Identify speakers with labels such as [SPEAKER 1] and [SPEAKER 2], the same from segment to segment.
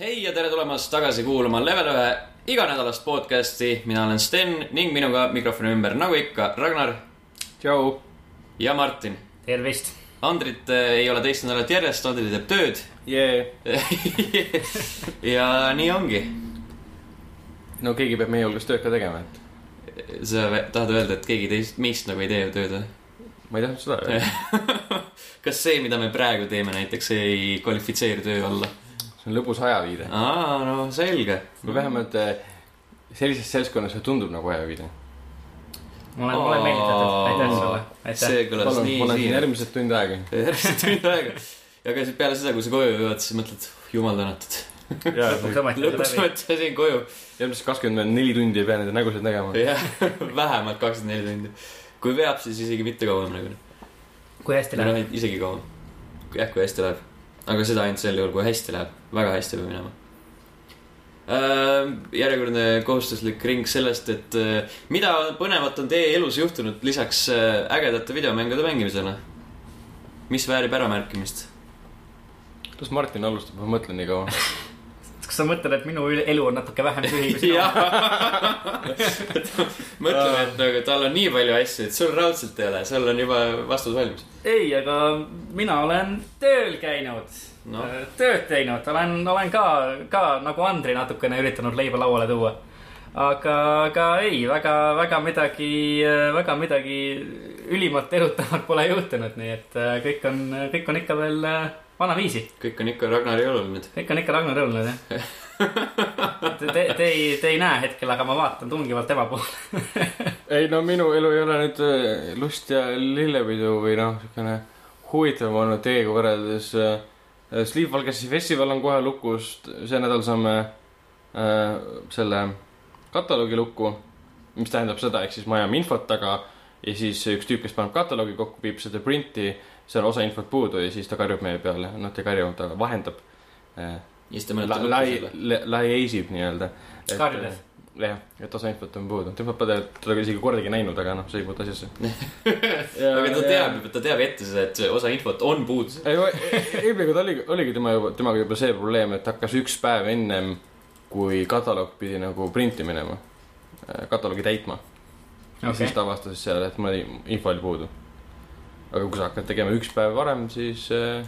[SPEAKER 1] hei ja tere tulemast tagasi kuulama Level ühe iganädalast podcasti , mina olen Sten ning minuga mikrofoni ümber , nagu ikka , Ragnar
[SPEAKER 2] tšau .
[SPEAKER 1] ja Martin .
[SPEAKER 3] tervist .
[SPEAKER 1] Andrit eh, ei ole teist nädalat järjest , Andri teeb tööd
[SPEAKER 2] jee .
[SPEAKER 1] ja nii ongi .
[SPEAKER 2] no keegi peab meie hulgas tööd ka tegema , et
[SPEAKER 1] sa vä- tahad öelda , et keegi teist , meist nagu ei tee tööd või ?
[SPEAKER 2] ma ei tahtnud seda öelda .
[SPEAKER 1] kas see , mida me praegu teeme näiteks , ei kvalifitseeru töö alla ?
[SPEAKER 2] see on lõbus ajaviide .
[SPEAKER 1] aa , no selge .
[SPEAKER 2] või vähemalt eh, sellises seltskonnas see tundub nagu ajaviide .
[SPEAKER 3] ma olen , ma olen meelitatud , aitäh sulle , aitäh .
[SPEAKER 1] see kõlas nii
[SPEAKER 2] ma olen siin
[SPEAKER 1] siiralt .
[SPEAKER 2] järgmised tund aega .
[SPEAKER 1] järgmised tund aega . ja aga siis peale seda , kui sa koju jõuad , siis mõtled , jumal tänatud .
[SPEAKER 3] lõpuks ometi
[SPEAKER 1] nagu lõpuks
[SPEAKER 3] läbi .
[SPEAKER 1] mõtlesin siin koju .
[SPEAKER 2] järgmised kakskümmend neli tundi ei pea nende nägusid nägema .
[SPEAKER 1] jah , vähemalt kakskümmend neli tundi . kui veab , siis isegi mitte kauem nagu .
[SPEAKER 3] kui hästi
[SPEAKER 1] või
[SPEAKER 3] läheb .
[SPEAKER 1] noh , isegi kauem . jah , kui hästi läheb . aga seda ainult sel juhul , kui hästi läheb . väga hästi peab minema . järjekordne kohustuslik ring sellest , et äh, mida põnevat on teie elus juhtunud lisaks äh, ägedate videomängude mängimisele ? mis väärib äramärkimist ?
[SPEAKER 2] las Martin alustab , ma mõtlen nii kaua .
[SPEAKER 3] kas sa mõtled , et minu üle- elu on natuke vähem tühi kui sinu ?
[SPEAKER 1] jah , mõtleme , et nagu tal on nii palju asju , et sul raudselt ei ole , sul on juba vastus valmis .
[SPEAKER 3] ei , aga mina olen tööl käinud
[SPEAKER 1] Noh.
[SPEAKER 3] no. , tööd teinud , olen , olen ka , ka nagu Andri natukene üritanud leiba lauale tuua . aga , aga ei , väga , väga midagi , väga midagi ülimalt erutavat pole juhtunud , nii et äh, kõik on , kõik on ikka veel äh, vanaviisi .
[SPEAKER 1] kõik on ikka Ragnari õlul nüüd .
[SPEAKER 3] kõik on ikka Ragnar Õlnad jah . Te , te ei , te ei näe hetkel , aga ma vaatan tungivalt tema poole .
[SPEAKER 2] ei no minu elu ei ole nüüd eh, lust ja lillepidu või noh , niisugune huvitavam olnud teiega võrreldes . Sleep Valgesi festival on kohe lukus , see nädal saame eh, selle kataloogi lukku , mis tähendab seda , ehk siis me ajame infot taga ja siis üks tüüp , kes paneb kataloogi kokku , viib seda printi , seal osa infot puudu ja siis ta karjub meie peale , noh , ta ei karju , ta vahendab eh,
[SPEAKER 1] ja siis ta
[SPEAKER 2] la-
[SPEAKER 1] mäletab
[SPEAKER 2] lai- , laiaisib nii-öelda .
[SPEAKER 3] Karjudes. .
[SPEAKER 2] jah , et osa infot on puudu , te pole teda isegi kordagi näinud , aga noh , see ei puutu asjasse .
[SPEAKER 1] aga ta teab , ta teab ette seda , et see osa infot on puudus .
[SPEAKER 2] ei , eelmine kord oligi , oligi tema juba , temaga juba see probleem , et hakkas üks päev ennem , kui kataloog pidi nagu printi minema , kataloogi täitma okay. . ja
[SPEAKER 3] Okei.
[SPEAKER 2] siis ta avastas seal , et mõni info oli puudu . aga kui sa hakkad tegema üks päev varem , siis äh,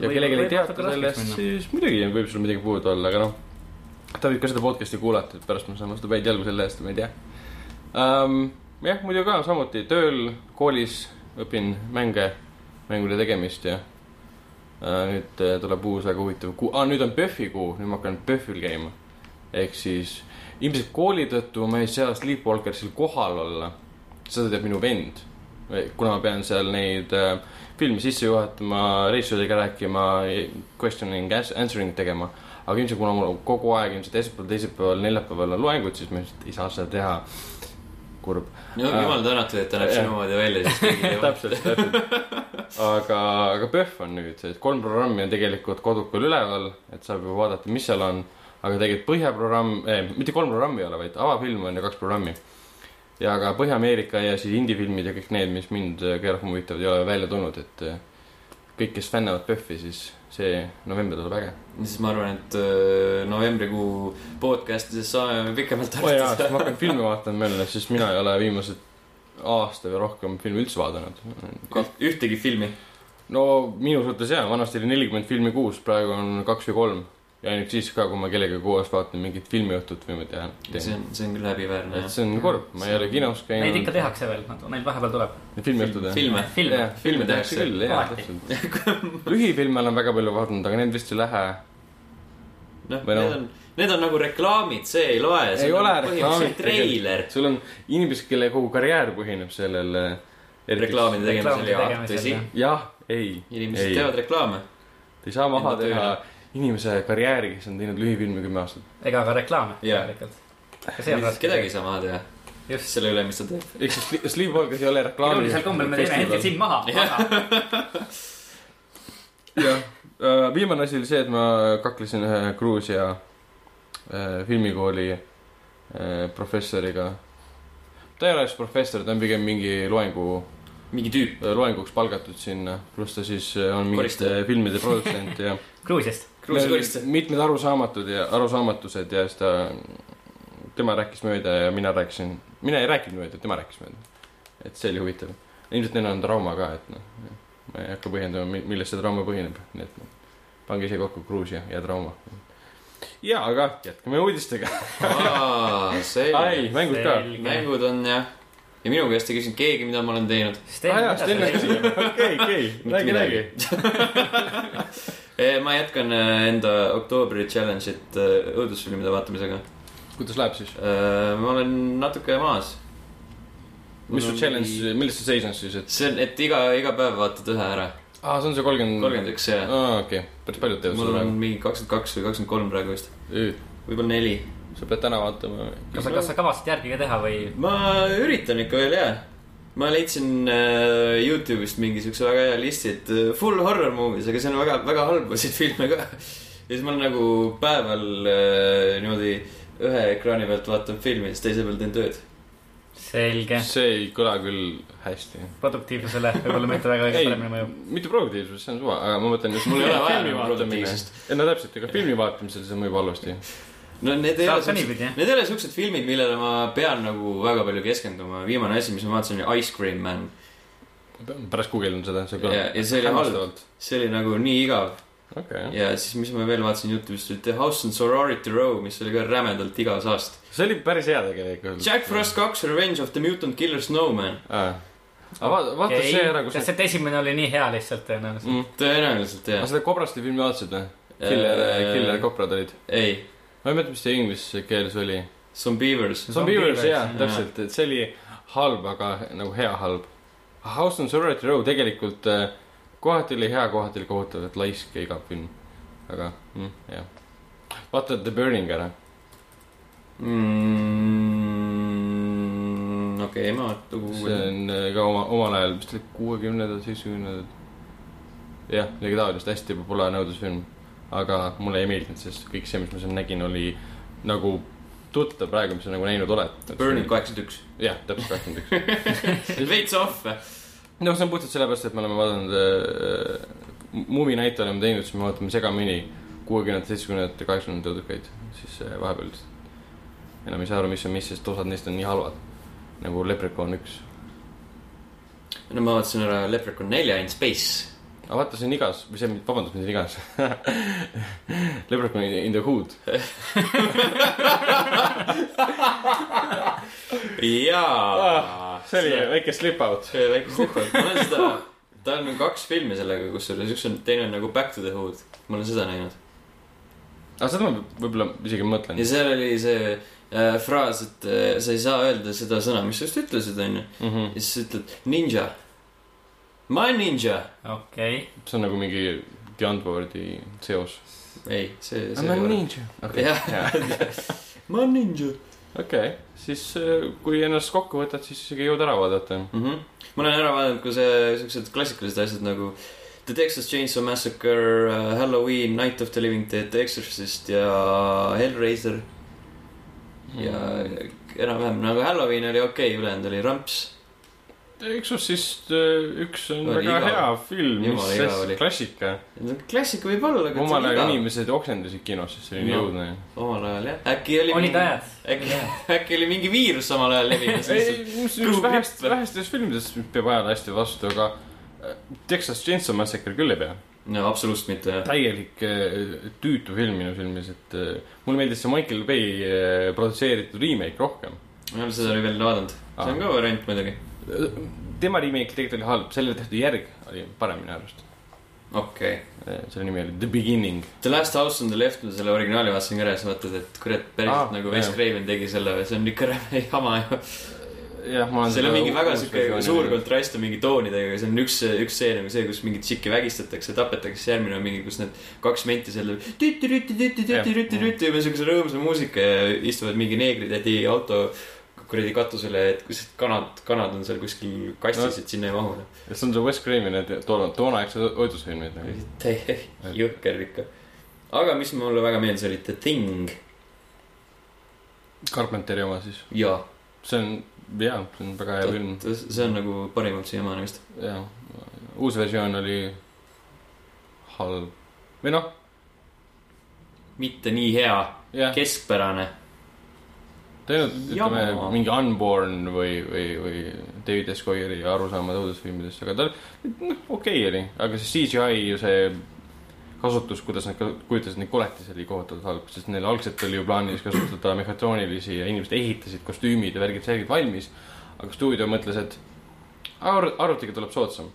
[SPEAKER 2] ja kellelgi ei teata sellest , siis muidugi võib sul midagi puudu olla , aga noh , ta võib ka seda podcast'i kuulata , et pärast me saame seda päid jalgu selle eest , ma ei tea um, . jah , muidu ka samuti tööl , koolis õpin mänge , mängude tegemist ja uh, nüüd uh, tuleb uus väga huvitav kuu ah, , nüüd on PÖFFi kuu , nüüd ma hakkan PÖFFil käima . ehk siis ilmselt kooli tõttu ma ei saa Sleepwalkersil kohal olla , seda teeb minu vend , kuna ma pean seal neid uh, filmi sisse juhatama , reisijatega rääkima , questioning , answering tegema . aga ilmselt kuna mul kogu aeg ilmselt esmaspäeval , teisipäeval , neljapäeval on loengud , siis ma ilmselt ei saa seda teha . kurb .
[SPEAKER 1] no jumal tänatud , et ta näeb
[SPEAKER 2] Jah.
[SPEAKER 1] sinu moodi välja , siis keegi ei vaata .
[SPEAKER 2] täpselt , täpselt . aga , aga PÖFF on nüüd , et kolm programmi on tegelikult kodukul üleval , et saab juba vaadata , mis seal on . aga tegelikult Põhjaprogramm eh, , mitte kolm programmi ei ole , vaid avafilm on ja kaks programmi . ja ka Põhja-Ameerika ja siis indie-filmid ja kõik need , mis mind eh, kõige rohkem huvitavad , ei ole välja tulnud , et eh, kõik , kes fännavad PÖFFi , siis see november tuleb äge .
[SPEAKER 1] siis ma arvan , et öö, novembrikuu podcast'ides saame pikemalt
[SPEAKER 2] oo Oh jaa , sest
[SPEAKER 1] arutada .
[SPEAKER 2] ma hakkan filme vaatama jälle , sest mina ei ole viimased aasta või rohkem filmi üldse vaadanud .
[SPEAKER 1] ühtegi filmi .
[SPEAKER 2] no minu suhtes jaa , vanasti oli nelikümmend filmi kuus , praegu on kaks või kolm . ja ainult siis ka , kui ma kellegagi koos vaatan mingit filmiõhtut või ma tean .
[SPEAKER 1] see
[SPEAKER 2] et
[SPEAKER 1] on , see on küll häbiväärne .
[SPEAKER 2] see on kurb , ma ei ole kinos
[SPEAKER 3] Neid
[SPEAKER 2] käinud
[SPEAKER 3] ikka . tehakse veel , neid vahepeal tuleb .
[SPEAKER 2] filmiõhtud jah ?
[SPEAKER 1] filme .
[SPEAKER 3] filme.
[SPEAKER 2] jah , filme tehakse küll , jaa ,
[SPEAKER 3] Alati.
[SPEAKER 2] täpselt . lühifilme olen väga palju vaadanud , aga need vist ei lähe .
[SPEAKER 1] noh ,
[SPEAKER 2] Või
[SPEAKER 1] need
[SPEAKER 2] noh.
[SPEAKER 1] on , need on nagu reklaamid , see ei loe .
[SPEAKER 2] Ei ole reklaamid
[SPEAKER 1] treiler .
[SPEAKER 2] sul on inimesed , kelle kogu karjäär põhineb sellel .
[SPEAKER 1] reklaamide tegemisel
[SPEAKER 3] Reklaamide
[SPEAKER 1] ja
[SPEAKER 3] tegemisel,
[SPEAKER 1] tõsi
[SPEAKER 3] jah. ,
[SPEAKER 2] jah , ei .
[SPEAKER 1] inimesed ei. teevad reklaame .
[SPEAKER 2] ei saa maha
[SPEAKER 1] Enda
[SPEAKER 2] teha inimese karjääri , kes on teinud lühifilmi kümme aastat .
[SPEAKER 3] ega ka reklaame
[SPEAKER 1] Jaa.
[SPEAKER 3] tegelikult .
[SPEAKER 1] kedagi ei saa maha teha . just selle üle , mis ta teeb .
[SPEAKER 2] ehk siis Sli- Sleepwalkers ei ole reklaami .
[SPEAKER 3] iroonilisel kombel me teeme hetkel sind maha , aga
[SPEAKER 2] jah , viimane asi oli see , et ma kaklesin ühe Gruusia äh, filmikooli äh, professoriga . ta ei ole just professor , ta on pigem mingi loengu
[SPEAKER 1] mingi tüüp .
[SPEAKER 2] loenguks palgatud sinna , pluss ta siis äh, on mingite
[SPEAKER 1] Koristaja.
[SPEAKER 2] filmide produtsent ja
[SPEAKER 3] Gruusiast .
[SPEAKER 1] Gruusia koristaja.
[SPEAKER 2] mitmed arusaamatud ja arusaamatused ja siis ta , tema rääkis mööda ja mina rääkisin , mina ei rääkinud mööda , tema rääkis mööda . et see oli huvitav . ilmselt neil on trauma ka , et noh , ma ei hakka põhjendama , millest see trauma põhineb , nii et noh, pange ise kokku Gruusia ja trauma . ja , aga jätkame uudistega . ai ,
[SPEAKER 1] selge .
[SPEAKER 2] mängud ka .
[SPEAKER 1] mängud on jah , ja minu käest ei küsinud keegi , mida ma olen teinud .
[SPEAKER 2] aa jaa , Sten läks isegi . okei , okei , räägi , räägi .
[SPEAKER 1] ma jätkan äh, enda oktoobri challenge'it äh, õudusfilmide vaatamisega .
[SPEAKER 2] kuidas läheb siis ?
[SPEAKER 1] ma olen natuke maas .
[SPEAKER 2] mis su challenge , milles see seisnes siis , et
[SPEAKER 1] see on , et iga , iga päev vaatad ühe ära .
[SPEAKER 2] aa , see on see kolmkümmend .
[SPEAKER 1] kolmkümmend üks ja
[SPEAKER 2] aa , okei okay. , päris paljud teevad
[SPEAKER 1] mul
[SPEAKER 2] seda
[SPEAKER 1] on mingi kakskümmend kaks või kakskümmend kolm praegu vist ,
[SPEAKER 2] praegu .
[SPEAKER 1] võib-olla neli .
[SPEAKER 2] sa pead täna vaatama .
[SPEAKER 3] kas sa , kas sa kavatsed järgi ka teha või ?
[SPEAKER 1] ma üritan ikka veel jaa . ma leidsin äh, Youtube'ist mingi siukse väga hea listi , et äh, full horror movies , aga seal on väga , väga halbasid filme ka . ja siis ma olen nagu päeval äh, niimoodi ühe ekraani pealt vaatan filmi , siis teise peal teen tööd .
[SPEAKER 3] selge ,
[SPEAKER 2] see ei kõla küll hästi .
[SPEAKER 3] produktiivsusele võib-olla mitte väga kõige
[SPEAKER 2] ei
[SPEAKER 3] paremini mõjub .,
[SPEAKER 2] mitte produktiivsus , see on suva , aga ma mõtlen , et mul ei
[SPEAKER 1] Ei,
[SPEAKER 2] ole vaja
[SPEAKER 1] filmi
[SPEAKER 2] nagu
[SPEAKER 1] produktiivsust.
[SPEAKER 2] vaatamine. ei no täpselt , ega filmi vaatamisel see mõjub halvasti .
[SPEAKER 1] no need ei
[SPEAKER 3] Saab
[SPEAKER 1] ole
[SPEAKER 3] ka
[SPEAKER 1] siuksed
[SPEAKER 3] niipidi, jah. ,
[SPEAKER 1] need ei ole siuksed filmid , millele ma pean nagu väga palju keskenduma . viimane asi , mis ma vaatasin , oli Ice Cream Man .
[SPEAKER 2] pärast guugeldin seda , see
[SPEAKER 1] Ja- ja see oli
[SPEAKER 2] halb .
[SPEAKER 1] see oli nagu nii igav .
[SPEAKER 2] okei , jah .
[SPEAKER 1] ja siis , mis ma veel vaatasin Youtube'ist , oli The House and Sorority Row , mis oli ka rämedalt igas aast .
[SPEAKER 2] see oli päris hea tegelikult .
[SPEAKER 1] Jack Frost kaks Revenge of the Mutant Killer Snowman .
[SPEAKER 2] aga vaata , vaata see ära , kus see . Mm.
[SPEAKER 3] sest esimene oli nii hea lihtsalt tõenäoliselt .
[SPEAKER 1] tõenäoliselt
[SPEAKER 2] aga
[SPEAKER 1] jah . Äh,
[SPEAKER 2] seda Kobrasti filmi vaatasid või ? Ah, Killer , Killer . koprad olid .
[SPEAKER 1] ei ,
[SPEAKER 2] ma ei mäleta , mis see inglise keeles oli .
[SPEAKER 1] Some Beavers .
[SPEAKER 2] Zombievers
[SPEAKER 3] Zombievers,
[SPEAKER 2] jaa ,
[SPEAKER 1] jaa.
[SPEAKER 2] täpselt , et see oli halb , aga nagu hea halb . House on Sorority Row tegelikult eh, kohati oli hea , kohati oli kohutavalt laisk ja igav film . aga mm, jah , vaata The Burning ära ,
[SPEAKER 1] Mm, okei , ma
[SPEAKER 2] see
[SPEAKER 1] vaatan .
[SPEAKER 2] on eh, ka oma , omal ajal , vist oli kuuekümnendad , seitsmekümnendad . jah , legendaariliselt hästi populaarne õudusfilm , aga mulle ei meeldinud , sest kõik see , mis ma seal nägin , oli nagu tuttav praegu , mis sa nagu näinud oled .
[SPEAKER 1] Burning . kaheksakümmend üks .
[SPEAKER 2] jah , täpselt kakskümmend üks .
[SPEAKER 1] veits off .
[SPEAKER 2] no Noh, see on puhtalt sellepärast , et me oleme vaadanud äh, , Muumi näite oleme teinud , siis me vaatame segamini kuuekümnendate , seitsmekümnendate , kaheksakümnendate õudukaid , siis äh, vahepeal lihtsalt enam ei saa aru , mis on mis , sest osad neist on nii halvad . nagu Leprechaun üks .
[SPEAKER 1] no ma vaatasin ära Leprechaun nelja in space .
[SPEAKER 2] aga vaata , see on igas , või see , vabandust , mitte igas . Leprechaun in the hood . Ah,
[SPEAKER 1] jaa .
[SPEAKER 2] väike slip out .
[SPEAKER 1] väike slip-out , ma olen seda , tal on kaks filmi sellega , kusjuures üks on , teine on nagu Back to the Hood . ma olen seda näinud .
[SPEAKER 2] aga seda ma võib-olla isegi mõtlen
[SPEAKER 1] ja . seal oli see äh, fraas , et äh, sa ei saa öelda seda sõna , mis sa just ütlesid , onju .
[SPEAKER 2] Mhm.
[SPEAKER 1] ja siis sa ütled ninja . ma olen ninja .
[SPEAKER 3] okei ,
[SPEAKER 2] see on nagu mingi The Antwordi seos .
[SPEAKER 1] ei , see , see .
[SPEAKER 2] ninja .
[SPEAKER 1] Jah.
[SPEAKER 2] okei .
[SPEAKER 1] ma olen ninja
[SPEAKER 2] okei okay. , siis äh, kui ennast kokku võtad , siis isegi jõud ära vaadata .
[SPEAKER 1] mm . -hmm. ma olen ära vaadanud ka see , siuksed klassikalised asjad nagu The Texas Chainsaw Massacre , Halloween , Night of the Living Dead , The Exorcist ja Hellraiser ja
[SPEAKER 2] Mm.
[SPEAKER 1] enam-vähem nagu Halloween oli okei okay, , ülejäänud oli ramps .
[SPEAKER 2] Exorcist äh, üks on
[SPEAKER 1] Oli
[SPEAKER 2] väga
[SPEAKER 1] igav.
[SPEAKER 2] hea film , mis
[SPEAKER 1] Jumala igav oli.
[SPEAKER 2] hästi klassika .
[SPEAKER 1] klassika võib olla , aga
[SPEAKER 2] omal ajal . inimesed oksendasid kinos , sest see oli nii
[SPEAKER 1] No.
[SPEAKER 2] õudne .
[SPEAKER 1] omal ajal jah , äkki oli .
[SPEAKER 3] olid ajad .
[SPEAKER 1] äkki , äkki oli mingi viirus samal ajal levimas
[SPEAKER 2] ei , mis üks
[SPEAKER 1] Kõhu
[SPEAKER 2] vähest ,
[SPEAKER 1] pipp.
[SPEAKER 2] vähestest filmidest , mis peab ajale hästi vastu , aga äh, Texas Chainsaw Massacre küll ei pea .
[SPEAKER 1] no absoluutselt mitte jah .
[SPEAKER 2] täielik äh, tüütu film minu silmis , et äh, mulle meeldis see Michael Bay äh, produtseeritud remake rohkem .
[SPEAKER 1] ma ei ole seda veel vaadanud . see
[SPEAKER 2] Ah.
[SPEAKER 1] on ka variant muidugi .
[SPEAKER 2] äh, tema remake tegelikult oli halb , sellele tehtud järg oli parem minu arust .
[SPEAKER 1] okei okay. .
[SPEAKER 2] Eh, selle nimi oli The Beginning .
[SPEAKER 1] The Last House on the Left , ma selle originaali vaatasin ka ära ja siis mõtled , et kurat , päriselt
[SPEAKER 2] Aa,
[SPEAKER 1] ah, nagu Wes
[SPEAKER 2] jah.
[SPEAKER 1] Craven tegi selle , see on ikka räme jama ju .
[SPEAKER 2] jah , ma
[SPEAKER 1] seal on mingi väga siuke suur . kontrast on mingi toonidega , see on üks , üks see nagu see , kus mingit tšikki vägistatakse , tapetakse , siis järgmine on mingi , kus need kaks menti seal tüti-tüti-tüti-tüti-tüti-tüti ja siukse rõõmsa muusika ja istuvad mingi neegritädi auto kuradi katusele , et kus kanad , kanad on seal kuskil kastis , et sinna ei mahu .
[SPEAKER 2] see on see Wes Craveni toona , toonaegsed õudusfilmid nagu .
[SPEAKER 1] jõhker ikka . aga mis mulle väga meeldis , oli The Thing
[SPEAKER 2] Carpenteri oma siis .
[SPEAKER 1] ja
[SPEAKER 2] see on jaa , see on väga hea film ,
[SPEAKER 1] see on nagu parimalt siiamaani vist .
[SPEAKER 2] jaa . uus versioon oli halb või noh ,
[SPEAKER 1] mitte nii hea ,
[SPEAKER 2] jah ,
[SPEAKER 1] keskpärane .
[SPEAKER 2] tegelikult ütleme
[SPEAKER 1] Jama.
[SPEAKER 2] mingi Unborn või , või , või David S. Goyeri arusaamad õudusfilmidest , aga ta noh , okei okay oli , aga see CGI ju see kasutus , kuidas nad ka- kujutasid neid koletisi , oli kohutavalt halb , sest neil algselt oli ju plaanis kasutada mehhatroonilisi ja inimesed ehitasid kostüümid ja värgid selgelt valmis , aga stuudio mõtles , et ar- arvutiga tuleb soodsam .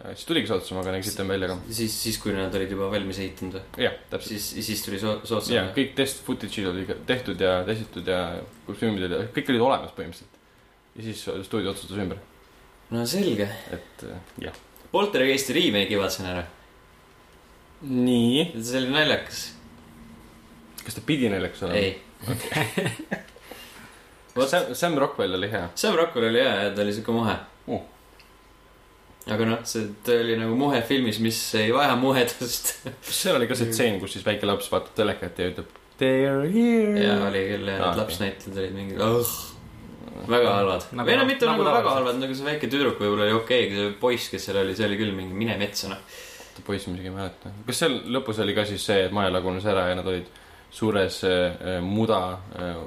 [SPEAKER 2] siis tuligi soodsam , aga näiksitame välja ka .
[SPEAKER 1] siis , siis kui nad olid juba valmis ehitanud või ?
[SPEAKER 2] jah , täpselt .
[SPEAKER 1] siis , siis tuli soo- , soodsam
[SPEAKER 2] ja . kõik test footage'id olid tehtud ja testitud ja kostüümid olid , kõik olid olemas põhimõtteliselt . ja siis stuudio otsustas ümber ,
[SPEAKER 1] no selge .
[SPEAKER 2] et äh, jah .
[SPEAKER 1] Poltergeisti remake'i vaatasin ära .
[SPEAKER 2] nii .
[SPEAKER 1] see oli naljakas .
[SPEAKER 2] kas ta pidi naljakas olema ?
[SPEAKER 1] ei ,
[SPEAKER 2] Sam , Sam Rockwell oli hea .
[SPEAKER 1] Sam Rockwell oli hea ja ta oli siuke mohe
[SPEAKER 2] Oh. .
[SPEAKER 1] aga noh , see , ta oli nagu mohe filmis , mis ei vaja muhedust .
[SPEAKER 2] kas seal oli ka see tseen , kus siis väike laps vaatab telekat ja ütleb They are
[SPEAKER 3] Mm.
[SPEAKER 2] here
[SPEAKER 1] ja oli küll ,
[SPEAKER 2] Aa,
[SPEAKER 1] need
[SPEAKER 2] okei.
[SPEAKER 1] lapsnäitlejad olid mingid oh, väga halvad
[SPEAKER 3] Nagu-
[SPEAKER 1] nagu, . või no mitte
[SPEAKER 3] nagu
[SPEAKER 1] nagu, nagu väga
[SPEAKER 3] tavaliselt.
[SPEAKER 1] halvad , nagu see väike tüdruk võib-olla oli okei okay, , see poiss , kes seal oli , see oli küll mingi mine metsa noh .
[SPEAKER 2] oota , poiss , ma isegi ei mäleta . kas seal lõpus oli ka siis see , et maja lagunes ära ja nad olid suures äh, muda äh,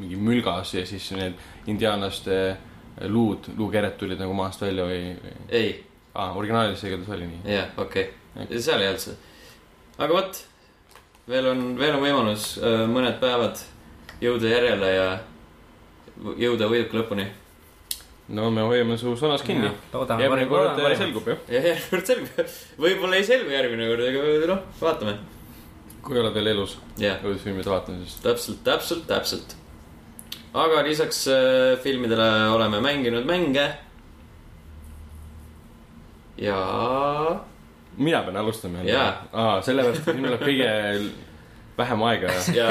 [SPEAKER 2] mingi mülgas ja siis need indiaanlaste äh, luud , luukered tulid nagu maast välja või , või... ?
[SPEAKER 1] ei ,
[SPEAKER 2] aa , originaalis igatahes oli nii .
[SPEAKER 1] jah , okei okay. , seal ei olnud seda . aga vot , veel on , veel on võimalus öö, mõned päevad jõuda järele ja jõuda võiduka lõpuni .
[SPEAKER 2] no me hoiame su sõnas kinni .
[SPEAKER 3] loodame
[SPEAKER 2] järgmine
[SPEAKER 3] parim-
[SPEAKER 2] kord
[SPEAKER 3] loodame
[SPEAKER 2] äh,
[SPEAKER 3] parimat .
[SPEAKER 2] selgub jah ,
[SPEAKER 1] ja järgmine kord selgub , võib-olla ei selgu järgmine kord , aga noh , vaatame .
[SPEAKER 2] kui oled veel elus
[SPEAKER 1] jah ,
[SPEAKER 2] õudusfilmide vaatamisest .
[SPEAKER 1] täpselt , täpselt , täpselt . aga lisaks äh, filmidele oleme mänginud mänge . ja
[SPEAKER 2] mina pean alustama
[SPEAKER 1] Jaa. .
[SPEAKER 2] aa , sellepärast , et minul läheb kõige vähem aega .
[SPEAKER 1] Jaa.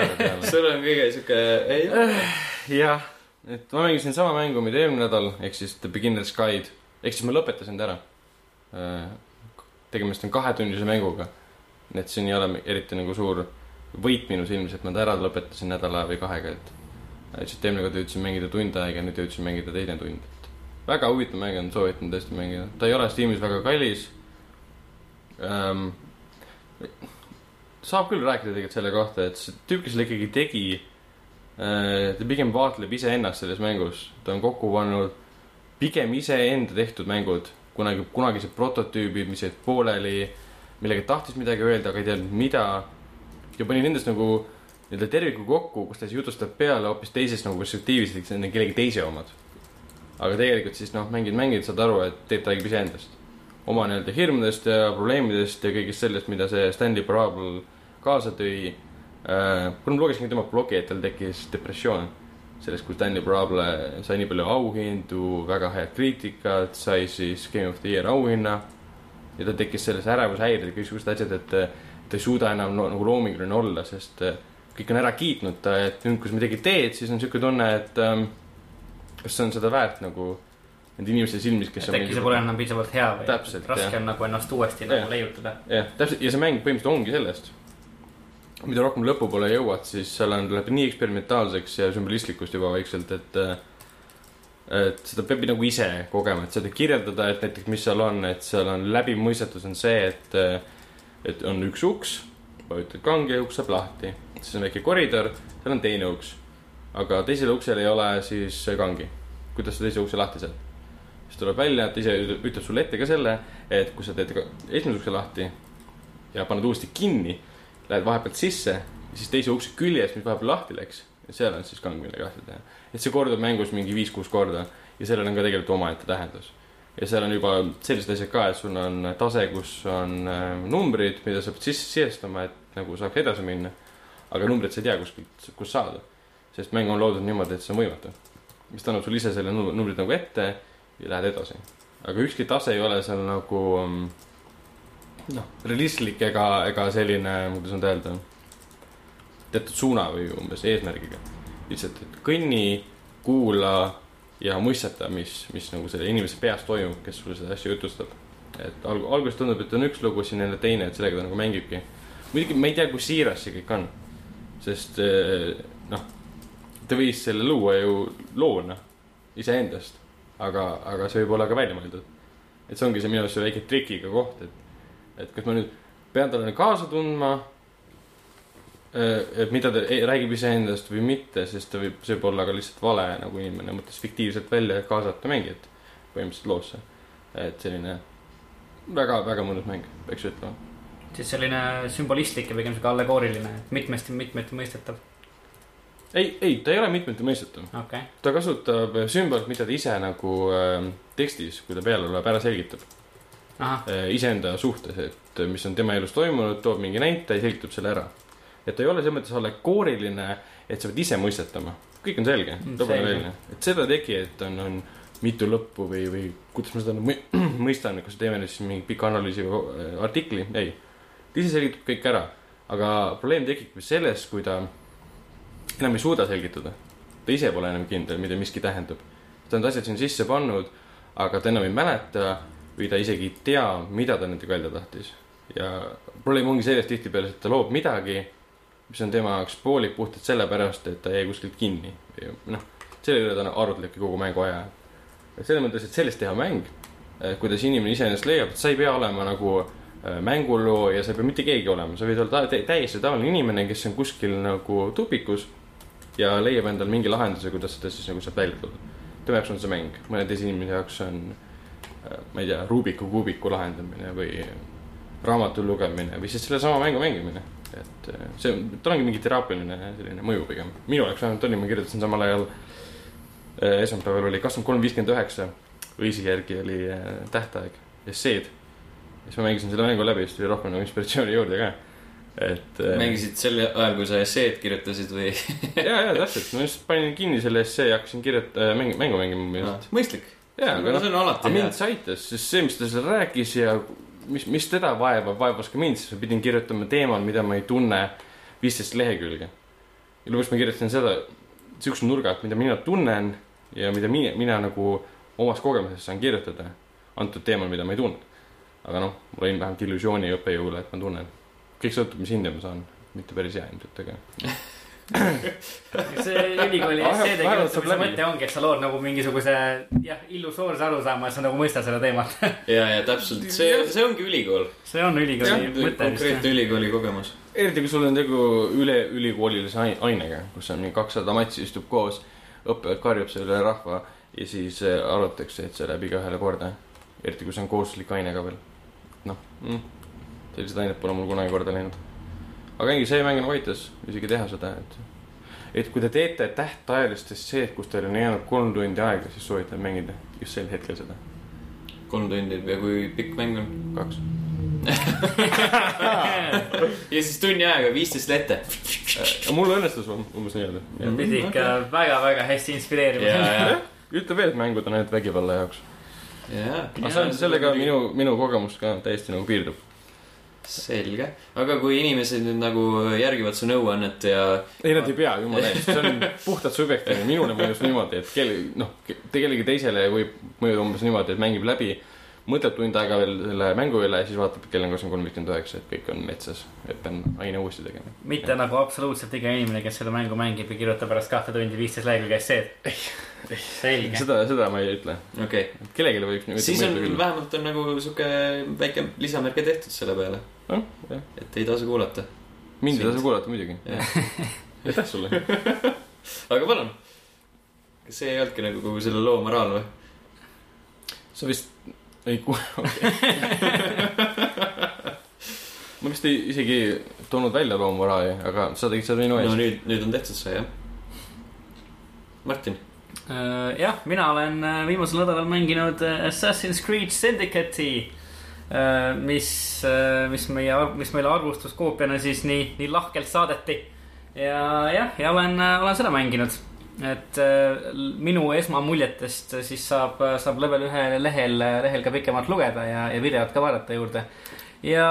[SPEAKER 1] sul on kõige sihuke , ei
[SPEAKER 2] Eh, jah , et ma mängisin sama mängu , mida eelmine nädal , ehk siis The Beginner's Guide , ehk siis ma lõpetasin ta ära . tegemist on kahetunnise mänguga . nii et siin ei ole eriti nagu suur võit minu silmis , et ma ta ära lõpetasin nädala või kahega , et et siis eelmine kord jõudsin mängida tund aega , nüüd jõudsin mängida teine tund . väga huvitav mäng on , soovitan tõesti mängida , ta ei ole Steamis väga kallis ähm, . saab küll rääkida tegelikult selle kohta , et see tüüp , kes selle ikkagi tegi äh, ta pigem vaatleb iseennast selles mängus , ta on kokku pannud pigem iseenda tehtud mängud , kunagi , kunagised prototüübid , mis jäid pooleli , millega tahtis midagi öelda , aga ei teadnud mida . ja pani nendest nagu nii-öelda terviku kokku , kus ta siis jutustab peale hoopis teisest nagu perspektiivist , eks need on kellegi teise omad . aga tegelikult siis noh , mängid , mängid , saad aru , et teeb ta räägib iseendast . oma nii-öelda hirmudest ja probleemidest ja kõigest sellest , mida see Stanley Parable kaasa tõi Äh, kuna ma lugesin tema blogi , et tal tekkis depressioon sellest , kui Stanley Parable sai nii palju auhindu , väga head kriitikat , sai siis Game of the Year auhinna ja tal tekkis selles ärevushäired ja kõiksugused asjad , et äh, ta ei suuda enam no, nagu loominguline olla , sest äh, kõik on ära kiitnud ta , et nüüd , kui sa midagi teed , siis on niisugune tunne , et ähm, kas see on seda väärt nagu nende inimeste silmis , kes
[SPEAKER 3] et äkki see pole enam piisavalt hea või
[SPEAKER 2] Täpselt,
[SPEAKER 3] raske
[SPEAKER 2] jah.
[SPEAKER 3] on nagu ennast uuesti
[SPEAKER 2] Jah.
[SPEAKER 3] nagu leiutada .
[SPEAKER 2] jah , täpselt ja see mäng põhimõtteliselt ongi sellest . mida rohkem lõpupoole jõuad , siis seal on , läheb nii eksperimentaalseks ja sümbolistlikuks juba vaikselt , et äh, et seda peab nagu ise kogema , et seda kirjeldada , et näiteks mis seal on , et seal on läbimõistetus on see , et äh, et on üks uks , vajutad kange ja uks saab lahti , siis on väike koridor , seal on teine uks , aga teisel uksel ei ole siis kangi . kuidas sa teise ukse lahti saad ? siis tuleb välja , et ise ütleb sulle ette ka selle , et kui sa teed ka esimese ukse lahti ja paned uuesti kinni , lähed vahepealt sisse , siis teise ukse küljes , mis vahepeal lahti läks , seal on siis kang , millega lahti teha . et see kordub mängus mingi viis-kuus korda ja sellel on ka tegelikult omaette tähendus . ja seal on juba sellised asjad ka , et sul on tase , kus on äh, numbrid , mida sa pead sisse sisestama , et nagu saaks edasi minna . aga numbrit sa ei tea kuskilt , kust saada , sest mäng on loodud niimoodi , et see on võimatu . mis annab sulle ise selle nu- numbrid nagu ette ja lähed edasi . aga ükski tase ei ole seal nagu um, noh , realistlik ega , ega selline , kuidas nüüd öelda , teatud suuna või umbes eesmärgiga . lihtsalt , et kõnni , kuula ja mõisteta , mis , mis nagu selle inimese peas toimub , kes sulle seda asja jutustab . et alg- , alguses tundub , et on üks lugu , siis on jälle teine , et sellega ta nagu mängibki . muidugi ma ei tea , kui siiras see kõik on , sest eh, noh , ta võis selle luua ju loona iseendast , aga , aga see võib olla ka välja mõeldud . et see ongi see minu arust see väike trikiga koht , et , et kas ma nüüd pean talle kaasa tundma , et mida ta ei- räägib iseendast või mitte , sest ta võib , see võib olla ka lihtsalt vale , nagu inimene mõtles fiktiivselt välja kaasata mängijat põhimõtteliselt loosse . et selline väga , väga mõnus mäng , peaks ütlema .
[SPEAKER 3] siis selline sümbolistlik ja pigem sihuke allegooriline , mitmesti , mitmeti mõistetav ,
[SPEAKER 2] ei , ei , ta ei ole mitmeti mõistetav .
[SPEAKER 3] okei okay. .
[SPEAKER 2] ta kasutab äh, sümbolit , mida ta ise nagu äh, tekstis , kui ta peale tuleb , ära selgitab
[SPEAKER 3] ahah ,
[SPEAKER 2] äh, iseenda suhtes , et äh, mis on tema elus toimunud , toob mingi näite ja selgitab selle ära . et ta ei ole selles mõttes allegooriline , et sa pead ise mõistetama , kõik on selge
[SPEAKER 3] Mm, ,
[SPEAKER 2] tabaneväline , et seda tegi , et on , on mitu lõppu või , või kuidas ma seda mõ- mõistan , kas teeme nüüd siis mingi pika analüüsi või äh, artikli , ei . ta ise selgitab kõik ära , aga probleem tekibki selles , kui ta enam ei suuda selgitada . ta ise pole enam kindel , mida miski tähendab . ta on need asjad sinna sisse pannud , aga ta enam ei mäleta või ta isegi ei tea , mida ta nendega välja tahtis . ja probleem ongi selles tihtipeale , et ta loob midagi , mis on tema jaoks poolik puhtalt sellepärast , et ta jäi kuskilt kinni . noh , selle üle ta arvutlebki kogu mängu aja . et selles mõttes , et sellest teha mäng , kuidas inimene iseenesest leiab , et sa ei pea olema nagu äh, mängulooja , sa ei pea mitte keegi olema , sa võid olla ta- tä- täiesti tavaline inimene , kes on kuskil nagu tupikus ja leiab endale mingi lahenduse , kuidas seda siis nagu sealt välja tulla . tema jaoks on see mäng , mõne teise inimese jaoks on äh, ma ei tea , Rubiku kuubiku lahendamine või raamatu lugemine või siis sellesama mängu mängimine . et äh, see , tal ongi mingi teraapiline selline mõju pigem . minu jaoks vähemalt oli , ma kirjutasin samal ajal äh, esmaspäeval oli kakskümmend kolm viiskümmend üheksa , õisi järgi oli äh, tähtaeg , esseed . siis ma mängisin selle mängu läbi , siis tuli rohkem nagu inspiratsiooni juurde ka . et äh,
[SPEAKER 1] mängisid sel ajal , kui sa esseed kirjutasid või ?
[SPEAKER 2] ja , ja täpselt , ma just panin kinni selle essee ja hakkasin kirjutama , mängu , mängu mängima minu meelest .
[SPEAKER 1] Noh, mõistlik .
[SPEAKER 2] ja , aga noh ,
[SPEAKER 1] see on alati hea
[SPEAKER 2] mind . see aitas , sest see , mis ta seal rääkis ja mis , mis teda vaevab , vaevas ka mind , sest ma pidin kirjutama teemal , mida ma ei tunne , viisteist lehekülge . ja lõpuks ma kirjutasin seda , siukse nurga alt , mida mina tunnen ja mida mina , mina nagu omast kogemusest saan kirjutada antud teemal , mida ma ei tunne . aga noh , mul oli vähemalt illusiooni õppejõule , et ma tunnen . kõik sõltub , mis hinde ma saan , mitte päris hea ilmselt , aga
[SPEAKER 3] see ülikooli
[SPEAKER 2] Vahe-
[SPEAKER 3] esseede
[SPEAKER 2] vahepeal saab
[SPEAKER 3] kirjutamise
[SPEAKER 2] läbi.
[SPEAKER 3] mõte ongi , et sa lood nagu mingisuguse jah , illusoorse arusaama , et sa nagu mõistad seda teemat .
[SPEAKER 1] ja , ja täpselt , see , see ongi ülikool .
[SPEAKER 3] see on ülikooli mõte vist
[SPEAKER 1] konkreetne ülikooli kogemus .
[SPEAKER 2] eriti kui sul on tegu üle ülikoolilise ain- ainega , kus on mingi kakssada matsi istub koos , õppejõud karjub selle üle rahva ja siis eh, arvatakse , et see läheb igaühele korda . eriti kui see on kohustuslik aine ka veel . noh mm, , sellised ained pole mul kunagi korda läinud . aga ei , see mäng nagu aitas isegi teha seda , et , et kui te teete tähtajalist esseed , kus teil on jäänud kolm tundi aega , siis soovitan mängida just sel hetkel seda .
[SPEAKER 1] kolm tundi ja kui pikk mäng on ?
[SPEAKER 2] kaks .
[SPEAKER 3] jah .
[SPEAKER 1] ja siis tunni ajaga viisteist lehte .
[SPEAKER 2] mul õnnestus um- umbes nii-öelda .
[SPEAKER 3] pidi
[SPEAKER 2] Mhm.
[SPEAKER 3] ikka väga-väga hästi inspireerima
[SPEAKER 1] ja ,. ja ,
[SPEAKER 2] ütle veel , et mängud on ainult vägivalla jaoks .
[SPEAKER 1] ja .
[SPEAKER 2] aga see on sellega . minu , minu kogemus ka täiesti nagu piirdub .
[SPEAKER 1] selge , aga kui inimesed nüüd nagu järgivad su nõuannet ja
[SPEAKER 2] ei , nad ei pea , jumala eest , see on puhtalt subjektiivne , minule mõjus niimoodi , et kelle , noh , kellelegi teisele võib mõjuda umbes niimoodi , et mängib läbi , mõtleb tund aega veel selle mängu üle , siis vaatab , et kell on kakskümmend kolm viiskümmend üheksa , et kõik on metsas , et pean aine uuesti tegema .
[SPEAKER 3] mitte nagu absoluutselt iga inimene , kes seda mängu mängib ja kirjutab pärast kahte tundi viisteist lehekülge esseed . selge .
[SPEAKER 2] seda , seda ma ei ütle ,
[SPEAKER 1] okei okay. ,
[SPEAKER 2] kellelegi võib niimoodi
[SPEAKER 1] siis on
[SPEAKER 2] mõjuda küll .
[SPEAKER 1] vähemalt on nagu sihuke väike lisamärke tehtud selle peale ,
[SPEAKER 2] noh , jah ,
[SPEAKER 1] et ei tasu kuulata .
[SPEAKER 2] mind ei
[SPEAKER 1] Sind.
[SPEAKER 2] tasu kuulata muidugi .
[SPEAKER 1] Jah.
[SPEAKER 2] aitäh sulle .
[SPEAKER 1] aga palun , kas see ei olnudki nagu kogu selle loo moraal või ?
[SPEAKER 2] sa vist ei kuule okay. . ma vist ei isegi toonud välja loomoraali , aga sa tegid seda minu
[SPEAKER 1] no
[SPEAKER 2] eest .
[SPEAKER 1] nüüd , nüüd on tehtud see jah . Martin ,
[SPEAKER 3] jah , mina olen äh, viimasel nädalal mänginud äh, Assassin's Creed Syndicate'i , mis , mis meie , mis meile arvustuskoopiana siis nii , nii lahkelt saadeti . ja jah , ja olen , olen seda mänginud , et äh, l- minu esmamuljetest siis saab , saab level ühe lehel , lehel ka pikemalt lugeda ja , ja videot ka vaadata juurde . ja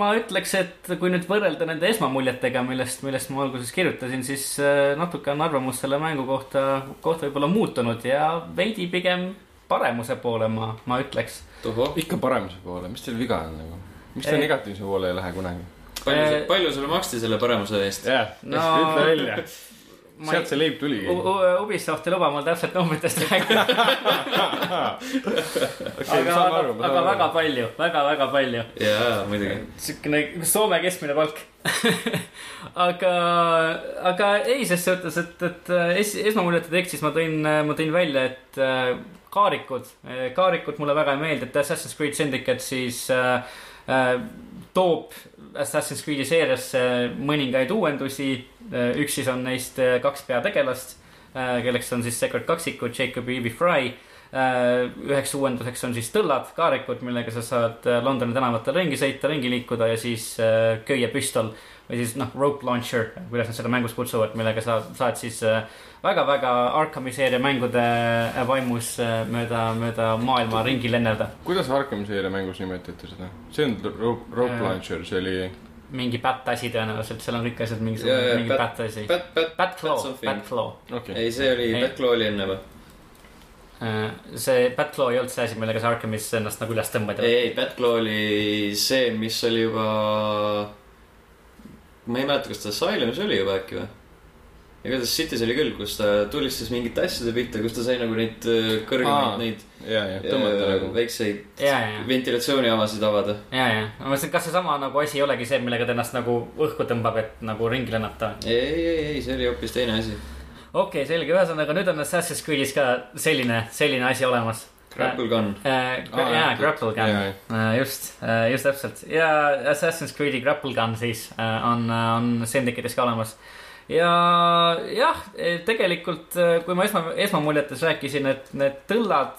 [SPEAKER 3] ma ütleks , et kui nüüd võrrelda nende esmamuljetega , millest , millest ma alguses kirjutasin , siis äh, natuke on arvamus selle mängu kohta , kohta võib-olla muutunud ja veidi pigem paremuse poole ma , ma ütleks .
[SPEAKER 1] tohoh ,
[SPEAKER 2] ikka paremuse poole , mis teil viga on nagu ? miks te
[SPEAKER 3] Ei.
[SPEAKER 2] negatiivse poole ei lähe kunagi ?
[SPEAKER 1] palju
[SPEAKER 3] Eh, ,
[SPEAKER 1] palju sulle maksti selle paremuse eest ?
[SPEAKER 2] jah
[SPEAKER 3] No- ütle
[SPEAKER 2] välja .
[SPEAKER 3] ma
[SPEAKER 2] sealt
[SPEAKER 3] ei ,
[SPEAKER 2] see leib tuligi .
[SPEAKER 3] Ubisoft ei luba mul täpselt numbritest rääkida , aga , aga, aga väga . palju väga, , väga-väga palju .
[SPEAKER 1] jaa , muidugi .
[SPEAKER 3] siukene Soome keskmine palk . aga , aga ei , ses suhtes , et , et äh, es, esmamuljete tekstis ma tõin , ma tõin välja , et äh, kaarikud , kaarikud mulle väga ei meeldi , et Assassin's Creed Syndicate siis äh, äh, toob Assassin's Creed'i seeriasse mõningaid uuendusi . üks siis on neist äh, kaks peategelast , kelleks on siis Secret kaksikud Jacob ja Evie Fry Äh, üheks uuenduseks on siis tõllad , kaarikud , millega sa saad äh, Londoni tänavatel ringi sõita , ringi liikuda ja siis äh, köiepüstol või siis noh , rope launcher , kuidas nad seda mängus kutsuvad , millega sa saad siis äh, väga-väga Arkhami seeria mängude vaimus äh, mööda , mööda maailma ringi lennelda .
[SPEAKER 2] kuidas Arkham seeria mängus nimetati seda ? see on rope , rope
[SPEAKER 3] Äh,
[SPEAKER 2] launcher , see oli .
[SPEAKER 3] mingi pätt-asi tõenäoliselt , seal on kõik asjad
[SPEAKER 1] Jaa,
[SPEAKER 3] mingisugune
[SPEAKER 1] jaa, ,
[SPEAKER 3] mingi
[SPEAKER 1] bat-
[SPEAKER 3] pätt-asi .
[SPEAKER 1] Bat , Bat ,
[SPEAKER 3] Bat-Claw ,
[SPEAKER 1] something.
[SPEAKER 3] Bat-Claw .
[SPEAKER 2] okei ,
[SPEAKER 1] ei , see oli ,
[SPEAKER 3] Ei.
[SPEAKER 1] Batclaw oli enne või ?
[SPEAKER 3] Äh, see Bat-Claw ei olnud see asi , millega sa Arkhamis ennast nagu üles tõmbad .
[SPEAKER 1] ei , ei , Batclaw oli see , mis oli juba , ma ei mäleta , kas ta Asylumis oli juba äkki või ? igatahes Cities oli küll , kus ta tulistas mingite asjade pihta , kus ta sai nagu neid äh,
[SPEAKER 2] Aa,
[SPEAKER 1] kõrgemaid , neid
[SPEAKER 2] ja , ja tõmmata
[SPEAKER 1] äh,
[SPEAKER 2] nagu .
[SPEAKER 1] väikseid
[SPEAKER 3] ja , ja , ja .
[SPEAKER 1] ventilatsiooniavasid avada .
[SPEAKER 3] ja , ja , ma mõtlesin , kas seesama nagu asi ei olegi see , millega ta ennast nagu õhku tõmbab , et nagu ringi lennata .
[SPEAKER 1] ei , ei , ei , see oli hoopis teine asi .
[SPEAKER 3] okei okay, , selge , ühesõnaga nüüd on Assassin's Creed'is ka selline , selline asi olemas .
[SPEAKER 1] Grapple Gun .
[SPEAKER 2] Aa,
[SPEAKER 3] jaa ,
[SPEAKER 2] jah,
[SPEAKER 3] grapple
[SPEAKER 2] jah,
[SPEAKER 3] gun , Äh, just , just täpselt ja Assassin's Creed'i grapple gun siis äh, on , on Syndicate'is ka olemas ja jah , tegelikult äh, kui ma esma , esmamuljetes rääkisin , et need tõllad ,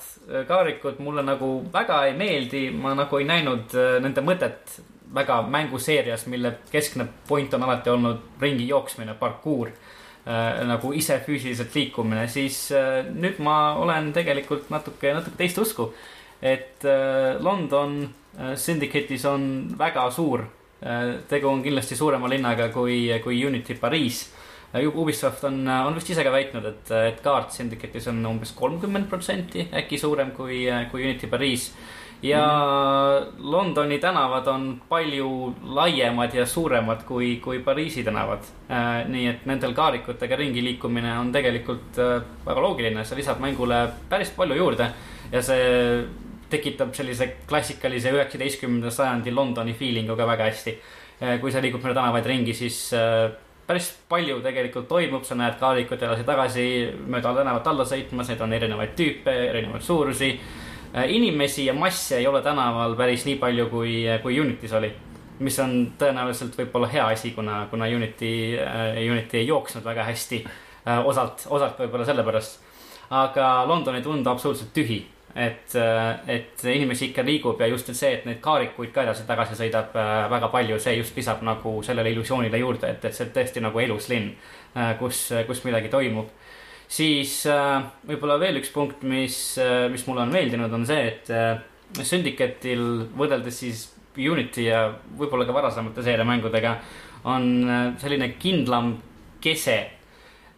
[SPEAKER 3] kaarikud mulle nagu väga ei meeldi , ma nagu ei näinud äh, nende mõtet väga mänguseerias , mille keskne point on alati olnud ringi jooksmine , parkuur äh, nagu ise füüsiliselt liikumine , siis äh, nüüd ma olen tegelikult natuke , natuke teist usku . et äh, London äh, Syndicate'is on väga suur äh, , tegu on kindlasti suurema linnaga kui , kui Unity Pariis . Ubisoft on , on vist ise ka väitnud , et , et kaart Syndicate'is on umbes kolmkümmend protsenti äkki suurem kui , kui Unity Pariis . ja mm. Londoni tänavad on palju laiemad ja suuremad kui , kui Pariisi tänavad . nii et nendel kaarikutega ringi liikumine on tegelikult äh, väga loogiline , see lisab mängule päris palju juurde ja see tekitab sellise klassikalise üheksateistkümnenda sajandi Londoni feeling'u ka väga hästi . kui sa liigud mööda tänavaid ringi , siis äh, päris palju tegelikult toimub , sa näed kaarikut edasi-tagasi mööda tänavat alla sõitmas , neid on erinevaid tüüpe , erinevaid suurusi . inimesi ja masse ei ole tänaval päris nii palju , kui , kui Unity's oli . mis on tõenäoliselt võib-olla hea asi , kuna , kuna Unity , Unity ei jooksnud väga hästi . osalt , osalt võib-olla sellepärast . aga London ei tundu absoluutselt tühi , et , et inimesi ikka liigub ja just see , et neid kaarikuid ka edasi-tagasi sõidab äh, väga palju , see just lisab nagu sellele illusioonile juurde , et , et see on tõesti nagu elus linn , kus , kus midagi toimub . siis äh, võib-olla veel üks punkt , mis , mis mulle on meeldinud , on see , et äh, Syndicate'il võrreldes siis Unity ja võib-olla ka varasemate seeriamängudega on äh, selline kindlam kese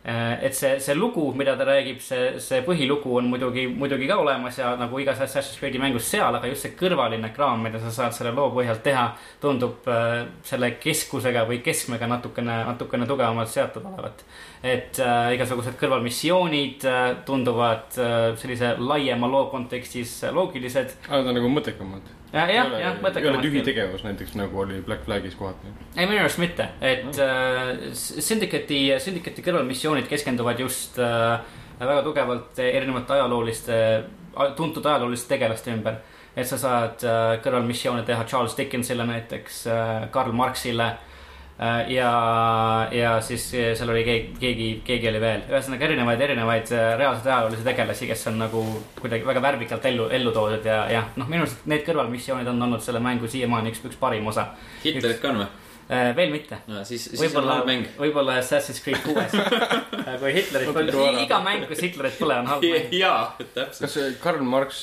[SPEAKER 3] Eh, et see , see lugu , mida ta räägib , see , see põhilugu on muidugi , muidugi ka olemas ja nagu igas Assassin's Creed'i mängus seal , aga just see kõrvaline kraam , mida sa saad selle loo põhjalt teha , tundub eh, selle keskusega või keskmega natukene , natukene tugevamalt seotud olevat . et äh, igasugused kõrvalmissioonid äh, tunduvad äh, sellise laiema loo kontekstis loogilised .
[SPEAKER 2] aga ta on nagu mõttekamad .
[SPEAKER 3] jah , jah ,
[SPEAKER 2] ei ole tühi
[SPEAKER 3] mõttekamad .
[SPEAKER 2] tegevus näiteks nagu oli Black Flagis kohati .
[SPEAKER 3] ei , minu arust mitte , et äh, Syndicate'i , Syndicate'i kõrvalmissioonid keskenduvad just äh, väga tugevalt erinevate ajalooliste , tuntud ajalooliste tegelaste ümber . et sa saad äh, kõrvalmissioone teha Charles Dickensile näiteks äh, , Karl Marxile äh, ja , ja siis äh, seal oli keegi , keegi , keegi oli veel . ühesõnaga erinevaid , erinevaid äh, reaalseid ajaloolisi tegelasi , kes on nagu kuidagi väga värvikalt ellu , ellu toodud ja , ja noh , minu arust need kõrvalmissioonid on olnud selle mängu siiamaani üks , üks parim osa .
[SPEAKER 1] Hitlerit ka on või ?
[SPEAKER 3] Äh, veel mitte .
[SPEAKER 1] no siis , siis on
[SPEAKER 3] võib-olla
[SPEAKER 1] halb mäng ,.
[SPEAKER 3] võib-olla Assassin's Creed kuues , kui Hitlerit
[SPEAKER 2] Natuke
[SPEAKER 3] pole
[SPEAKER 2] vara. ,
[SPEAKER 3] iga mäng , kus Hitlerit pole , on halb mäng .
[SPEAKER 1] jaa , täpselt .
[SPEAKER 2] kas see Karl Marx ,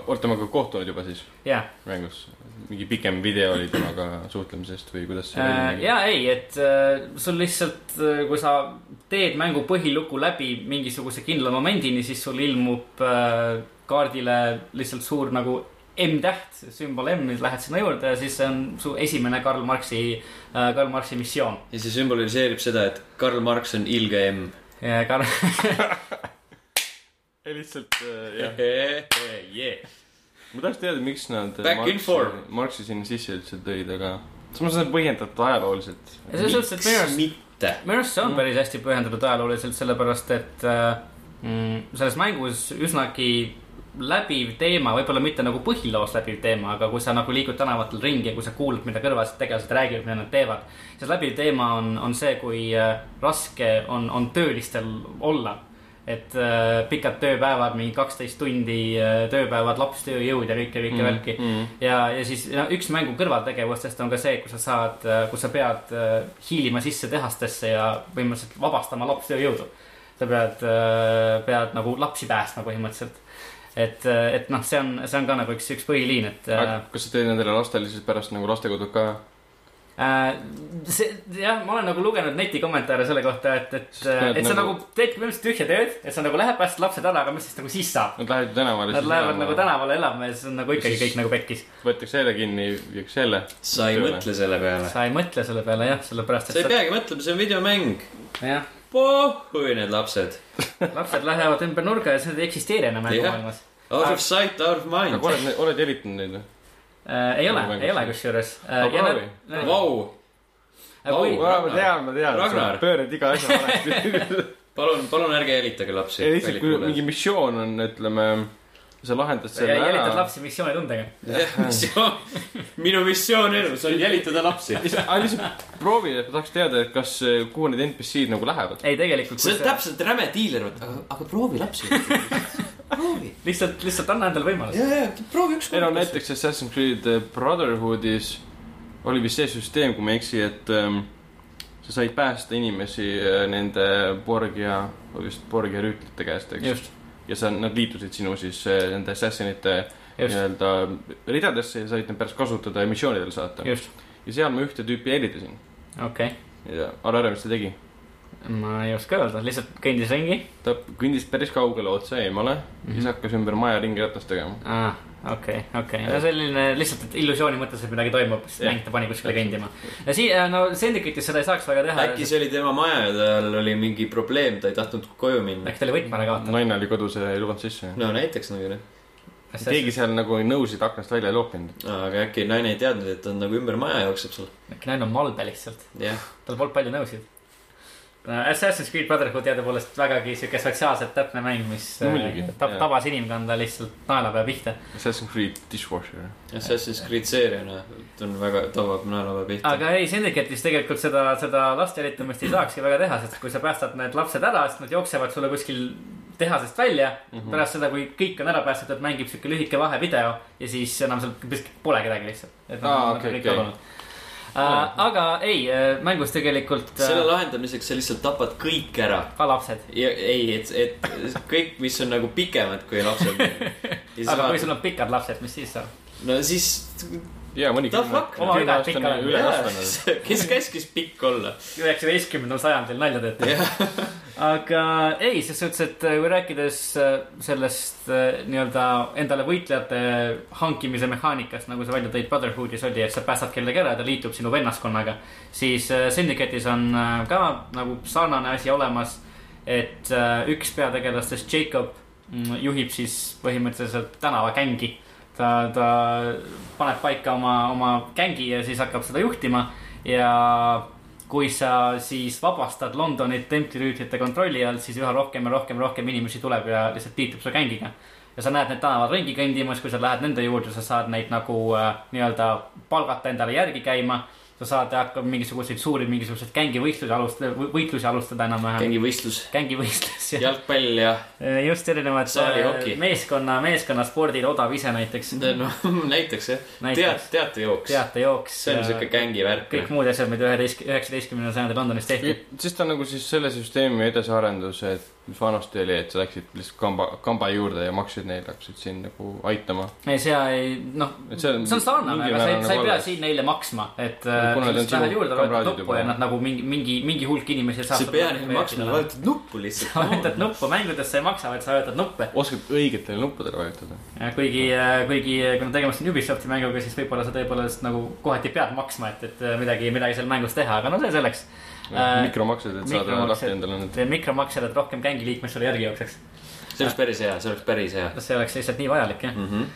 [SPEAKER 2] oota , me ka kohtunud juba siis
[SPEAKER 3] jah ,
[SPEAKER 2] mängus ? mingi pikem video oli temaga suhtlemisest või kuidas see
[SPEAKER 3] ja ei , et äh, sul lihtsalt , kui sa teed mängu põhilugu läbi mingisuguse kindla momendini , siis sul ilmub äh, kaardile lihtsalt suur nagu M-täht , sümbol M , nüüd lähed sinna juurde ja siis see on su esimene Karl Marxi , Karl Marxi missioon .
[SPEAKER 1] ja see sümboliseerib seda , et Karl Marx on ilge emm .
[SPEAKER 3] Karl
[SPEAKER 2] ei lihtsalt äh, jah ,
[SPEAKER 1] Yeah.
[SPEAKER 2] ma tahaks teada , miks nad
[SPEAKER 1] Back in form.
[SPEAKER 2] Marxi sinna sisse üldse tõid , aga samas see on põhjendatud ajalooliselt .
[SPEAKER 3] ja selles suhtes , et minu arust ,
[SPEAKER 1] mitte ?
[SPEAKER 3] minu arust see on päris hästi pühendatud ajalooliselt , sellepärast et äh, mm, selles mängus üsnagi läbiv teema , võib-olla mitte nagu põhiloos läbiv teema , aga kui sa nagu liigud tänavatel ringi ja kui sa kuulad , mida kõrvalised tegelased räägivad , mida nad teevad , siis läbiv teema on , on see , kui äh, raske on , on töölistel olla et äh, pikad tööpäevad , mingi kaksteist tundi äh, tööpäevad , lapstööjõud ja kõike , kõike mm, värki mm. . ja , ja siis no, üks mängu kõrvaltegevustest on ka see , kus sa saad , kus sa pead äh, hiilima sisse tehastesse ja põhimõtteliselt vabastama lapstööjõudu . sa pead , pead nagu lapsi päästma põhimõtteliselt . et , et noh , see on , see on ka nagu üks , üks põhiliin , et äh,
[SPEAKER 2] kas sa tõid nendele lastele siis pärast nagu lastekodud ka ?
[SPEAKER 3] Äh, see , jah , ma olen nagu lugenud netikommentaare selle kohta , et , et ,
[SPEAKER 2] näed
[SPEAKER 3] et sa
[SPEAKER 2] nagu-
[SPEAKER 3] nagu teedki põhimõtteliselt tühja tööd , et sa nagu lähed päästad lapsed ära , aga mis siis nagu siis saab ?
[SPEAKER 2] Nad lähevad ju tänavale .
[SPEAKER 3] Nad lähevad nagu . tänavale elama ja siis on nagu ikkagi kõik nagu pekkis .
[SPEAKER 2] võetakse jälle kinni , viiakse jälle .
[SPEAKER 1] sa ei
[SPEAKER 2] Tööle.
[SPEAKER 1] mõtle selle peale .
[SPEAKER 3] sa ei mõtle selle peale jah , sellepärast
[SPEAKER 1] sa ei
[SPEAKER 3] et
[SPEAKER 1] peagi mõtlema , see on videomäng .
[SPEAKER 3] sa , jah ,
[SPEAKER 1] Pohhui need lapsed .
[SPEAKER 3] lapsed lähevad ümber nurga ja see ei eksisteeri enam
[SPEAKER 1] Jah.
[SPEAKER 3] mängumaailmas .
[SPEAKER 1] Out of sight , out of mind
[SPEAKER 2] aga . oled , oled jälitanud neid või ?
[SPEAKER 3] Äh, ei ole , ei ole kusjuures . Äh,
[SPEAKER 2] proovi.
[SPEAKER 1] Vau , Vau,
[SPEAKER 2] ma ma tean , ma tean .
[SPEAKER 1] Ragnar.
[SPEAKER 2] pöörad iga asja valesti .
[SPEAKER 1] palun , palun ärge jälitage lapsi .
[SPEAKER 2] ei lihtsalt , kui mingi missioon on , ütleme , sa lahendad selle
[SPEAKER 3] jälitad
[SPEAKER 2] ära .
[SPEAKER 3] lapsi missioonitundega .
[SPEAKER 1] missioon , minu missioon elus on jälitada lapsi .
[SPEAKER 2] aga lihtsalt proovi , et ma tahaks teada , et kas , kuhu need NPC-d nagu lähevad .
[SPEAKER 3] ei , tegelikult .
[SPEAKER 1] see on täpselt räme diiler , aga , aga proovi lapsi . proovi ,
[SPEAKER 3] lihtsalt , lihtsalt anna endale võimalus .
[SPEAKER 1] ja , ja proovi
[SPEAKER 2] ei no
[SPEAKER 1] ükskord .
[SPEAKER 2] näiteks Assassin's Creed eh, Brotherhoodis oli vist see süsteem , kui ma ei eksi , et ähm, sa said päästa inimesi äh, nende Borgia , vist Borgia rüütlite käest , eks .
[SPEAKER 3] just ,
[SPEAKER 2] ja sa , nad liitusid sinu siis äh, nende Assassinite
[SPEAKER 3] just ,
[SPEAKER 2] nii-öelda ridadesse ja said neid pärast kasutada ja missioonidele saata .
[SPEAKER 3] just ,
[SPEAKER 2] ja seal ma ühte tüüpi helitasin .
[SPEAKER 3] okei .
[SPEAKER 2] ja ära ära , mis ta tegi .
[SPEAKER 3] ma ei oska öelda , lihtsalt kõndis ringi .
[SPEAKER 2] ta kõndis päris kaugele otse eemale mm , -hmm.
[SPEAKER 3] Mhm.
[SPEAKER 2] siis hakkas ümber maja ringiratast tegema .
[SPEAKER 3] aa , Ah, okei , okei , no selline lihtsalt , et illusiooni mõttes , et midagi toimub , siis
[SPEAKER 2] Jah.
[SPEAKER 3] mäng ta pani kuskile kõndima . ja siia , no Syndicate'is seda ei saaks väga teha .
[SPEAKER 1] äkki see oli tema maja ja tal oli mingi probleem , ta ei tahtnud koju minna .
[SPEAKER 3] äkki ta oli võtme ära kaotanud .
[SPEAKER 2] naine oli kodus ja ei lubanud sisse .
[SPEAKER 1] no näiteks nagu noh ,
[SPEAKER 2] keegi seal nagu ei nõusid aknast välja ei loopinud .
[SPEAKER 1] aga äkki naine ei teadnud , et ta on nagu ümber maja jookseb seal .
[SPEAKER 3] äkki naine on malbe lihtsalt ,
[SPEAKER 1] jah ,
[SPEAKER 3] tal polnud palju nõusid . Assassin's Creed Brotherhood teadupoolest vägagi sihuke sotsiaalselt täpne mäng , mis
[SPEAKER 2] No muidugi,
[SPEAKER 3] äh, tab-
[SPEAKER 2] jah.
[SPEAKER 3] tabas inimkonda lihtsalt naelapea pihta .
[SPEAKER 2] Assassin's Creed Dishwasher .
[SPEAKER 1] Assassin's Creed seeriana ta on väga , tabab naelava pihta .
[SPEAKER 3] aga ei , Syndicate'is tegelikult seda , seda laste jälitamist ei saakski väga teha , sest kui sa päästad need lapsed ära , siis nad jooksevad sulle kuskil tehasest välja mm .
[SPEAKER 2] Mhm.
[SPEAKER 3] -hmm. pärast seda , kui kõik on ära päästetud , mängib sihuke lühike vahevideo ja siis enam seal kuskil pole kedagi lihtsalt . noh,
[SPEAKER 2] Aa, okei, okei.
[SPEAKER 3] Äh, aga ei , mängus tegelikult
[SPEAKER 1] selle
[SPEAKER 3] äh,
[SPEAKER 1] lahendamiseks sa lihtsalt tapad kõik ära .
[SPEAKER 3] ka lapsed .
[SPEAKER 1] ja ei , et , et kõik , mis on nagu pikemad kui lapsed .
[SPEAKER 3] aga kui sul on pikad lapsed , mis siis saab ?
[SPEAKER 1] no siis ,
[SPEAKER 2] ja mõni
[SPEAKER 1] The fuck?
[SPEAKER 3] Oma vigad pikka
[SPEAKER 2] kümneaastane
[SPEAKER 3] ajal.
[SPEAKER 2] ülekasvanu .
[SPEAKER 1] noh. kes käskis pikk olla ?
[SPEAKER 3] üheksateistkümnendal sajandil nalja teete . aga ei , ses suhtes , et kui rääkides äh, sellest äh, nii-öelda endale võitlejate hankimise mehaanikast , nagu sa välja tõid Brotherhoodis oli , et sa päästad kellegi ära ja ta liitub sinu vennaskonnaga , siis äh, Syndicate'is on äh, ka nagu sarnane asi olemas , et äh, üks peategelastest , Jacob , juhib siis põhimõtteliselt tänavagängi . ta , ta paneb paika oma , oma gängi ja siis hakkab seda juhtima ja kui sa siis vabastad Londonit templirüütlite kontrolli all , siis üha rohkem ja rohkem ja rohkem inimesi tuleb ja lihtsalt liitub su gängiga . ja sa näed neid tänavad ringi kõndimas , kui sa lähed nende juurde , sa saad neid nagu äh, nii-öelda palgata endale järgi käima . sa saad hakka mingisuguseid suuri , mingisuguseid gängivõistlusi alustada , võitlusi alustada enam-vähem .
[SPEAKER 1] kängivõistlus ,
[SPEAKER 3] gängivõistlus , jah .
[SPEAKER 1] jalgpall ja
[SPEAKER 3] Eh, just erinevad
[SPEAKER 1] Saalihoki.
[SPEAKER 3] äh, meeskonna , meeskonnaspordid , odav ise näiteks ,
[SPEAKER 1] noh , näiteks jah , tead
[SPEAKER 3] Näiteks. ,
[SPEAKER 1] teatejooks .
[SPEAKER 3] teatejooks .
[SPEAKER 1] see on siuke gängivärk . noh.
[SPEAKER 3] kõik muud asjad , mida üheteist , üheksateistkümnendal sajandil Londonis tehti .
[SPEAKER 2] siis ta on nagu siis selle süsteemi edasiarendus , et mis vanasti oli , et sa läksid lihtsalt kamba , kamba juurde ja maksid neile , hakkasid siin nagu aitama .
[SPEAKER 3] ei , see ei , noh ,
[SPEAKER 2] Et
[SPEAKER 3] see
[SPEAKER 2] see on
[SPEAKER 3] on sarnane ,
[SPEAKER 2] mingil
[SPEAKER 3] aga sa ei ,
[SPEAKER 2] määral
[SPEAKER 3] sa ei
[SPEAKER 2] nagu
[SPEAKER 3] pea
[SPEAKER 2] alles.
[SPEAKER 3] siin neile maksma , et ,
[SPEAKER 2] kuna need on
[SPEAKER 3] siis lähed
[SPEAKER 2] sinu
[SPEAKER 3] juurde , vajutad
[SPEAKER 2] kamraadid
[SPEAKER 3] nuppu
[SPEAKER 2] juba.
[SPEAKER 3] ja nad nagu mingi , mingi , mingi hulk inimesi saab .
[SPEAKER 1] sa ei pea neile maksma , vajutad nuppu lihtsalt .
[SPEAKER 3] vajutad nuppu , mängudes sa ei maksa , vaid sa vajutad nuppe .
[SPEAKER 2] oskad õigetele nuppudele vajutada .
[SPEAKER 3] Äh, kuigi , kuigi äh, kuna tegemist on Ubisofti mänguga , siis võib-olla sa tõepoolest nagu kohati pead maksma , et , et midagi , midagi seal mängus teha , aga no see selleks . Äh,
[SPEAKER 2] mikromaksed , et saada lahti endale need .
[SPEAKER 3] mikromaksed , et rohkem gängi liikmed sulle järgi jookseks .
[SPEAKER 1] see oleks päris hea , see oleks päris hea .
[SPEAKER 3] see oleks lihtsalt nii vajalik jah mm . -hmm.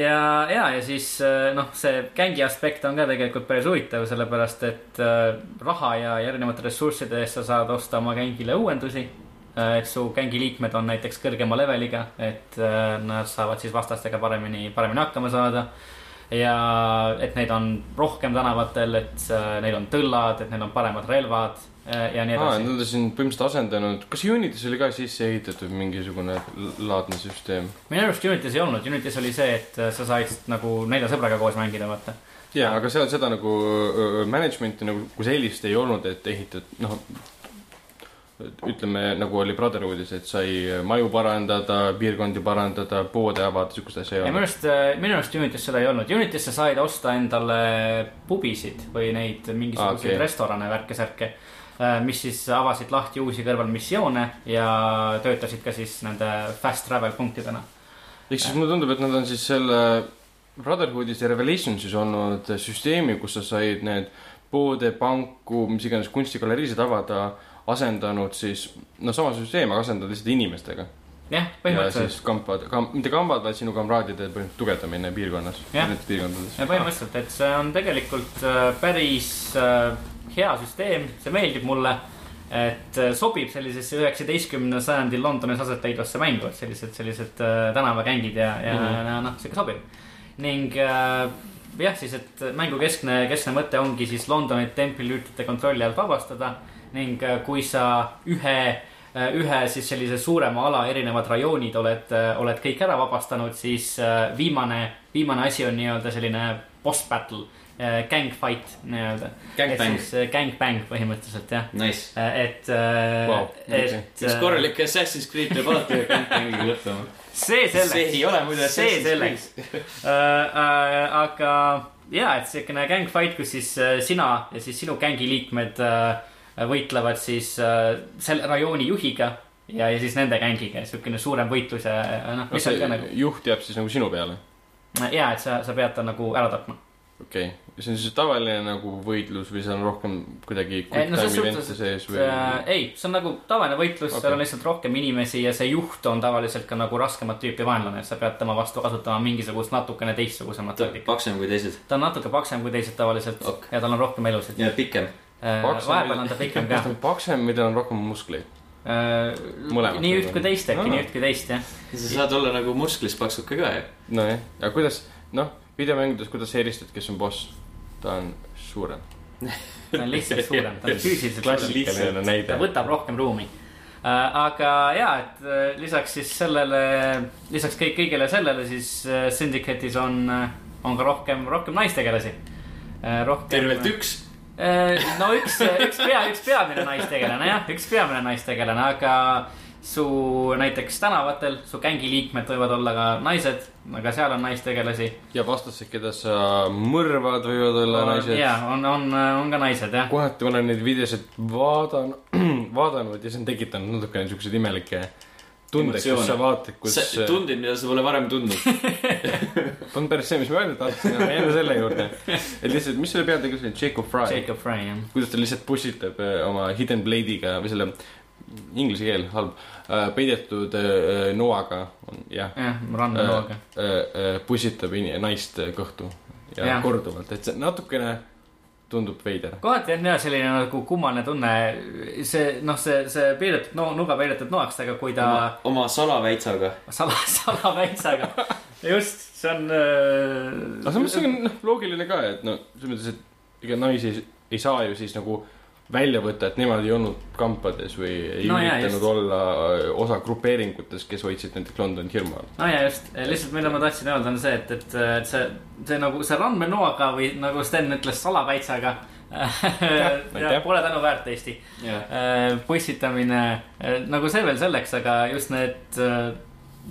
[SPEAKER 3] ja , ja , ja siis äh, noh , see gängi aspekt on ka tegelikult päris huvitav , sellepärast et äh, raha ja ja erinevate ressursside eest sa saad osta oma gängile uuendusi . et su gängi liikmed on näiteks kõrgema leveliga , et äh, nad saavad siis vastastega paremini , paremini hakkama saada ja et neid on rohkem tänavatel , et äh, neil on tõllad , et neil on paremad relvad äh, ja nii
[SPEAKER 2] aa ,
[SPEAKER 3] edasi .
[SPEAKER 2] nad on siin põhimõtteliselt asendanud , kas Unitis oli ka sisse ehitatud mingisugune laadne süsteem ?
[SPEAKER 3] minu arust Unity's ei olnud , Unity's oli see , et äh, sa said nagu nelja sõbraga koos mängida , vaata .
[SPEAKER 2] jaa , aga seal seda nagu öö, management'i nagu kui sellist ei olnud , et ehitad , noh , ütleme nagu oli Brotherhoodis , et sai maju parandada , piirkondi parandada , poode avada , sihukest asja ei
[SPEAKER 3] ja minu
[SPEAKER 2] olnud .
[SPEAKER 3] arust , minu arust Unity's seda ei olnud , Unity's sa said osta endale pubisid või neid mingisuguseid
[SPEAKER 2] Aa, okei.
[SPEAKER 3] okay. restorane , värke-särke . mis siis avasid lahti uusi kõrvalmissioone ja töötasid ka siis nende fast travel punktidena .
[SPEAKER 2] ehk siis mulle tundub , et nad on siis selle Brotherhoodis ja Revelationsis olnud süsteemi , kus sa said need poode , panku , mis iganes kunstigaleriisid avada , asendanud siis , no sama süsteem , aga asendanud lihtsalt inimestega .
[SPEAKER 3] jah ,
[SPEAKER 2] ja
[SPEAKER 3] põhimõtteliselt ,
[SPEAKER 2] siis kampad , kam- , mitte kambad , vaid sinu kamraadide põhimõtteliselt tugevdamine piirkonnas ,
[SPEAKER 3] Jah.
[SPEAKER 2] nendes piirkondades .
[SPEAKER 3] põhimõtteliselt , et see on tegelikult äh, päris äh, hea süsteem , see meeldib mulle et äh, sobib sellisesse üheksateistkümnenda sajandi Londonis aset leidvasse mängu , et sellised , sellised äh, tänavagängid ja , ja mm
[SPEAKER 2] Mhm.
[SPEAKER 3] -hmm. noh , sihuke sobib . ning äh, jah , siis , et mängu keskne , keskne mõte ongi siis Londonit templi üritate kontrolli alt vabastada ning äh, kui sa ühe , ühe siis sellise suurema ala erinevad rajoonid oled , oled kõik ära vabastanud , siis äh, viimane , viimane asi on nii-öelda selline boss battle , gang fight nii-öelda .
[SPEAKER 1] Gangbang.
[SPEAKER 3] gang bang põhimõtteliselt jah .
[SPEAKER 1] Nice .
[SPEAKER 3] et
[SPEAKER 2] Vau,
[SPEAKER 3] wow, , et
[SPEAKER 1] üks korralik Assassin's Creed peab alati ühe kampaaniaga lõppema .
[SPEAKER 3] äh, see selleks .
[SPEAKER 1] see ei ole muide
[SPEAKER 3] see
[SPEAKER 1] Assassin's Creed .
[SPEAKER 3] selleks . Äh, aga ja , et siukene gängfight , kus siis äh, sina ja siis sinu gängi liikmed äh, võitlevad siis äh, selle rajooni juhiga ja , ja siis nende gängiga , siukene suurem võitlus ja ja noh ,
[SPEAKER 2] no
[SPEAKER 3] mis on ka
[SPEAKER 2] see
[SPEAKER 3] nagu
[SPEAKER 2] juht jääb siis nagu sinu peale ,
[SPEAKER 3] ja , et sa , sa pead ta nagu ära tapma .
[SPEAKER 2] okei okay. . see on siis tavaline nagu võitlus või seal on rohkem kuidagi
[SPEAKER 3] Ei, Eh,
[SPEAKER 2] quick
[SPEAKER 3] no
[SPEAKER 2] time
[SPEAKER 3] selles
[SPEAKER 2] event'e
[SPEAKER 3] suhtes,
[SPEAKER 2] sees või ?
[SPEAKER 3] Äh, ei , see on nagu tavaline võitlus okay. , seal
[SPEAKER 2] Okei.
[SPEAKER 3] on lihtsalt rohkem inimesi ja see juht on tavaliselt ka nagu raskemat tüüpi vaenlane , et sa pead tema vastu kasutama mingisugust natukene teistsugusemat
[SPEAKER 1] ta on
[SPEAKER 3] taktikat .
[SPEAKER 1] paksem kui teised
[SPEAKER 3] ta on natuke paksem kui teised tavaliselt
[SPEAKER 1] Ok.
[SPEAKER 3] ja tal on rohkem elusid .
[SPEAKER 1] ja pikem .
[SPEAKER 2] Paksem
[SPEAKER 3] eh, vahepeal
[SPEAKER 2] või-
[SPEAKER 3] on ta pikem ka
[SPEAKER 2] kas ta . on paksem või tal on rohkem muskleid ? Mõlemat
[SPEAKER 3] nii
[SPEAKER 2] võib-olla.
[SPEAKER 3] üht kui teist äkki ,
[SPEAKER 2] Aa.
[SPEAKER 3] nii üht kui teist jah .
[SPEAKER 1] sa saad olla nagu musklis paksuke ka ju .
[SPEAKER 2] nojah , aga kuidas , noh , videomängudes , kuidas sa eristad , kes on boss ? ta on suurem .
[SPEAKER 3] ta on lihtsalt suurem , ta on füüsiliselt suurem ,
[SPEAKER 2] klassikaline näide
[SPEAKER 3] ta . võtab rohkem ruumi . aga ja , et äh, lisaks siis sellele , lisaks kõik kõigele sellele , siis äh, Syndicate'is on , on ka rohkem , rohkem naistegelasi . rohkem .
[SPEAKER 1] tervelt üks .
[SPEAKER 3] no üks , üks pea , üks peamine naistegelane jah , üks peamine naistegelane , aga su näiteks tänavatel su gängi liikmed võivad olla ka naised , aga seal on naistegelasi .
[SPEAKER 2] ja vastased , keda sa mõrvad , võivad olla naised .
[SPEAKER 3] ja on , on , on ka naised jah .
[SPEAKER 2] kohati olen neid videosid vaadan- , vaadanud ja see on tekitanud natukene siukseid imelikke tundeid , kus sa
[SPEAKER 1] Emotsioone.
[SPEAKER 2] vaatad , kus äh,
[SPEAKER 1] sa tundid , mida sa pole varem tundnud .
[SPEAKER 2] on päris see , mis ma öelda tahtsin , aga jääme selle juurde . et lihtsalt , mis selle peategelase nimi , Jacob Fry ,
[SPEAKER 3] Jacob Fry jah .
[SPEAKER 2] kuidas ta lihtsalt pussitab eh, oma hidden blade'iga või selle , inglise keel , halb , peidetud eh, eh, noaga , jah .
[SPEAKER 3] jah ,
[SPEAKER 2] Äh.
[SPEAKER 3] rannalooga .
[SPEAKER 2] pussitab in- naist äh, kõhtu ja, ja
[SPEAKER 3] Jah.
[SPEAKER 2] korduvalt , et see natukene tundub veider .
[SPEAKER 3] kohati on jah selline nagu kummaline tunne , see noh , see , see peidetud no, , nuga peidetud noaks , aga kui ta no.
[SPEAKER 1] oma salaväitsaga .
[SPEAKER 3] sala , salaväitsaga , just , see on
[SPEAKER 2] aga samas see
[SPEAKER 3] äh, .
[SPEAKER 2] on noh , loogiline ka , et no selles mõttes , et ega naisi ei, ei saa ju siis nagu välja võtta , et nemad ei olnud kampades või ei no,
[SPEAKER 3] No jaa,
[SPEAKER 2] üritanud
[SPEAKER 3] just.
[SPEAKER 2] jah, olla äh, osa grupeeringutes , kes hoidsid näiteks London hirmu all .
[SPEAKER 3] no ja just , lihtsalt mida ma tahtsin öelda , on see , et , et , et see , see nagu see randmenoaga või nagu Sten ütles , salapäitsaga
[SPEAKER 2] aitäh. .
[SPEAKER 3] Pole tänuväärt Eesti . pussitamine , Äh, nagu see veel selleks , aga just need äh,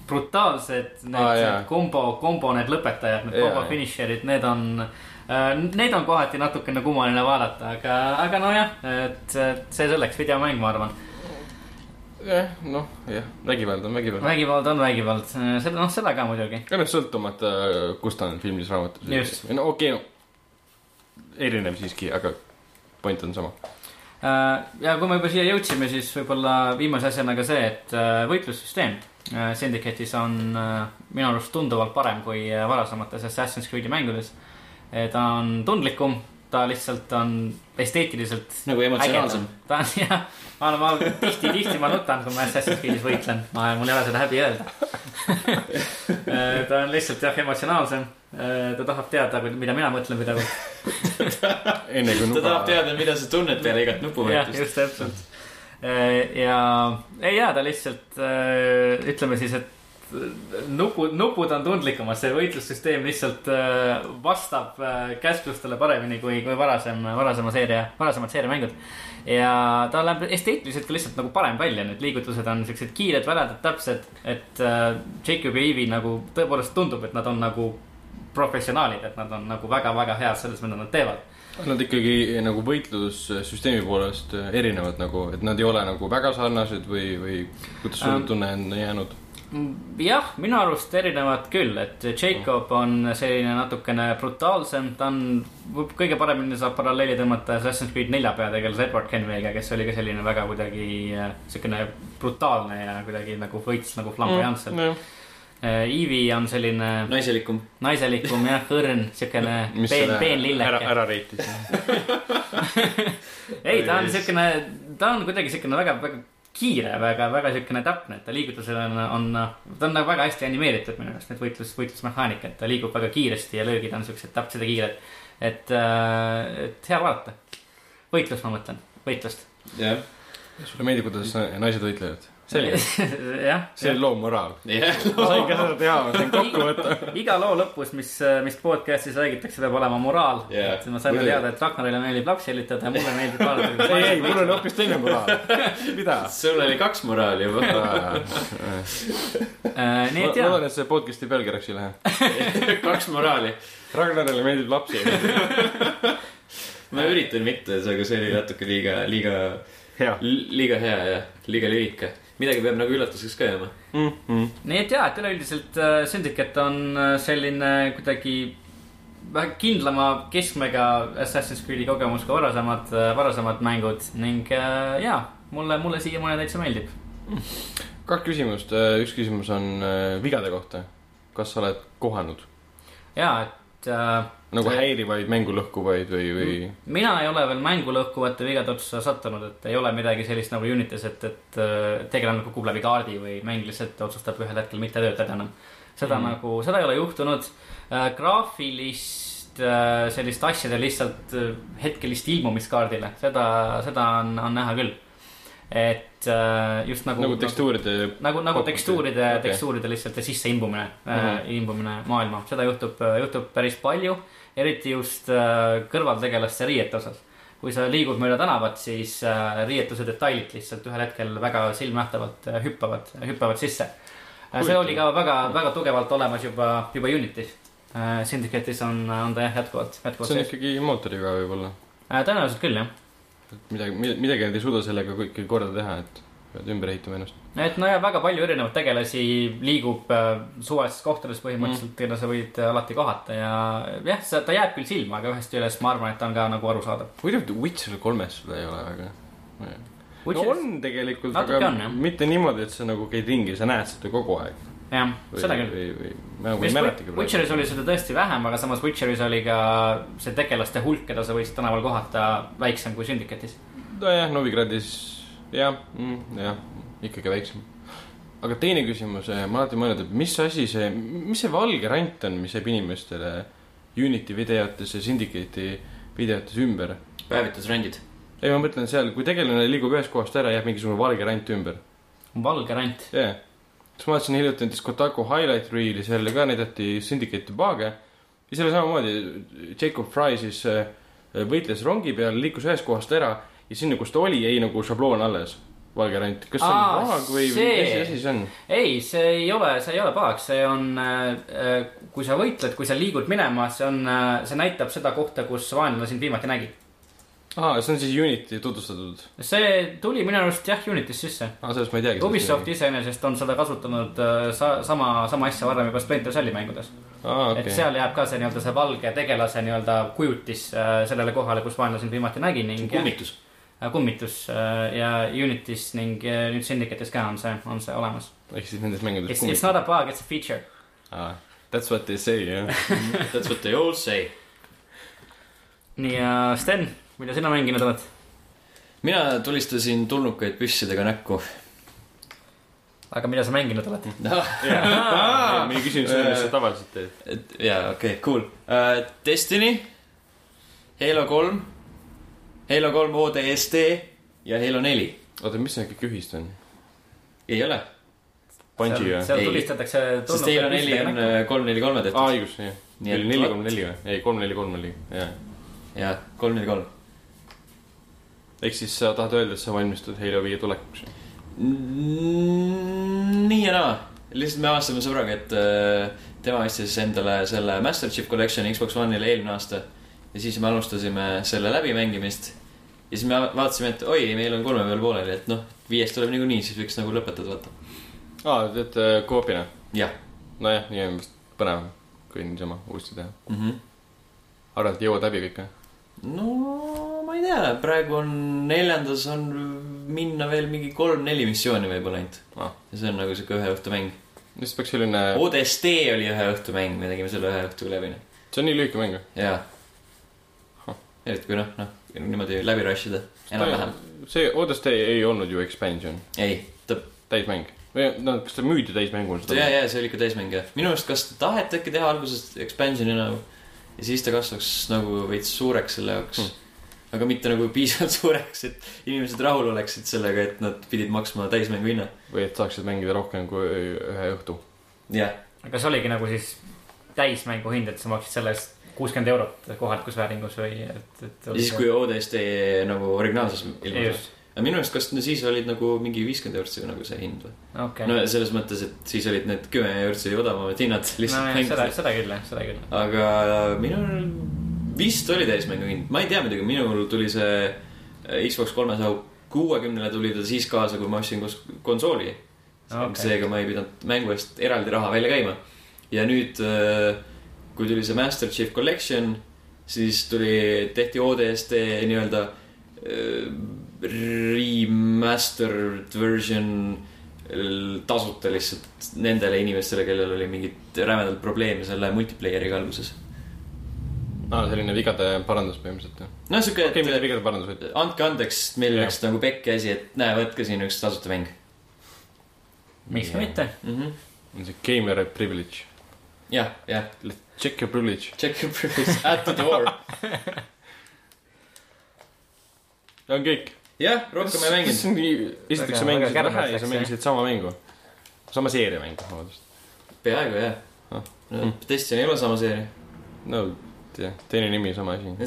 [SPEAKER 3] brutaalsed , need
[SPEAKER 2] Aa,
[SPEAKER 3] ah,
[SPEAKER 2] jaa.
[SPEAKER 3] kombo , kombo need lõpetajad , need
[SPEAKER 2] Jaa,
[SPEAKER 3] kombo
[SPEAKER 2] jaa.
[SPEAKER 3] finišerid , need on , Neid on kohati natukene kummaline vaadata , aga , aga nojah , et et see selleks , videomäng , ma arvan .
[SPEAKER 2] jah , noh , jah , vägivald on vägivald .
[SPEAKER 3] vägivald on vägivald , seda , noh , seda ka muidugi .
[SPEAKER 2] ja noh , sõltumata , kus ta on filmis , raamatus .
[SPEAKER 3] Just.
[SPEAKER 2] no okei okay, , no erinev siiski , aga point on sama .
[SPEAKER 3] Äh, ja kui me juba siia jõudsime , siis võib-olla viimase asjana ka see , et äh, võitlussüsteem äh, Syndicate'is on äh, minu arust tunduvalt parem kui äh, varasemates Assassin's Creed'i mängudes . ta on tundlikum , ta lihtsalt on esteetiliselt
[SPEAKER 4] nagu emotsionaalsem .
[SPEAKER 3] ta on jah , ma olen , ma tihti , tihti ma nutan , kui ma Assassin's Creed'is võitlen , ma , mul ei ole seda häbi öelda . ta on lihtsalt jah , emotsionaalsem . ta tahab teada , mida mina mõtlen pidevalt .
[SPEAKER 2] enne kui
[SPEAKER 1] ta tahab . teada , mida sa tunned peale igat
[SPEAKER 3] jah ,
[SPEAKER 1] nupuvajutust .
[SPEAKER 3] just täpselt . ja , ei ja ta lihtsalt äh, ütleme siis , et nupud , nupud on tundlikumad , see võitlussüsteem lihtsalt äh, vastab äh, käsklustele paremini kui , kui varasem , varasema seeria , varasemad seeriamängud . ja ta läheb esteetiliselt ka lihtsalt nagu parem välja , need liigutused on siuksed kiired , väledad , täpsed , et äh, Jacob ja Eevi nagu tõepoolest tundub , et nad on nagu professionaalid , et nad on nagu väga-väga head selles , mida nad teevad .
[SPEAKER 2] Nad ikkagi nagu võitlussüsteemi poolest erinevad nagu , et nad ei ole nagu väga sarnased või , või kuidas sul
[SPEAKER 3] Ähm.
[SPEAKER 2] tunne on jäänud ?
[SPEAKER 3] Mm, jah , minu arust erinevad küll , et Jacob on selline natukene brutaalsem , ta on , kõige paremini saab paralleeli tõmmata Assassin's Creed nelja peategelase Edward Kenway'ga , kes oli ka selline väga kuidagi äh, siukene brutaalne ja kuidagi nagu võits nagu flamboyantselt . Eevi on selline
[SPEAKER 1] naiselikum .
[SPEAKER 3] naiselikum jah , õrn , siukene peen , peen
[SPEAKER 2] ära ,
[SPEAKER 3] lilleke .
[SPEAKER 2] ära reitis .
[SPEAKER 3] ei , ta on siukene , ta on kuidagi siukene väga , väga kiire , väga , väga siukene täpne , et ta liigutusel on , on , ta on nagu väga hästi animeeritud minu arust , need võitlus , võitlusmehaanikad , ta liigub väga kiiresti ja löögid on siuksed täpsed ja kiired . et , et hea vaadata . võitlust ma mõtlen , võitlust .
[SPEAKER 1] jah ,
[SPEAKER 2] sulle meeldib , kuidas na- naised võitlevad ? selge ,
[SPEAKER 3] jah ,
[SPEAKER 2] see oli loo moraal .
[SPEAKER 1] jah .
[SPEAKER 2] ma sain ka seda teha , ma sain kokku võtta .
[SPEAKER 3] iga loo lõpus , mis , mis podcast'is räägitakse , peab olema moraal
[SPEAKER 1] Jaa.
[SPEAKER 3] et ma sain
[SPEAKER 2] Muidugi.
[SPEAKER 3] teada , et Ragnarile meeldib lapsi hellitada ja mulle meeldib vaadata ,
[SPEAKER 2] ei ,
[SPEAKER 3] kuidas
[SPEAKER 2] ei ,
[SPEAKER 3] naised
[SPEAKER 2] mul oli hoopis teine moraal . mida ?
[SPEAKER 1] sul oli kaks moraali juba .
[SPEAKER 3] Äh, nii
[SPEAKER 2] ma
[SPEAKER 3] et jaa
[SPEAKER 2] loodan , et see podcast'i pealkirjaks ei lähe .
[SPEAKER 1] kaks moraali .
[SPEAKER 2] Ragnarile meeldib lapsi .
[SPEAKER 1] ma üritan mitte , aga see oli natuke liiga , liiga ,
[SPEAKER 2] hea .
[SPEAKER 1] liiga hea ja liiga lühike . midagi peab nagu üllatuseks ka jääma .
[SPEAKER 2] Mhm.
[SPEAKER 3] nii et jaa , et üleüldiselt äh, Syndicate on äh, selline kuidagi vähe kindlama keskmega Assassin's Creed'i kogemus kui varasemad , varasemad mängud ning äh, jaa , mulle , mulle siiamaani täitsa meeldib .
[SPEAKER 2] kaks küsimust , üks küsimus on äh, vigade kohta . kas sa oled kohanud
[SPEAKER 3] jaa , et äh,
[SPEAKER 2] nagu häirivaid , mängulõhkuvaid või , või ?
[SPEAKER 3] mina ei ole veel mängu lõhkuvate vigade otsa sattunud , et ei ole midagi sellist nagu Unitis , et , et äh, tegelane kukub läbi kaardi või mäng lihtsalt otsustab ühel hetkel mitte töötada enam . seda mm. nagu , seda ei ole juhtunud äh, . graafilist äh, sellist asjade lihtsalt äh, hetkelist ilmumist kaardile , seda , seda on , on näha küll . et äh, just nagu
[SPEAKER 2] nagu tekstuuride .
[SPEAKER 3] nagu , nagu tekstuuride okay. ,
[SPEAKER 2] Okei.
[SPEAKER 3] tekstuuride lihtsalt ja sisse imbumine mm ,
[SPEAKER 2] Mhm.
[SPEAKER 3] -hmm. imbumine maailma , seda juhtub , juhtub päris palju . eriti just äh, kõrvaltegelaste riiete osas . kui sa liigud mööda tänavat , siis äh, riietuse detailid lihtsalt ühel hetkel väga silmnähtavalt äh, hüppavad , hüppavad sisse . see
[SPEAKER 2] Huvitav.
[SPEAKER 3] oli ka väga , väga tugevalt olemas juba , juba Unitis . Syndicate'is on , on ta jah , jätkuvalt , jätkuvalt
[SPEAKER 2] see on
[SPEAKER 3] sees .
[SPEAKER 2] ikkagi mootoriga võib-olla .
[SPEAKER 3] tõenäoliselt küll jah .
[SPEAKER 2] midagi , midagi nad ei suuda sellega kõike korda teha , et pead ümber ehitama ennast .
[SPEAKER 3] et nojah , väga palju erinevaid tegelasi liigub äh, suves kohtades põhimõtteliselt mm. , keda sa võid äh, alati kohata ja jah , ta jääb küll silma , aga ühest üles ma arvan , et ta on ka nagu arusaadav .
[SPEAKER 2] huvitav , et Witcher kolmes seda ei ole väga . no
[SPEAKER 3] jah ,
[SPEAKER 2] on tegelikult ,
[SPEAKER 3] Natuke
[SPEAKER 2] aga
[SPEAKER 3] on, jah.
[SPEAKER 2] mitte niimoodi , et sa nagu käid ringi , sa näed seda kogu aeg .
[SPEAKER 3] seda küll .
[SPEAKER 2] või , või ma nagu ei mäletagi
[SPEAKER 3] Witcheris oli seda tõesti vähem , aga samas Witcheris oli ka see tegelaste hulk , keda sa võisid tänaval kohata , väiksem kui Syndicate'is .
[SPEAKER 2] nojah , Novigradis jah mm, , jah , ikkagi väiksem . aga teine küsimus , ma alati mõelnud , et mis asi see , mis see valge rant on , mis jääb inimestele Unity videotes ja Syndicate'i videotes ümber ?
[SPEAKER 1] päevitusrandid .
[SPEAKER 2] ei , ma mõtlen seal , kui tegelane liigub ühest kohast ära , jääb mingisugune valge rant ümber .
[SPEAKER 3] valge rant .
[SPEAKER 2] jah yeah. . siis ma vaatasin hiljuti näiteks Kotaku highlight reel'i , seal ka näidati Syndicate'i bug'e . ja seal oli samamoodi , Jacob Fry siis eh, äh, võitles rongi peal , liikus ühest kohast ära ja sinna , kus ta oli , jäi nagu šabloon alles . valge rant , kas see on
[SPEAKER 3] Aa,
[SPEAKER 2] praag või , või
[SPEAKER 3] see.
[SPEAKER 2] mis asi see on ?
[SPEAKER 3] ei , see ei ole , see ei ole pahak , see on , kui sa võitled , kui sa liigud minema , see on , see näitab seda kohta , kus vaenlane sind viimati nägi .
[SPEAKER 2] aa , see on siis Unity tutvustatud .
[SPEAKER 3] see tuli minu arust jah , Unity's sisse .
[SPEAKER 2] aa , sellest ma ei teagi .
[SPEAKER 3] Ubisoft . iseenesest on seda kasutanud äh, sa, sama , sama asja varem juba Splinter Celli mängudes okay. .
[SPEAKER 2] aa ,
[SPEAKER 3] et
[SPEAKER 2] okei .
[SPEAKER 3] seal jääb ka see nii-öelda see valge tegelase nii-öelda kujutis äh, sellele kohale , kus vaenlane sind viimati nägi ning .
[SPEAKER 4] kummitus .
[SPEAKER 3] kummitus äh, ja Unity's ning äh, nüüd Syndicate'is ka on see , on see olemas .
[SPEAKER 2] ehk siis nendes mängudes
[SPEAKER 3] It's , it's not a . bug , it's a feature .
[SPEAKER 2] aa , that's what they say , jah .
[SPEAKER 1] That's what they all say .
[SPEAKER 3] nii ja Sten , mida sina mänginud oled ?
[SPEAKER 1] mina tulistasin tulnukaid püssidega näkku .
[SPEAKER 3] aga mida sa mänginud oled ?
[SPEAKER 1] Ah,
[SPEAKER 2] me ei küsinud seda , mis sa tavaliselt teed .
[SPEAKER 1] et jaa , okei okay, , cool uh, . Destiny , Halo kolm , Halo kolm ODST ja Halo neli .
[SPEAKER 2] oota , mis see kõik ühist on ?
[SPEAKER 1] ei ole ,
[SPEAKER 2] Bungi või ?
[SPEAKER 3] seal
[SPEAKER 1] Ei.
[SPEAKER 3] tulistatakse .
[SPEAKER 1] sest Halo neli on äh, kolm , neli , kolme
[SPEAKER 2] aa ,
[SPEAKER 1] tehtud .
[SPEAKER 2] õigus , jah .
[SPEAKER 1] Nii et
[SPEAKER 2] oli neli ,
[SPEAKER 1] vot.
[SPEAKER 2] kolm , neli või ? ei , kolm , neli , kolm oli , jah .
[SPEAKER 1] jah , kolm , neli , kolm .
[SPEAKER 2] ehk siis sa tahad öelda , et sa valmistud Halo viie tulekuks ?
[SPEAKER 1] nii ja naa , lihtsalt me avastasime sõbraga , et äh, tema ostis endale selle Master Chief Collection'i Xbox One'ile eelmine aasta ja siis me alustasime selle läbimängimist . ja siis me ava- vaatasime , et oi , meil on kolme peal pooleli , et noh , viies tuleb niikuinii , siis võiks nagu lõpetada , vaata .
[SPEAKER 2] aa , teed äh, koopina ?
[SPEAKER 1] jah
[SPEAKER 2] nojah , nii on vist põnevam , kui niisama uuesti teha .
[SPEAKER 1] mm . -hmm.
[SPEAKER 2] arvad , et jõuad läbi kõik või ?
[SPEAKER 1] no ma ei tea , praegu on neljandas on minna veel mingi kolm-neli missiooni võib-olla ainult
[SPEAKER 2] Ah.
[SPEAKER 1] ja see on nagu siuke ühe õhtu mäng .
[SPEAKER 2] vist peaks selline ,
[SPEAKER 1] ODST oli ühe õhtu mäng , me tegime selle ühe õhtuga läbi . noh.
[SPEAKER 2] see on nii lühike mäng .
[SPEAKER 1] jaa . eriti kui noh , noh niimoodi läbi rush ida , enam-vähem .
[SPEAKER 2] see ODST ei olnud ju expansion ,
[SPEAKER 1] ei , ta ,
[SPEAKER 2] täismäng või no kas ta müüdi täismänguna
[SPEAKER 1] ja , ja see oli ikka täismäng jah . minu arust , kas taheti äkki teha alguses expansion'i nagu ja siis ta kasvaks nagu veits suureks selle jaoks hmm. aga mitte nagu piisavalt suureks , et inimesed rahul oleksid sellega , et nad pidid maksma täismängu hinna .
[SPEAKER 2] või et saaksid mängida rohkem kui ühe õhtu .
[SPEAKER 1] jah ,
[SPEAKER 3] aga see oligi nagu siis täismängu hind , et sa maksid selle eest kuuskümmend eurot kohalikus vääringus või et , et .
[SPEAKER 1] ja siis , kui ODST nagu originaalses ilmus .
[SPEAKER 3] just ,
[SPEAKER 1] aga minu arust , kas no siis olid nagu mingi viiskümmend eurot see nagu see hind või ?
[SPEAKER 3] okei .
[SPEAKER 1] no selles mõttes , et siis olid need kümme eurot oli odavamad hinnad lihtsalt
[SPEAKER 3] nojah , seda ,
[SPEAKER 1] mängida .
[SPEAKER 3] seda küll jah , seda küll .
[SPEAKER 1] aga äh, minul vist oli täismängu hind , ma ei tea muidugi , minul tuli see äh, Xbox kolmesaja kuuekümnele tuli ta siis kaasa , kui ma ostsin kos- konsooli okay. .
[SPEAKER 3] okei ,
[SPEAKER 1] seega ma ei pidanud mängu eest eraldi raha välja käima . ja nüüd , kui tuli see Master Chief Collection , siis tuli , tehti ODST nii-öelda äh, remastered version l- tasuta lihtsalt nendele inimestele , kellel oli mingit rämedat probleemi selle multiplayer'iga alguses .
[SPEAKER 2] aa , selline vigade parandus põhimõtteliselt jah .
[SPEAKER 1] no siuke ,
[SPEAKER 2] okei , mitte
[SPEAKER 1] et
[SPEAKER 2] vigade parandus , vaid
[SPEAKER 1] andke andeks , meil
[SPEAKER 2] Jah.
[SPEAKER 1] läks nagu pekki asi , et näe , võtke siin üks tasuta mäng
[SPEAKER 3] miks ka mitte .
[SPEAKER 1] mm -hmm. .
[SPEAKER 2] on see gamer privilege .
[SPEAKER 1] jah , jah ,
[SPEAKER 2] Check your privilege .
[SPEAKER 1] check your privilege at the door .
[SPEAKER 2] see on kõik .
[SPEAKER 1] jah , rohkem ei mänginud .
[SPEAKER 2] mänginud . esiteks sa
[SPEAKER 3] Väga-
[SPEAKER 2] mängisid
[SPEAKER 3] väga
[SPEAKER 2] vähe
[SPEAKER 3] kärmaks
[SPEAKER 2] ja sa
[SPEAKER 3] läks,
[SPEAKER 2] mängisid sama mängu . sama seeria mängu , vabandust .
[SPEAKER 1] peaaegu jah Oh,
[SPEAKER 2] Ah.
[SPEAKER 1] no, . Destiny ei ole sama seeria .
[SPEAKER 2] no jah , teine nimi , sama asi .
[SPEAKER 1] minu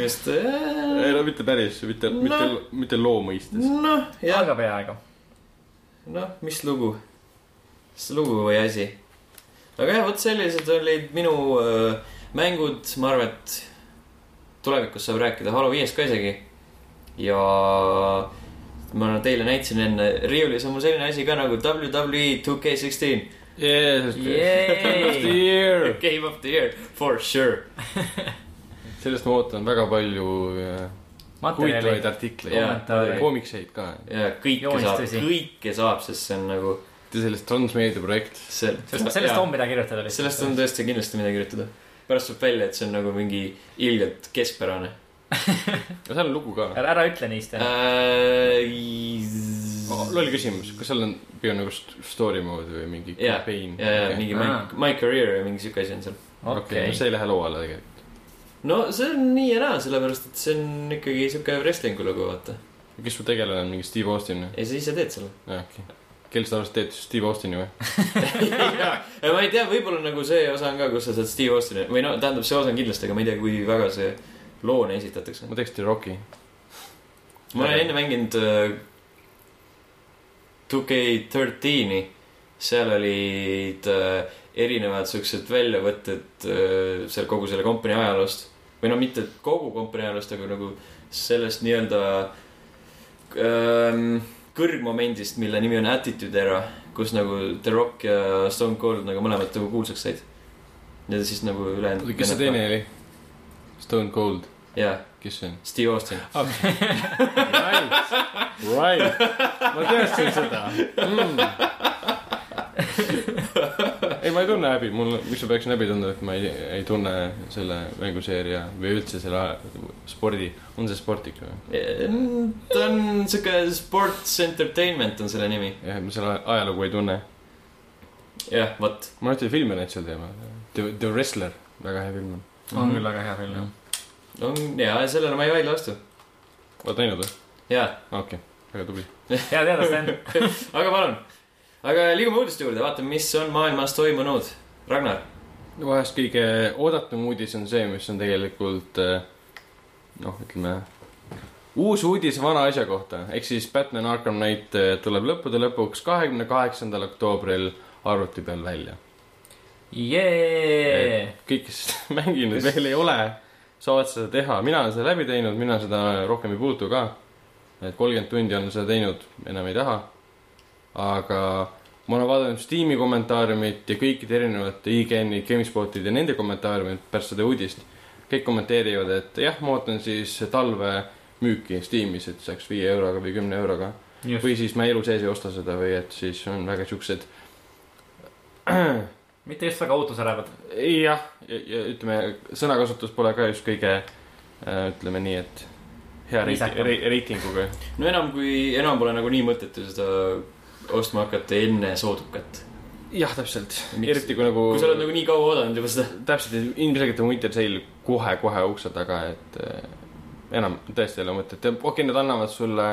[SPEAKER 1] arust
[SPEAKER 2] ei
[SPEAKER 1] äh, .
[SPEAKER 2] no mitte päris , mitte
[SPEAKER 1] No.
[SPEAKER 2] no. , mitte , mitte loo mõistes .
[SPEAKER 1] noh , jah ,
[SPEAKER 3] aga peaaegu .
[SPEAKER 1] noh , mis lugu , mis lugu või asi . aga jah , vot sellised olid minu äh, mängud , ma arvan , et tulevikus saab rääkida Halo viiest ka isegi . ja ma teile näitasin enne , riiulis on mul selline asi ka nagu WWE 2K16
[SPEAKER 2] Yes,
[SPEAKER 3] Yay!
[SPEAKER 2] year .
[SPEAKER 1] Game of the year for sure .
[SPEAKER 2] sellest ma ootan väga palju äh, huvitavaid
[SPEAKER 3] materjali ,
[SPEAKER 2] artikleid
[SPEAKER 1] Jaa.
[SPEAKER 2] ja
[SPEAKER 3] kommentaare .
[SPEAKER 2] koomikseid ka .
[SPEAKER 1] ja kõike saab ,
[SPEAKER 3] Joonistusi.
[SPEAKER 1] kõike saab , sest see on nagu
[SPEAKER 2] sellest transmeedia projekt .
[SPEAKER 1] see .
[SPEAKER 3] sellest , sellest on . mida kirjutada .
[SPEAKER 1] sellest on . tõesti kindlasti midagi kirjutada . pärast tuleb välja , et see on nagu mingi ilgelt keskpärane
[SPEAKER 2] ja seal on lugu ka .
[SPEAKER 3] ära ära ütle nii , Sten .
[SPEAKER 1] äh, .
[SPEAKER 2] loll küsimus , kas seal on pigem nagu st- story mode või mingi
[SPEAKER 1] Jaa,
[SPEAKER 2] campaign ?
[SPEAKER 1] ja , ja Äh, mingi my
[SPEAKER 3] Aa. ,
[SPEAKER 1] my career või mingi siuke asi on seal .
[SPEAKER 2] okei ,
[SPEAKER 3] okei
[SPEAKER 2] no . see ei lähe loo alla tegelikult .
[SPEAKER 1] no see on nii ja naa , sellepärast et see on ikkagi siuke wrestling'u lugu , vaata .
[SPEAKER 2] kes su tegelane on , mingi Steve Austin või ?
[SPEAKER 1] ja sa ise teed selle .
[SPEAKER 2] jah , okei . kellest sa arvasid , et Steve Austin'i või ?
[SPEAKER 1] ma ei tea , võib-olla nagu see osa on ka , kus sa saad Steve Austin'i või no tähendab , see osa on kindlasti , aga ma ei tea , kui väga see loone esitatakse .
[SPEAKER 2] ma teeks teile Rocki .
[SPEAKER 1] ma olen enne mänginud äh, 2K13-i , seal olid äh, erinevad siuksed väljavõtted äh, seal kogu selle kompanii ajaloost või no mitte kogu kompanii ajaloost , aga nagu sellest nii-öelda ähm, kõrgmomendist , mille nimi on Attitude Era , kus nagu The Rock ja Stone Cold nagu mõlemad nagu kuulsaks said . ja siis nagu ülejäänud .
[SPEAKER 2] kes see teine ? oli ? Stone Cold ,
[SPEAKER 1] jaa ,
[SPEAKER 2] kes see on ?
[SPEAKER 1] Steve Austin .
[SPEAKER 2] Right , right , ma teadsin seda mm. . ei , ma ei tunne häbi , mul , miks ma peaksin häbi tundma , et ma ei , ei tunne selle mänguseeria või üldse selle spordi , on see sport ikka või ?
[SPEAKER 1] ta on siuke Sports Entertainment on selle nimi .
[SPEAKER 2] jah , ma selle ajalugu ei tunne .
[SPEAKER 1] jah , vot .
[SPEAKER 2] ma üldse filmi näinud sel teemal . The , The Wrestler , väga hea film on .
[SPEAKER 3] on küll väga hea film jah .
[SPEAKER 1] on ja sellele ma ei vaidle vastu .
[SPEAKER 2] oled näinud või ?
[SPEAKER 1] ja ,
[SPEAKER 2] okei okay. , väga tubli .
[SPEAKER 3] hea teada , Sten .
[SPEAKER 1] aga palun . aga liigume uudiste juurde , vaatame , mis on maailmas toimunud . Ragnar ,
[SPEAKER 2] vahest kõige oodatum uudis on see , mis on tegelikult eh, noh , ütleme uus uudis vana asja kohta , ehk siis Batman Arkham Knight eh, tuleb lõppude lõpuks kahekümne kaheksandal oktoobril arvuti peal välja .
[SPEAKER 3] Jee .
[SPEAKER 2] kõik , kes seda mänginud veel ei ole , saavad seda teha , mina olen seda läbi teinud , mina seda rohkem ei puutu ka . et kolmkümmend tundi olen seda teinud , enam ei taha . aga ma olen vaadanud Steam'i kommentaariumit ja kõikide erinevate IGN-i , GameSpotid ja nende kommentaariumit pärast seda uudist . kõik kommenteerivad , et jah , ma ootan siis talve müüki Steamis , et saaks viie euroga või kümne euroga või siis ma elu sees ei osta seda või et siis on väga siuksed
[SPEAKER 3] mitte just väga ootusärevad .
[SPEAKER 2] jah , ja ütleme , sõnakasutus pole ka just kõige äh, ütleme nii , et hea reit-
[SPEAKER 3] Viisakam.
[SPEAKER 2] rei- reitinguga .
[SPEAKER 1] no enam kui , enam pole nagunii mõttetu seda ostma hakata enne soodukat .
[SPEAKER 2] jah , täpselt ,
[SPEAKER 1] Miks?
[SPEAKER 2] eriti kui nagu
[SPEAKER 1] kui sa oled nagu nii kaua oodanud juba seda .
[SPEAKER 2] täpselt , ilmselgelt on Winter Sale kohe-kohe ukse taga , et äh, enam tõesti ei ole mõtet , okei okay, , nad annavad sulle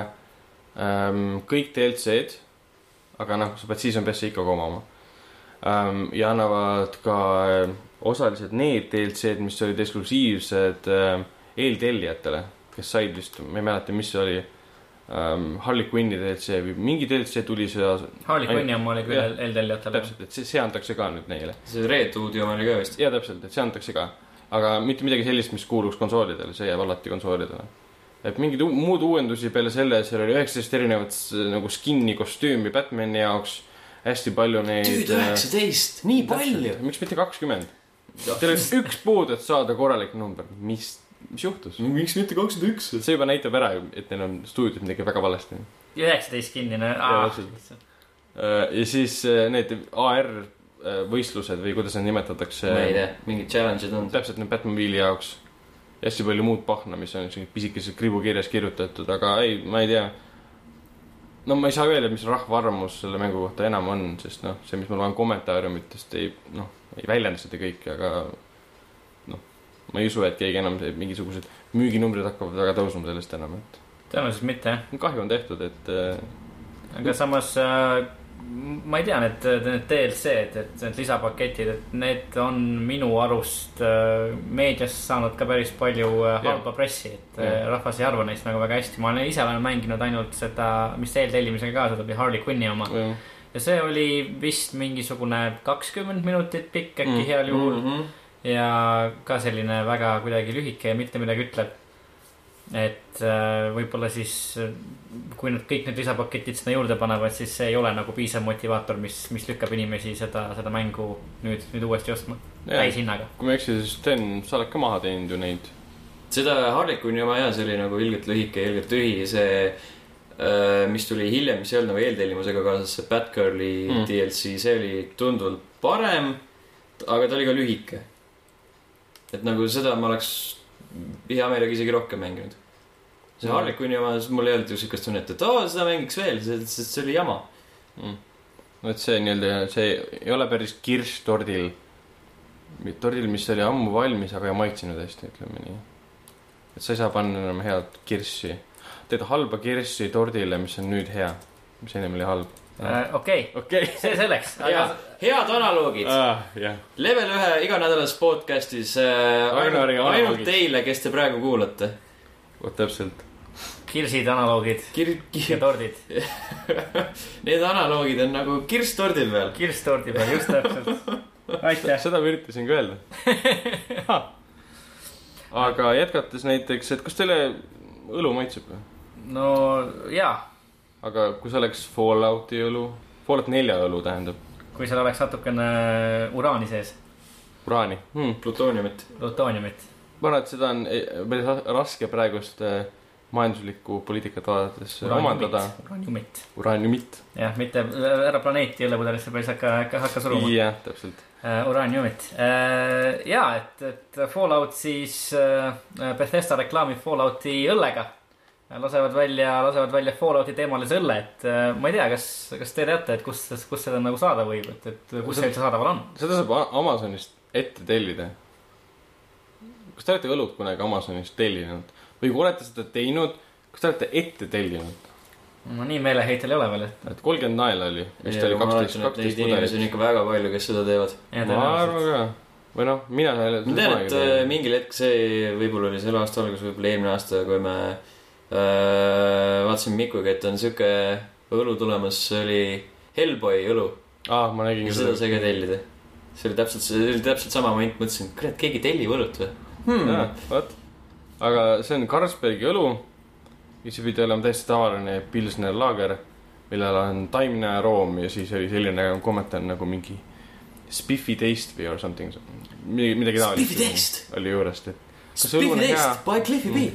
[SPEAKER 2] ähm, kõik DLC-d , aga noh , sa pead Season Passi ikka komama ähm, . ja annavad ka äh, osaliselt need DLC-d , mis olid eksklusiivsed äh, eeltellijatele , kes said vist , ma ei mäleta , mis see oli ähm, , Harley Quinni DLC või mingi DLC tuli see ,
[SPEAKER 3] Harley
[SPEAKER 2] Ainult-
[SPEAKER 3] Quinni oma oli küll
[SPEAKER 2] jah.
[SPEAKER 3] eeltellijatele .
[SPEAKER 2] täpselt , et see , see antakse ka nüüd neile .
[SPEAKER 1] see Red Hoodi oma oli ka vist .
[SPEAKER 2] ja täpselt , et see antakse ka , aga mitte midagi sellist , mis kuuluks konsoolidele , see jääb alati konsoolidele . et mingeid u- muud uuendusi peale selle , seal oli üheksateist erinevat s- nagu skin'i kostüümi Batman'i jaoks , hästi palju neid .
[SPEAKER 1] tüüd üheksateist , nii palju .
[SPEAKER 2] miks mitte kakskümmend ? Teil oleks üks puudu , et saada korralik number , mis , mis juhtus ?
[SPEAKER 1] miks mitte kakskümmend üks ?
[SPEAKER 2] see juba näitab ära , et neil on stuudios midagi väga valesti .
[SPEAKER 3] üheksateist kinnine . Ah,
[SPEAKER 2] täpselt. ja siis äh, need AR äh, võistlused või kuidas neid nimetatakse .
[SPEAKER 1] ma ei tea , mingid challenge'id on .
[SPEAKER 2] täpselt need Batmobiili jaoks ja hästi palju muud pahna , mis on siin pisikeses kribukirjas kirjutatud , aga ei , ma ei tea . no ma ei saa öelda , mis rahva arvamus selle mängu kohta enam on , sest noh , see , mis ma loen kommentaariumitest ei , noh , ei väljenda seda kõike , aga noh , ma ei usu , et keegi enam , mingisugused müüginumbrid hakkavad väga tõusma sellest enam , et
[SPEAKER 3] tõenäoliselt mitte jah ,
[SPEAKER 2] kahju on tehtud , et äh,
[SPEAKER 3] aga samas äh, ma ei tea , need , need DLC-d , et need lisapaketid , et need on minu arust äh, meedias saanud ka päris palju äh, halba pressi , et
[SPEAKER 2] Jah.
[SPEAKER 3] äh, rahvas ei arva neist nagu väga hästi . ma olen ise olen mänginud ainult seda , mis eeltellimisega ka , seda oli Harley Quinni oma
[SPEAKER 2] jah.
[SPEAKER 3] ja see oli vist mingisugune kakskümmend minutit pikk äkki
[SPEAKER 2] Mm.
[SPEAKER 3] mm. heal juhul .
[SPEAKER 1] -hmm.
[SPEAKER 3] ja ka selline väga kuidagi lühike ja mitte midagi ütlev . et äh, võib-olla siis , kui nad kõik need lisapaketid sinna juurde panevad , siis see ei ole nagu piisav motivaator , mis , mis lükkab inimesi seda , seda mängu nüüd , nüüd uuesti ostma
[SPEAKER 2] Jah.
[SPEAKER 3] täishinnaga .
[SPEAKER 2] kui ma ei eksi , siis Sten , sa oled ka maha teinud ju neid .
[SPEAKER 1] seda Harlequini oma ja see oli nagu ilgelt lühike ja ilgelt tühi , see , mis tuli hiljem , mis ei olnud nagu eeltellimusega kaasas , see Batgirli
[SPEAKER 2] Mm.
[SPEAKER 1] mm. DLC , see oli tunduvalt parem , aga ta oli ka lühike . et nagu seda ma oleks hea meelega isegi rohkem mänginud . see
[SPEAKER 2] Mm.
[SPEAKER 1] Harlequini oma , mul ei olnud ju siukest tunnet , et aa , seda mängiks veel , see , see see oli jama .
[SPEAKER 2] no et see nii-öelda , see ei ole päris kirss tordil . tordil , mis oli ammu valmis , aga ei maitsenud hästi , ütleme nii . et sa ei saa panna enam head kirssi , teed halba kirssi tordile , mis on nüüd hea , mis ennem oli halb .
[SPEAKER 3] Äh, okei ,
[SPEAKER 2] okei .
[SPEAKER 3] see selleks ,
[SPEAKER 1] ja
[SPEAKER 3] aga
[SPEAKER 1] head analoogid .
[SPEAKER 2] Äh. Ah, jah ,
[SPEAKER 1] level ühe iganädalas podcastis äh, ainult,
[SPEAKER 2] Agnari analoogid.
[SPEAKER 1] ainult teile , kes te praegu kuulate .
[SPEAKER 2] vot täpselt .
[SPEAKER 3] kirsid , analoogid
[SPEAKER 1] kir- ,
[SPEAKER 3] ja
[SPEAKER 1] kir- ,
[SPEAKER 3] tordid .
[SPEAKER 1] need analoogid on nagu kirss tordi peal .
[SPEAKER 3] kirss tordi peal , just täpselt . aitäh .
[SPEAKER 2] seda ma üritasin ka öelda . aga jätkates näiteks , et kas teile õlu maitseb või ?
[SPEAKER 3] no jaa ,
[SPEAKER 2] aga kui see oleks Fallouti õlu , Fallout nelja õlu tähendab ,
[SPEAKER 3] kui seal oleks natukene uraani sees ,
[SPEAKER 2] uraani hmm. .
[SPEAKER 1] plutooniumit .
[SPEAKER 3] plutooniumit .
[SPEAKER 2] ma arvan , et seda on eh, päris ra- raske praegust eh, majanduslikku poliitikat vaadates omandada .
[SPEAKER 3] uraaniumit ,
[SPEAKER 2] uraaniumit .
[SPEAKER 3] jah , mitte ära planeeti õllepudelisse päris hakka , hakka , hakka suruma . Äh,
[SPEAKER 2] jah , täpselt .
[SPEAKER 3] uraaniumit ja , äh, et , et Fallout siis , Bethesda reklaamib Fallouti õllega . lasevad välja , lasevad välja Fallouti teemalise õlle , et äh, ma ei tea , kas , kas te teate , et kus , kus seda nagu saada võib , et , et kus see üldse saadaval on ?
[SPEAKER 2] seda saab A- Amazonist ette tellida . kas te olete õlut kunagi Amazonist tellinud või kui olete seda teinud , kas te olete ette tellinud ?
[SPEAKER 3] ma nii meeleheitel ei ole veel ,
[SPEAKER 2] et kolmkümmend naela oli , vist oli kaksteist , kaksteist
[SPEAKER 1] inimesi on
[SPEAKER 2] mudelit .
[SPEAKER 1] ikka väga palju , kes seda teevad .
[SPEAKER 3] et .
[SPEAKER 2] ma arvan ka . või noh , mina selle .
[SPEAKER 1] ma tean , et äh, mingil hetkel see võib-olla oli selle aasta alguses , võib-olla eelmine aasta , kui me äh, vaatasime Mikuga , et on sihuke õlu tulemas , see oli Hellboy õlu .
[SPEAKER 2] aa , Ah, ma nägin
[SPEAKER 1] ja
[SPEAKER 2] ka
[SPEAKER 1] seda sai ka
[SPEAKER 2] seda .
[SPEAKER 1] tellida . see oli täpselt , see oli täpselt sama moment , mõtlesin , kurat , keegi tellib õlut või hmm. ?
[SPEAKER 2] vot . aga see on Carlsbergi õlu . ja see pidi olema täiesti tavaline pilsner laager , millel on taimne aroom ja siis oli selline kommentaar nagu mingi spiffy taste või or something . midagi , midagi taolist .
[SPEAKER 1] Spiffy taste.
[SPEAKER 2] oli juurest , et Kas õlu on
[SPEAKER 1] Speaking
[SPEAKER 2] hea?
[SPEAKER 1] next by Cliffy B .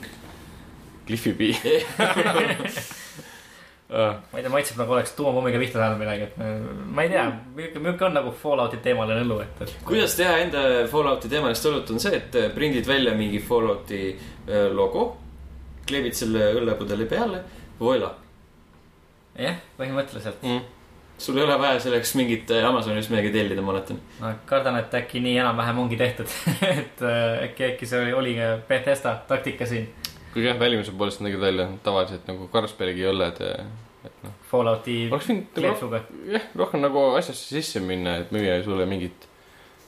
[SPEAKER 2] Cliffi B uh, .
[SPEAKER 3] ma ei tea , maitseb nagu oleks tuumapommiga pihta saanud midagi , et äh, ma- ma ei tea , milline , milline on nagu Fallouti teemaline õlu , et , et .
[SPEAKER 1] kuidas teha enda Fallouti teemalist õlut , on see , et äh, prindid välja mingi Fallouti äh, logo , kleebid selle õllepudeli peale , voilà .
[SPEAKER 3] jah , põhimõtteliselt .
[SPEAKER 2] mm. .
[SPEAKER 1] sul ei ole vaja selleks mingit äh, Amazonis midagi tellida , ma oletan .
[SPEAKER 3] ma kardan , et äkki nii enam-vähem ongi tehtud , et äh, äkki , äkki see oli, oli ka Bethesda taktika siin
[SPEAKER 2] kuigi jah , välimuse poolest nägid välja tavaliselt nagu Carlsbergi õlled . et noh ,
[SPEAKER 3] Fallouti
[SPEAKER 2] oleks võinud nagu
[SPEAKER 3] kleepsuga .
[SPEAKER 2] jah , rohkem nagu asjasse sisse minna , et müüa sulle mingit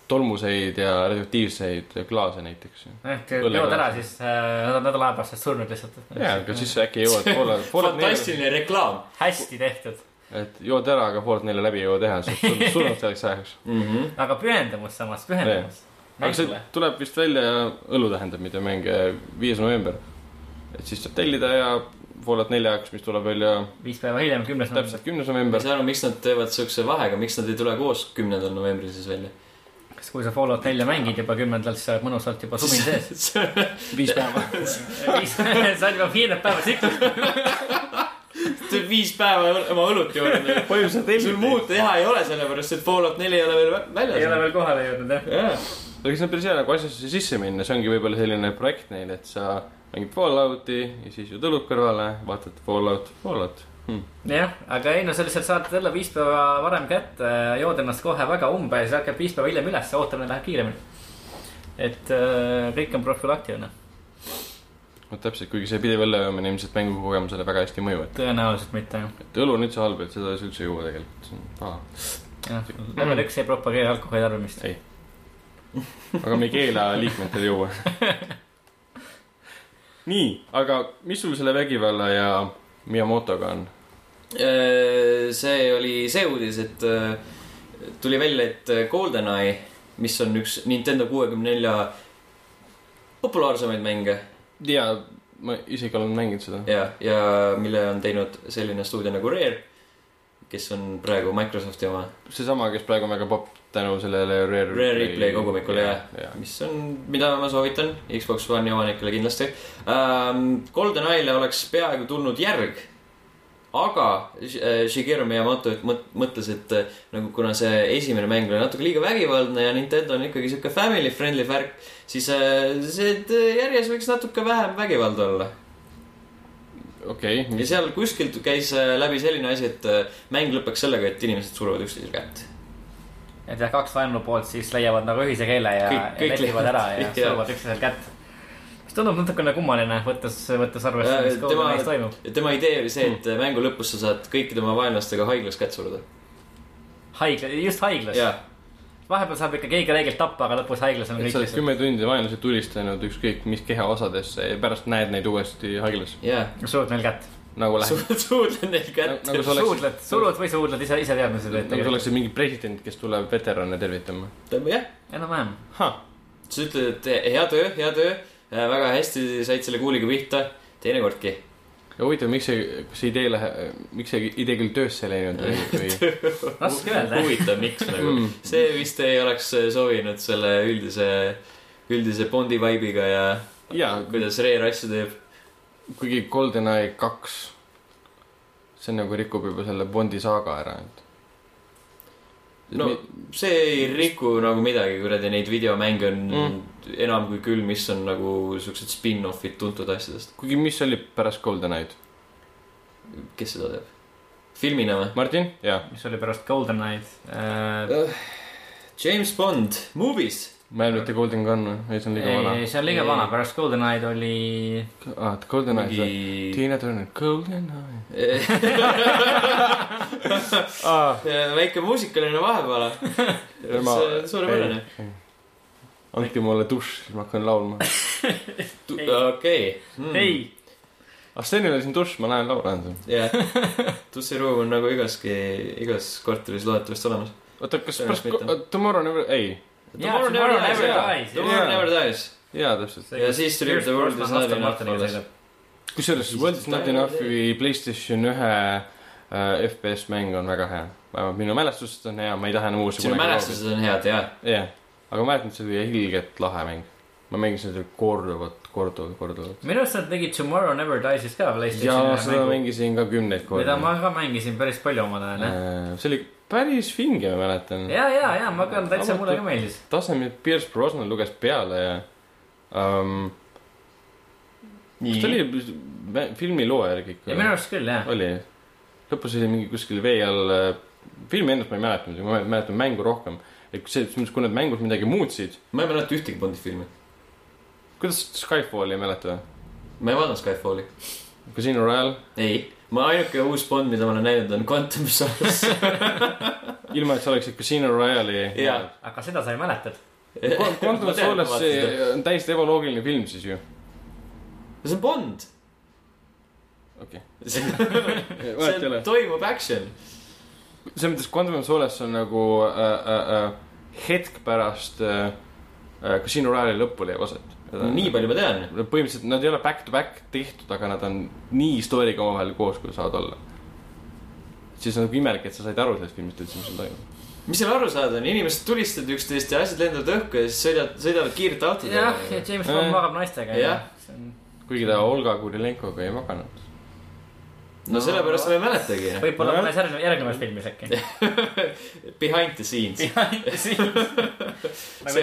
[SPEAKER 2] tolmuseid ja radioaktiivseid klaase näiteks .
[SPEAKER 3] jah , jood ära , siis äh, nädal , nädala aja pärast oled surnud lihtsalt .
[SPEAKER 2] ja , aga siis sa äkki jõuad poole , poole neile ,
[SPEAKER 1] fantastiline reklaam
[SPEAKER 3] hästi tehtud ,
[SPEAKER 2] et jood ära , aga pooled neile läbi ei jõua teha , sest sul on surnud selleks ajaks .
[SPEAKER 1] mm . -hmm.
[SPEAKER 3] aga pühendumus samas , pühendumus .
[SPEAKER 2] aga see
[SPEAKER 3] mängule ,
[SPEAKER 2] tuleb vist välja , õlu tähendab , mida mänge viies november . et siis saab tellida ja pooled nelja ajaks , mis tuleb välja
[SPEAKER 3] viis päeva hiljem , kümnes november
[SPEAKER 2] täpselt . kümnes
[SPEAKER 1] ma ei
[SPEAKER 2] november .
[SPEAKER 1] saa aru , miks nad teevad siukse vahega , miks nad ei tule koos kümnendal novembril siis välja .
[SPEAKER 3] kas , kui sa Fallout nelja mängid juba kümnendal , siis sa oled mõnusalt juba sumin sees .
[SPEAKER 2] viis päeva .
[SPEAKER 3] viis , sa oled juba viiendat päeva tsüklis .
[SPEAKER 1] viis päeva oma õlut joonud .
[SPEAKER 2] põhimõtteliselt
[SPEAKER 1] sul muud teha ei ole , sellepärast et Fallout neli ei ole veel vä- väljas .
[SPEAKER 3] ei ole veel kohale jõudnud jah .
[SPEAKER 1] veel .
[SPEAKER 2] aga see on päris hea nagu asjasse sisse minna , see ongi võib-olla selline projekt neil , et sa mängid Fallouti ja siis jood õlut kõrvale , vaatad Fallout , Fallout .
[SPEAKER 3] jah , aga ei no sa lihtsalt saad selle viis päeva varem kätte , jood ennast kohe väga umbe ja siis hakkad viis päeva hiljem üles , ootamine läheb kiiremini . et äh, kõik on profülaktiline ,
[SPEAKER 2] no Noh, täpselt , kuigi see pidev õlleöömine ilmselt mängukogemusele väga hästi ei mõju ,
[SPEAKER 3] tõenäoliselt mitte jah.
[SPEAKER 2] et , et õlu on üldse halb , et seda ei saa üldse juua tegelikult , see on paha .
[SPEAKER 3] jah . level üks ei propageeri alkoholi tarbimist .
[SPEAKER 2] ei . aga me ei keela liikmetel juua . nii , aga mis sul selle vägivalla ja Miyamotoga on ?
[SPEAKER 1] Äh, see oli see uudis , et äh, tuli välja , et äh, GoldenEye , mis on üks Nintendo kuuekümne nelja populaarsemaid mänge
[SPEAKER 2] jaa , ma isegi olen mänginud seda .
[SPEAKER 1] ja , ja mille on teinud selline stuudio nagu Rare , kes on praegu Microsofti oma ,
[SPEAKER 2] seesama , kes praegu on väga popp tänu sellele Rare
[SPEAKER 1] Rare Replay kogumikule, jah.
[SPEAKER 2] jah .
[SPEAKER 1] mis on , mida ma soovitan Xbox One'i omanikele kindlasti ähm, . GoldenEye'le oleks peaaegu tulnud järg , aga Sh- äh, Shigeru Miyamoto mõt- mõtles , et äh, nagu kuna see esimene mäng oli natuke liiga vägivaldne ja Nintendo on ikkagi sihuke family friendly värk , siis äh, see et, äh, järjes võiks natuke vähem vägivalda olla .
[SPEAKER 2] okei okay. ,
[SPEAKER 1] ja seal kuskilt käis äh, läbi selline asi , et äh, mäng lõpeks sellega , et inimesed surevad üksteisele kätt .
[SPEAKER 3] et jah , kaks vaenupoolt siis leiavad nagu ühise keele ja
[SPEAKER 1] Kõik-
[SPEAKER 3] ja
[SPEAKER 1] kõik
[SPEAKER 3] lepivad
[SPEAKER 1] leiavad-
[SPEAKER 3] ära ja
[SPEAKER 1] jah.
[SPEAKER 3] suruvad üksteisel kätt . mis tundub natukune kummaline , võttes , võttes arvesse , mis
[SPEAKER 1] Äh, tema-
[SPEAKER 3] kogukonnas toimub .
[SPEAKER 1] tema idee oli see , et äh, mängu lõpus sa saad kõikide oma vaenlastega haiglas kätt suruda .
[SPEAKER 3] haigla , just haiglas .
[SPEAKER 1] jaa ,
[SPEAKER 3] vahepeal saab ikka keegi räigelt tappa , aga lõpus haiglas on
[SPEAKER 2] et
[SPEAKER 3] kõik
[SPEAKER 2] sa oled
[SPEAKER 3] lihtsalt .
[SPEAKER 2] kümme tundi vaenlase tulistanud ükskõik mis kehaosadesse ja pärast näed neid uuesti haiglas .
[SPEAKER 1] jaa ,
[SPEAKER 3] suud neil kätt .
[SPEAKER 2] nagu läheb ,
[SPEAKER 1] suudled neil kätte
[SPEAKER 2] Nagu- nagu sa oleks-
[SPEAKER 3] suudled , surud või suudled , ise , ise teadma seda .
[SPEAKER 2] nagu sa oleksid mingi president , kes tuleb veterane tervitama .
[SPEAKER 1] jah ,
[SPEAKER 3] enam-vähem .
[SPEAKER 1] sa ütled , et hea töö , hea töö , väga hästi said selle kuuliga pihta , teinekordki .
[SPEAKER 2] ja huvitav , miks see , kas see idee lähe- , miks see idee küll töösse läinud või , Mm. või
[SPEAKER 3] raske öelda . Hmm.
[SPEAKER 1] huvitav , miks nagu . see vist ei oleks äh, sobinud selle üldise , üldise Bondi vibe'iga ja
[SPEAKER 2] jaa ,
[SPEAKER 1] kuidas Rare asju teeb .
[SPEAKER 2] kuigi GoldenEye kaks , see nagu rikub juba selle Bondi saaga ära , et .
[SPEAKER 1] no see ei riku nagu midagi , kuradi neid videomänge on mm.
[SPEAKER 2] Mm.
[SPEAKER 1] enam kui küll , mis on nagu siuksed spin-off'id tuntud asjadest .
[SPEAKER 2] kuigi , mis oli pärast GoldenEye'd ?
[SPEAKER 1] kes seda teeb ? filmina või ?
[SPEAKER 2] Martin ? jaa ,
[SPEAKER 3] mis oli pärast Golden Äh, Night .
[SPEAKER 1] Äh, James Bond movies .
[SPEAKER 2] ma ei mäleta Golden Gun või , ei see on liiga vana .
[SPEAKER 3] ei , see on liiga
[SPEAKER 1] Ei.
[SPEAKER 3] vana , pärast Golden Night oli .
[SPEAKER 2] aa , et GoldenEye ,
[SPEAKER 1] mingi
[SPEAKER 2] Tiina Turner , GoldenEye .
[SPEAKER 1] Ah. Äh, väike muusikaline vahepeala .
[SPEAKER 2] Tema-
[SPEAKER 1] see on suurepärane .
[SPEAKER 2] andke mulle dušš , siis ma hakkan laulma .
[SPEAKER 3] Ei.
[SPEAKER 1] okei . Hmm.
[SPEAKER 3] ei ,
[SPEAKER 2] ah , Stenil oli siin dušš , ma lähen laulan seal .
[SPEAKER 1] jah , tussiruum on nagu igaski , igas korteris loodetavasti olemas .
[SPEAKER 2] oota , kas
[SPEAKER 1] Tõenäoliselt
[SPEAKER 2] pärast
[SPEAKER 1] mitte. ,
[SPEAKER 2] Tomorrow Never , ei .
[SPEAKER 3] Jaa, Tomorrow Never Dies,
[SPEAKER 1] Tomorrow
[SPEAKER 2] jaa.
[SPEAKER 1] Never Dies .
[SPEAKER 2] jaa , täpselt .
[SPEAKER 1] ja siis tuli The World Is Not Enough alles .
[SPEAKER 3] alles .
[SPEAKER 2] kusjuures World Is Not Enough'i Playstation ühe äh, FPS mäng on väga hea . vähemalt minu mälestusest on hea , ma ei taha enam uusi .
[SPEAKER 1] sinu mälestused on head , jaa .
[SPEAKER 2] jah , aga ma mäletan , et see oli ilgelt lahe mäng . ma mängisin seda korduvalt , korduvalt , korduvalt .
[SPEAKER 3] minu arust nad tegid Tomorrow Never Dies'is ka
[SPEAKER 2] ja
[SPEAKER 3] PlayStationi
[SPEAKER 2] seda
[SPEAKER 3] mängu ,
[SPEAKER 2] mängisin ka kümneid kordi Äh,
[SPEAKER 3] mida . ma ka mängisin päris palju omal ajal , jah .
[SPEAKER 2] see oli päris vinge , ma mäletan .
[SPEAKER 3] ja , ja , ja ma ka , täitsa mulle ka meeldis .
[SPEAKER 2] tasemel Pierce Brosnan luges peale ja um, . kas ta oli mä- filmi loo järgi
[SPEAKER 3] ja minu
[SPEAKER 2] ikka ?
[SPEAKER 3] arust küll , jah .
[SPEAKER 2] oli . lõpus oli mingi kuskil vee all , filmi endast ma ei mäleta muidugi , ma mäletan mängu rohkem . et kui see , kui nad mängus midagi muutsid ,
[SPEAKER 1] ma ei mäleta ühtegi Bondi filmi .
[SPEAKER 2] kuidas Skyfalli ei mäleta ?
[SPEAKER 1] ma ei vaadanud Skyfalli .
[SPEAKER 2] Casino Royale ,
[SPEAKER 1] ei , ma ainuke uus Bond , mida ma olen näinud , on Quantum Solace .
[SPEAKER 2] ilma et sa oleksid Casino Royale'i
[SPEAKER 1] Jaa. .
[SPEAKER 3] aga seda sa ei mäletad .
[SPEAKER 2] Quantum of Solace , see on täiesti ebaloogiline film siis ju .
[SPEAKER 1] see on Bond .
[SPEAKER 2] okei .
[SPEAKER 1] see
[SPEAKER 2] vahet ei ole .
[SPEAKER 1] toimub action .
[SPEAKER 2] selles mõttes Quantum of Solace on nagu äh, äh, äh, hetk pärast äh, äh, Casino Royale'i lõppu leiab aset .
[SPEAKER 1] nii palju ma tean .
[SPEAKER 2] põhimõtteliselt nad ei ole back to back tehtud , aga nad on nii story'ga omavahel koos , kui saavad olla . siis on nagu imelik , et sa said aru sellest filmist üldse , mis seal toimub .
[SPEAKER 1] mis seal aru saada on , inimesed tulistavad üksteist ja asjad lendavad õhku ja siis sõidavad , sõidavad kiirtautodega
[SPEAKER 3] jah , ja . James Bond
[SPEAKER 2] Äh.
[SPEAKER 3] magab naistega .
[SPEAKER 1] Jah.
[SPEAKER 2] kuigi ta Olga Kurilenkoga ei maganud .
[SPEAKER 1] no sellepärast ma ei mäletagi .
[SPEAKER 3] võib-olla
[SPEAKER 2] Nojah.
[SPEAKER 3] mõnes järgne- järgnevas filmis äkki .
[SPEAKER 1] Behind the scenes .
[SPEAKER 3] nagu
[SPEAKER 1] See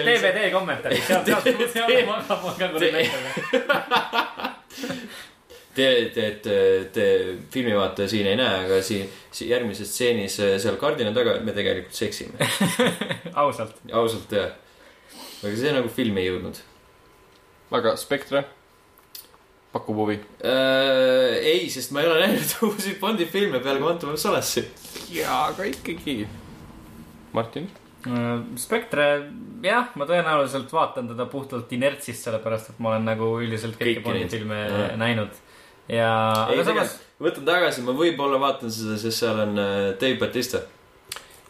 [SPEAKER 1] oli see-
[SPEAKER 3] DVD kommentaarid , seal , seal , seal magab , on ka
[SPEAKER 1] See-
[SPEAKER 3] kuradi näitleja .
[SPEAKER 1] Te , te , te , te filmivaataja siin ei näe , aga siin, siin järgmises stseenis äh, seal kardina taga me tegelikult seksime .
[SPEAKER 3] ausalt .
[SPEAKER 1] ausalt jah . aga see nagu filmi ei jõudnud
[SPEAKER 2] aga Spectre pakub huvi .
[SPEAKER 1] äh, . ei , sest ma ei ole näinud uusi Bondi filme peale Quantum of Solace'i .
[SPEAKER 2] jaa , aga ikkagi . Martin ?
[SPEAKER 3] Äh, Spectre , jah , ma tõenäoliselt vaatan teda puhtalt inertsist , sellepärast et ma olen nagu üldiselt kõiki
[SPEAKER 1] Kõiki
[SPEAKER 3] Bondi
[SPEAKER 1] neid.
[SPEAKER 3] filme
[SPEAKER 1] Jah.
[SPEAKER 3] näinud ja ,
[SPEAKER 1] ei ,
[SPEAKER 3] aga samas
[SPEAKER 1] tegelikult , võtan tagasi , ma võib-olla vaatan seda , sest seal on äh, Dave Batista .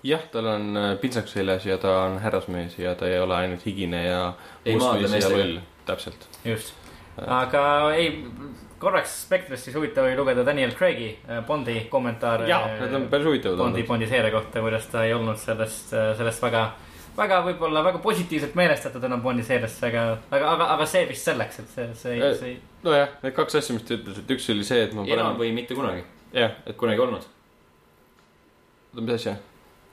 [SPEAKER 2] jah , tal on äh, pintsak seljas ja ta on härrasmees ja ta ei ole ainult higine ja
[SPEAKER 1] Ei maadle
[SPEAKER 2] mustmees ja
[SPEAKER 1] meestega.
[SPEAKER 2] loll. täpselt .
[SPEAKER 3] just , aga ei , korraks Spectre'ist siis huvitav oli lugeda Daniel Craig'i äh, Bondi kommentaare .
[SPEAKER 2] jaa , need on päris huvitavad
[SPEAKER 3] Bondi ,
[SPEAKER 2] olnud .
[SPEAKER 3] Bondi seeria kohta , kuidas ta ei olnud sellest , sellest väga , väga võib-olla väga positiivselt meelestatud enam Bondi seeriasse , aga , aga , aga , aga see vist selleks , et see , see ,
[SPEAKER 2] Eh.
[SPEAKER 3] see ,
[SPEAKER 2] nojah , need kaks asja , mis ta ütles , et üks oli see , et ma
[SPEAKER 1] enam . või mitte kunagi ,
[SPEAKER 2] jah ,
[SPEAKER 1] et kunagi olnud
[SPEAKER 2] oota , mis asja ?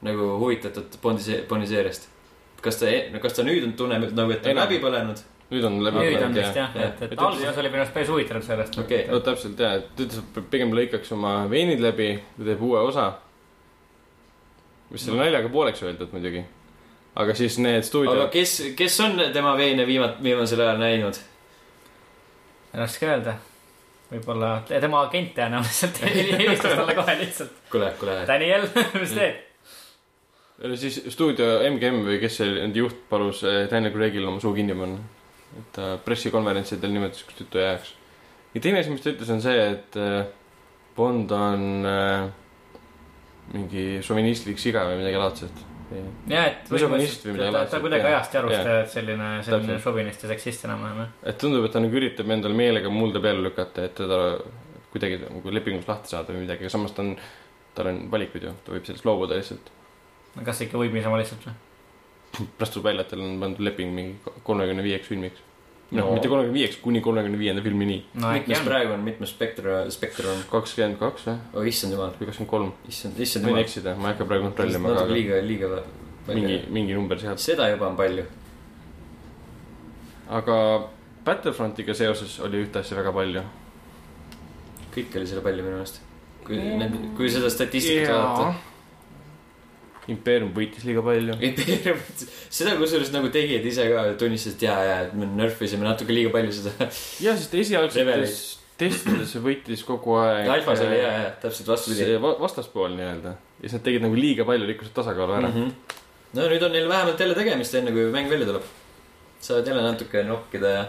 [SPEAKER 1] nagu huvitatud Bondi , Bondi seeriast . kas ta , kas ta nüüd on , tunneb nagu , et ta on
[SPEAKER 2] Enam.
[SPEAKER 1] läbi põlenud ?
[SPEAKER 2] nüüd on läbi
[SPEAKER 3] nüüd on
[SPEAKER 2] põlenud
[SPEAKER 3] vist jah ,
[SPEAKER 1] jah.
[SPEAKER 3] et , et
[SPEAKER 2] Et
[SPEAKER 3] alguses oli minu arust päris huvitav sellest .
[SPEAKER 1] Okei.
[SPEAKER 2] no täpselt jaa , et ta ütles , et pigem lõikaks oma veenid läbi ja teeb uue osa . mis selle naljaga pooleks öeldud muidugi . aga siis need
[SPEAKER 1] aga
[SPEAKER 2] stuudiod ,
[SPEAKER 1] kes , kes on tema veine viima- , viimasel ajal näinud ?
[SPEAKER 3] raske öelda , võib-olla tema agent tõenäoliselt helistas talle kohe lihtsalt .
[SPEAKER 1] kuule , kuule ,
[SPEAKER 3] Daniel , mis teed ?
[SPEAKER 2] no siis stuudio MGM või kes see nende juht palus eh, Daniel Craigil oma suu kinni panna . et ta pressikonverentsidel nimetas, kus tütu jääks . ja teine asi , mis ta ütles , on see , et eh, Bond on eh, mingi šovinistlik siga või midagi laadset .
[SPEAKER 3] jah , et
[SPEAKER 2] Misogünist või midagi
[SPEAKER 3] ta, ta
[SPEAKER 2] laadset,
[SPEAKER 3] kuidagi
[SPEAKER 2] jah.
[SPEAKER 3] ajast jalust
[SPEAKER 2] Jah.
[SPEAKER 3] ja et selline , selline
[SPEAKER 2] Täpselt.
[SPEAKER 3] šovinist ja seksist enam-vähem jah .
[SPEAKER 2] et tundub , et ta nagu üritab endale meelega mulda peale lükata , et teda kuidagi nagu lepingust lahti saada või midagi , aga samas ta on , tal on valikud ju , ta võib sellest loobuda lihtsalt .
[SPEAKER 3] kas ikka võib niisama lihtsalt või ?
[SPEAKER 2] pärast tuleb välja , et tal on pandud leping mingi kolmekümne viieks filmiks . noh
[SPEAKER 1] No.
[SPEAKER 2] no. , mitte kolmekümne viieks , kuni kolmekümne viienda filmini .
[SPEAKER 3] no äkki
[SPEAKER 1] mitmes
[SPEAKER 3] on .
[SPEAKER 1] praegu on , mitmes spektra , spektrum ?
[SPEAKER 2] kakskümmend kaks või ,
[SPEAKER 1] oh issand jumal ,
[SPEAKER 2] või kakskümmend kolm ,
[SPEAKER 1] issand , issand
[SPEAKER 2] võin
[SPEAKER 1] jumal .
[SPEAKER 2] eksida , ma ei hakka praegu kontrollima ,
[SPEAKER 1] natuke
[SPEAKER 2] aga
[SPEAKER 1] liiga , liiga vä-
[SPEAKER 2] mingi
[SPEAKER 1] palju .,
[SPEAKER 2] mingi number sealt .
[SPEAKER 1] seda juba on palju .
[SPEAKER 2] aga Battlefrontiga seoses oli ühte asja väga palju .
[SPEAKER 1] kõik oli selle palju minu meelest . kui need , kui seda statistikat vaadata .
[SPEAKER 2] impeerium võitis liiga palju .
[SPEAKER 1] Imperium , seda kusjuures nagu tegijad ise ka tunnistasid , et jaa , jaa , et me nörfisime natuke liga palju seda .
[SPEAKER 2] jah , sest esialgsetes
[SPEAKER 1] Rebeleid.
[SPEAKER 2] testides võitis kogu aeg .
[SPEAKER 1] alfas oli jaa , jaa , täpselt vastupidi .
[SPEAKER 2] see va- vastaspool nii-öelda ja siis nad tegid nagu liiga palju , rikkusid tasakaalu ära mm .
[SPEAKER 1] -hmm. no nüüd on neil vähemalt jälle tegemist , enne kui mäng välja tuleb . saavad jälle natuke nokkida ja ,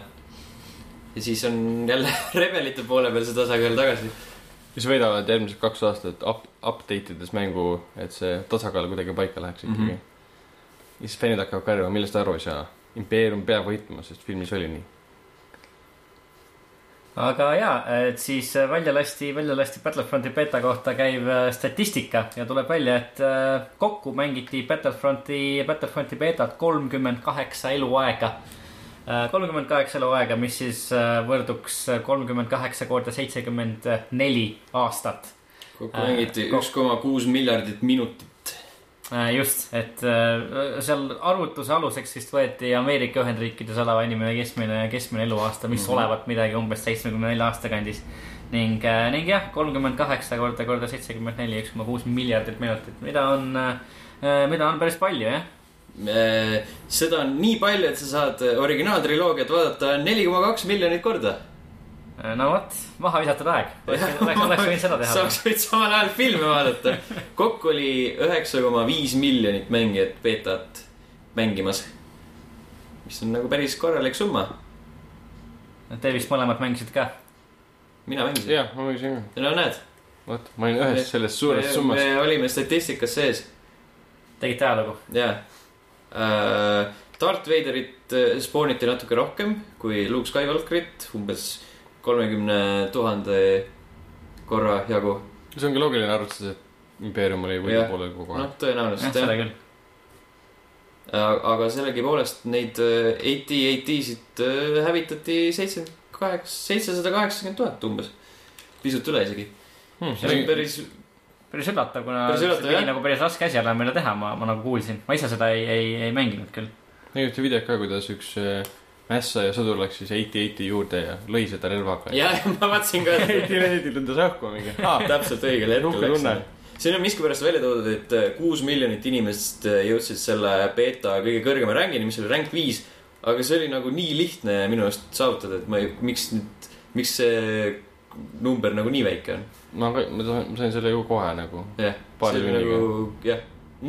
[SPEAKER 1] ja siis on jälle rebelite poole peal see tasakaal tagasi .
[SPEAKER 2] -hmm. siis võidavad järgmised kaks aastat up , update ides mängu , et see tasakaal kuidagi paika läheks ikkagi mm . -hmm. ja siis fännid hakkavad karjuma , millest ta aru ei saa . impeerium peab võitma , sest filmis oli nii .
[SPEAKER 3] aga ja , et siis äh, välja lasti , välja lasti Battlefronti beeta kohta käiv äh, statistika ja tuleb välja , et äh, kokku mängiti Battlefronti , Battlefronti beetat kolmkümmend kaheksa eluaega . kolmkümmend kaheksa eluaega , mis siis äh, võrduks kolmkümmend kaheksa korda seitsekümmend neli aastat .
[SPEAKER 1] kokku
[SPEAKER 3] Äh,
[SPEAKER 1] mängiti
[SPEAKER 3] kok-
[SPEAKER 1] üks koma kuus miljardit minutit .
[SPEAKER 3] Äh, just , et äh, seal arvutuse aluseks vist võeti Ameerika Ühendriikides oleva inimene keskmine , keskmine eluaasta , mis mm
[SPEAKER 1] Mhm.
[SPEAKER 3] -hmm. olevat midagi umbes seitsmekümne nelja aasta kandis . ning , ning jah , kolmkümmend kaheksa korda , korda seitsekümmend neli , üks koma kuus miljardit minutit , mida on , mida on päris palju jah .
[SPEAKER 1] Äh, seda on nii palju , et sa saad originaaltriloogiat vaadata neli koma kaks miljonit korda .
[SPEAKER 3] Äh, no vot , maha visatud aeg . oleks oleks- oleks võinud seda teha .
[SPEAKER 1] saaks võid samal ajal filme vaadata . kokku oli üheksa koma viis miljonit mängijat beetat mängimas . mis on nagu päris korralik summa .
[SPEAKER 3] Te vist mõlemad mängisite ka .
[SPEAKER 1] mina mängisin .
[SPEAKER 2] jah , ma mängisin ka .
[SPEAKER 1] no näed .
[SPEAKER 2] vot , ma olin ühes sellest suurest
[SPEAKER 1] me,
[SPEAKER 2] summast .
[SPEAKER 1] me olime statistikas sees
[SPEAKER 3] tegite ajalugu .
[SPEAKER 1] ja uh, Darth Vaderit äh, spooniti natuke rohkem kui Luke Skywalkerit , umbes kolmekümne tuhande korra jagu .
[SPEAKER 2] see ongi loogiline , arvestades , et impeerium oli
[SPEAKER 1] Jah.
[SPEAKER 2] võidupoolel kogu aeg
[SPEAKER 1] noh
[SPEAKER 2] no. . ,
[SPEAKER 3] jah ,
[SPEAKER 1] tõenäoliselt
[SPEAKER 3] seda
[SPEAKER 1] jah .
[SPEAKER 3] küll .
[SPEAKER 1] aga sellegipoolest neid äh, AT-AT-sid äh, hävitati seitsekümmend kaheksa , seitsesada kaheksakümmend tuhat umbes . pisut üle isegi . see on
[SPEAKER 2] Hmm.
[SPEAKER 1] päris ,
[SPEAKER 3] päris üllatav , kuna
[SPEAKER 1] Päris üllatav,
[SPEAKER 3] see pidi
[SPEAKER 1] jah.
[SPEAKER 3] nagu päris raske asi olema , mida teha , ma , ma nagu kuulsin . ma ise seda ei , ei , ei mänginud küll .
[SPEAKER 2] nägin ühte videot ka , kuidas üks äh, mässaja sõdur läks siis AT-AT juurde ja lõi seda relvaga .
[SPEAKER 1] jah , ma vaatasin ka et-
[SPEAKER 2] AT-AT-l lendas õhku mingi .
[SPEAKER 1] Ah, täpselt õigel hetkel
[SPEAKER 2] Uhke
[SPEAKER 1] läks
[SPEAKER 2] tunne. .
[SPEAKER 1] siin on miskipärast välja toodud , et äh, kuus miljonit inimest äh, jõudsid selle beeta kõige kõrgema rankini , mis oli rank viis . aga see oli nagu nii lihtne minu arust saavutada , et ma ei , miks nüüd , miks see number nagu nii väike on .
[SPEAKER 2] ma , ma sain , ma sain selle ju kohe nagu .
[SPEAKER 1] jah ,
[SPEAKER 2] Paari
[SPEAKER 1] see oli
[SPEAKER 2] tunniga.
[SPEAKER 1] nagu jah ,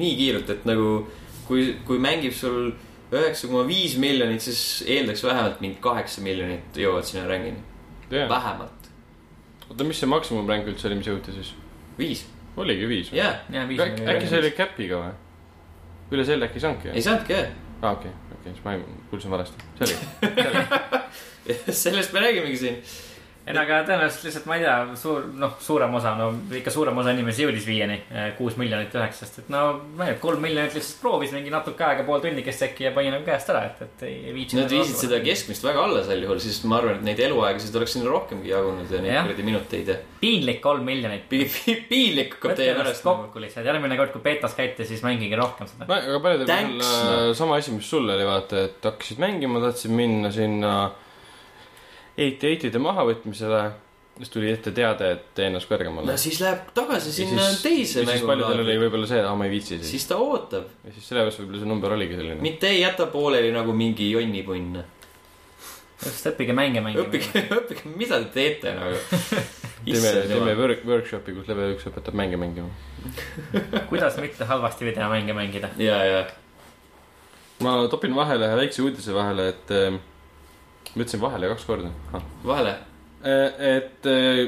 [SPEAKER 1] nii kiirelt , et nagu kui , kui mängib sul üheksa koma viis miljonit , siis eeldaks vähemalt mingi kaheksa miljonit jõuavad sinna rankini ,
[SPEAKER 2] oota ,
[SPEAKER 1] vähemalt
[SPEAKER 2] mis see maksimumränk üldse oli , mis jõuti siis ?
[SPEAKER 1] viis ,
[SPEAKER 2] oligi viis või ?
[SPEAKER 1] jaa ,
[SPEAKER 3] jah , viis
[SPEAKER 2] äkki , äkki see oli käpiga või ? üle selle äkki ei saanudki
[SPEAKER 1] ei
[SPEAKER 2] jah ?
[SPEAKER 1] saanudki jah .
[SPEAKER 2] aa , okei , okei , siis ma ei- kuulsin valesti . see
[SPEAKER 1] sellest me räägimegi siin .
[SPEAKER 3] ei no aga tõenäoliselt lihtsalt ma ei tea , suur , noh , suurem osa , no ikka suurem osa inimesi jõudis viieni , kuus miljonit üheksast , et no ma ei tea , kolm miljonit lihtsalt proovis mingi natuke aega , pool tunnikest äkki ja pani nagu käest ära , et , et ei, ei viitsinud .
[SPEAKER 1] Nad viisid seda . keskmist väga alla sel juhul , siis ma arvan , et neid eluaegasid oleks sinna rohkemgi jagunud ja neid
[SPEAKER 3] Jah.
[SPEAKER 1] kuradi minuteid ja
[SPEAKER 3] piinlik kolm miljonit .
[SPEAKER 1] pigem pi- piinlik hakkab
[SPEAKER 3] võtke
[SPEAKER 1] teie
[SPEAKER 3] ennast
[SPEAKER 1] pärast nagu .
[SPEAKER 3] kokku lihtsalt , järgmine kord , kui betas käite , siis mängige rohkem seda .
[SPEAKER 2] no aga paljudel
[SPEAKER 1] Thanks,
[SPEAKER 2] puhul äh, sama asi , mis sul oli , vaata , et hakkasid mängima , tahtsid minna sinna AT-AT-ide mahavõtmisele , siis tuli ette teade , et tee ennast kõrgemale
[SPEAKER 1] no . siis läheb tagasi
[SPEAKER 2] Ja
[SPEAKER 1] sinna
[SPEAKER 2] siis-
[SPEAKER 1] teise
[SPEAKER 2] ja siis paljudel oli
[SPEAKER 1] mängu .
[SPEAKER 2] võib-olla see , et aa , ma ei viitsi siis .
[SPEAKER 1] siis ta ootab ,
[SPEAKER 2] ja siis sellepärast võib-olla see number oligi selline .
[SPEAKER 1] mitte ei jäta pooleli nagu mingi jonnipunn .
[SPEAKER 3] just , õppige mänge mängima .
[SPEAKER 1] õppige , õppige , mida te teete nagu .
[SPEAKER 2] teeme , teeme work , workshopi , kus level üks õpetab mänge mängima .
[SPEAKER 3] kuidas mitte halvasti videomänge mängida .
[SPEAKER 1] ja , ja ,
[SPEAKER 2] ma topin vahele ühe väikse uudise vahele , et ähm, ma ütlesin vahele kaks korda ah. .
[SPEAKER 1] vahele .
[SPEAKER 2] et äh,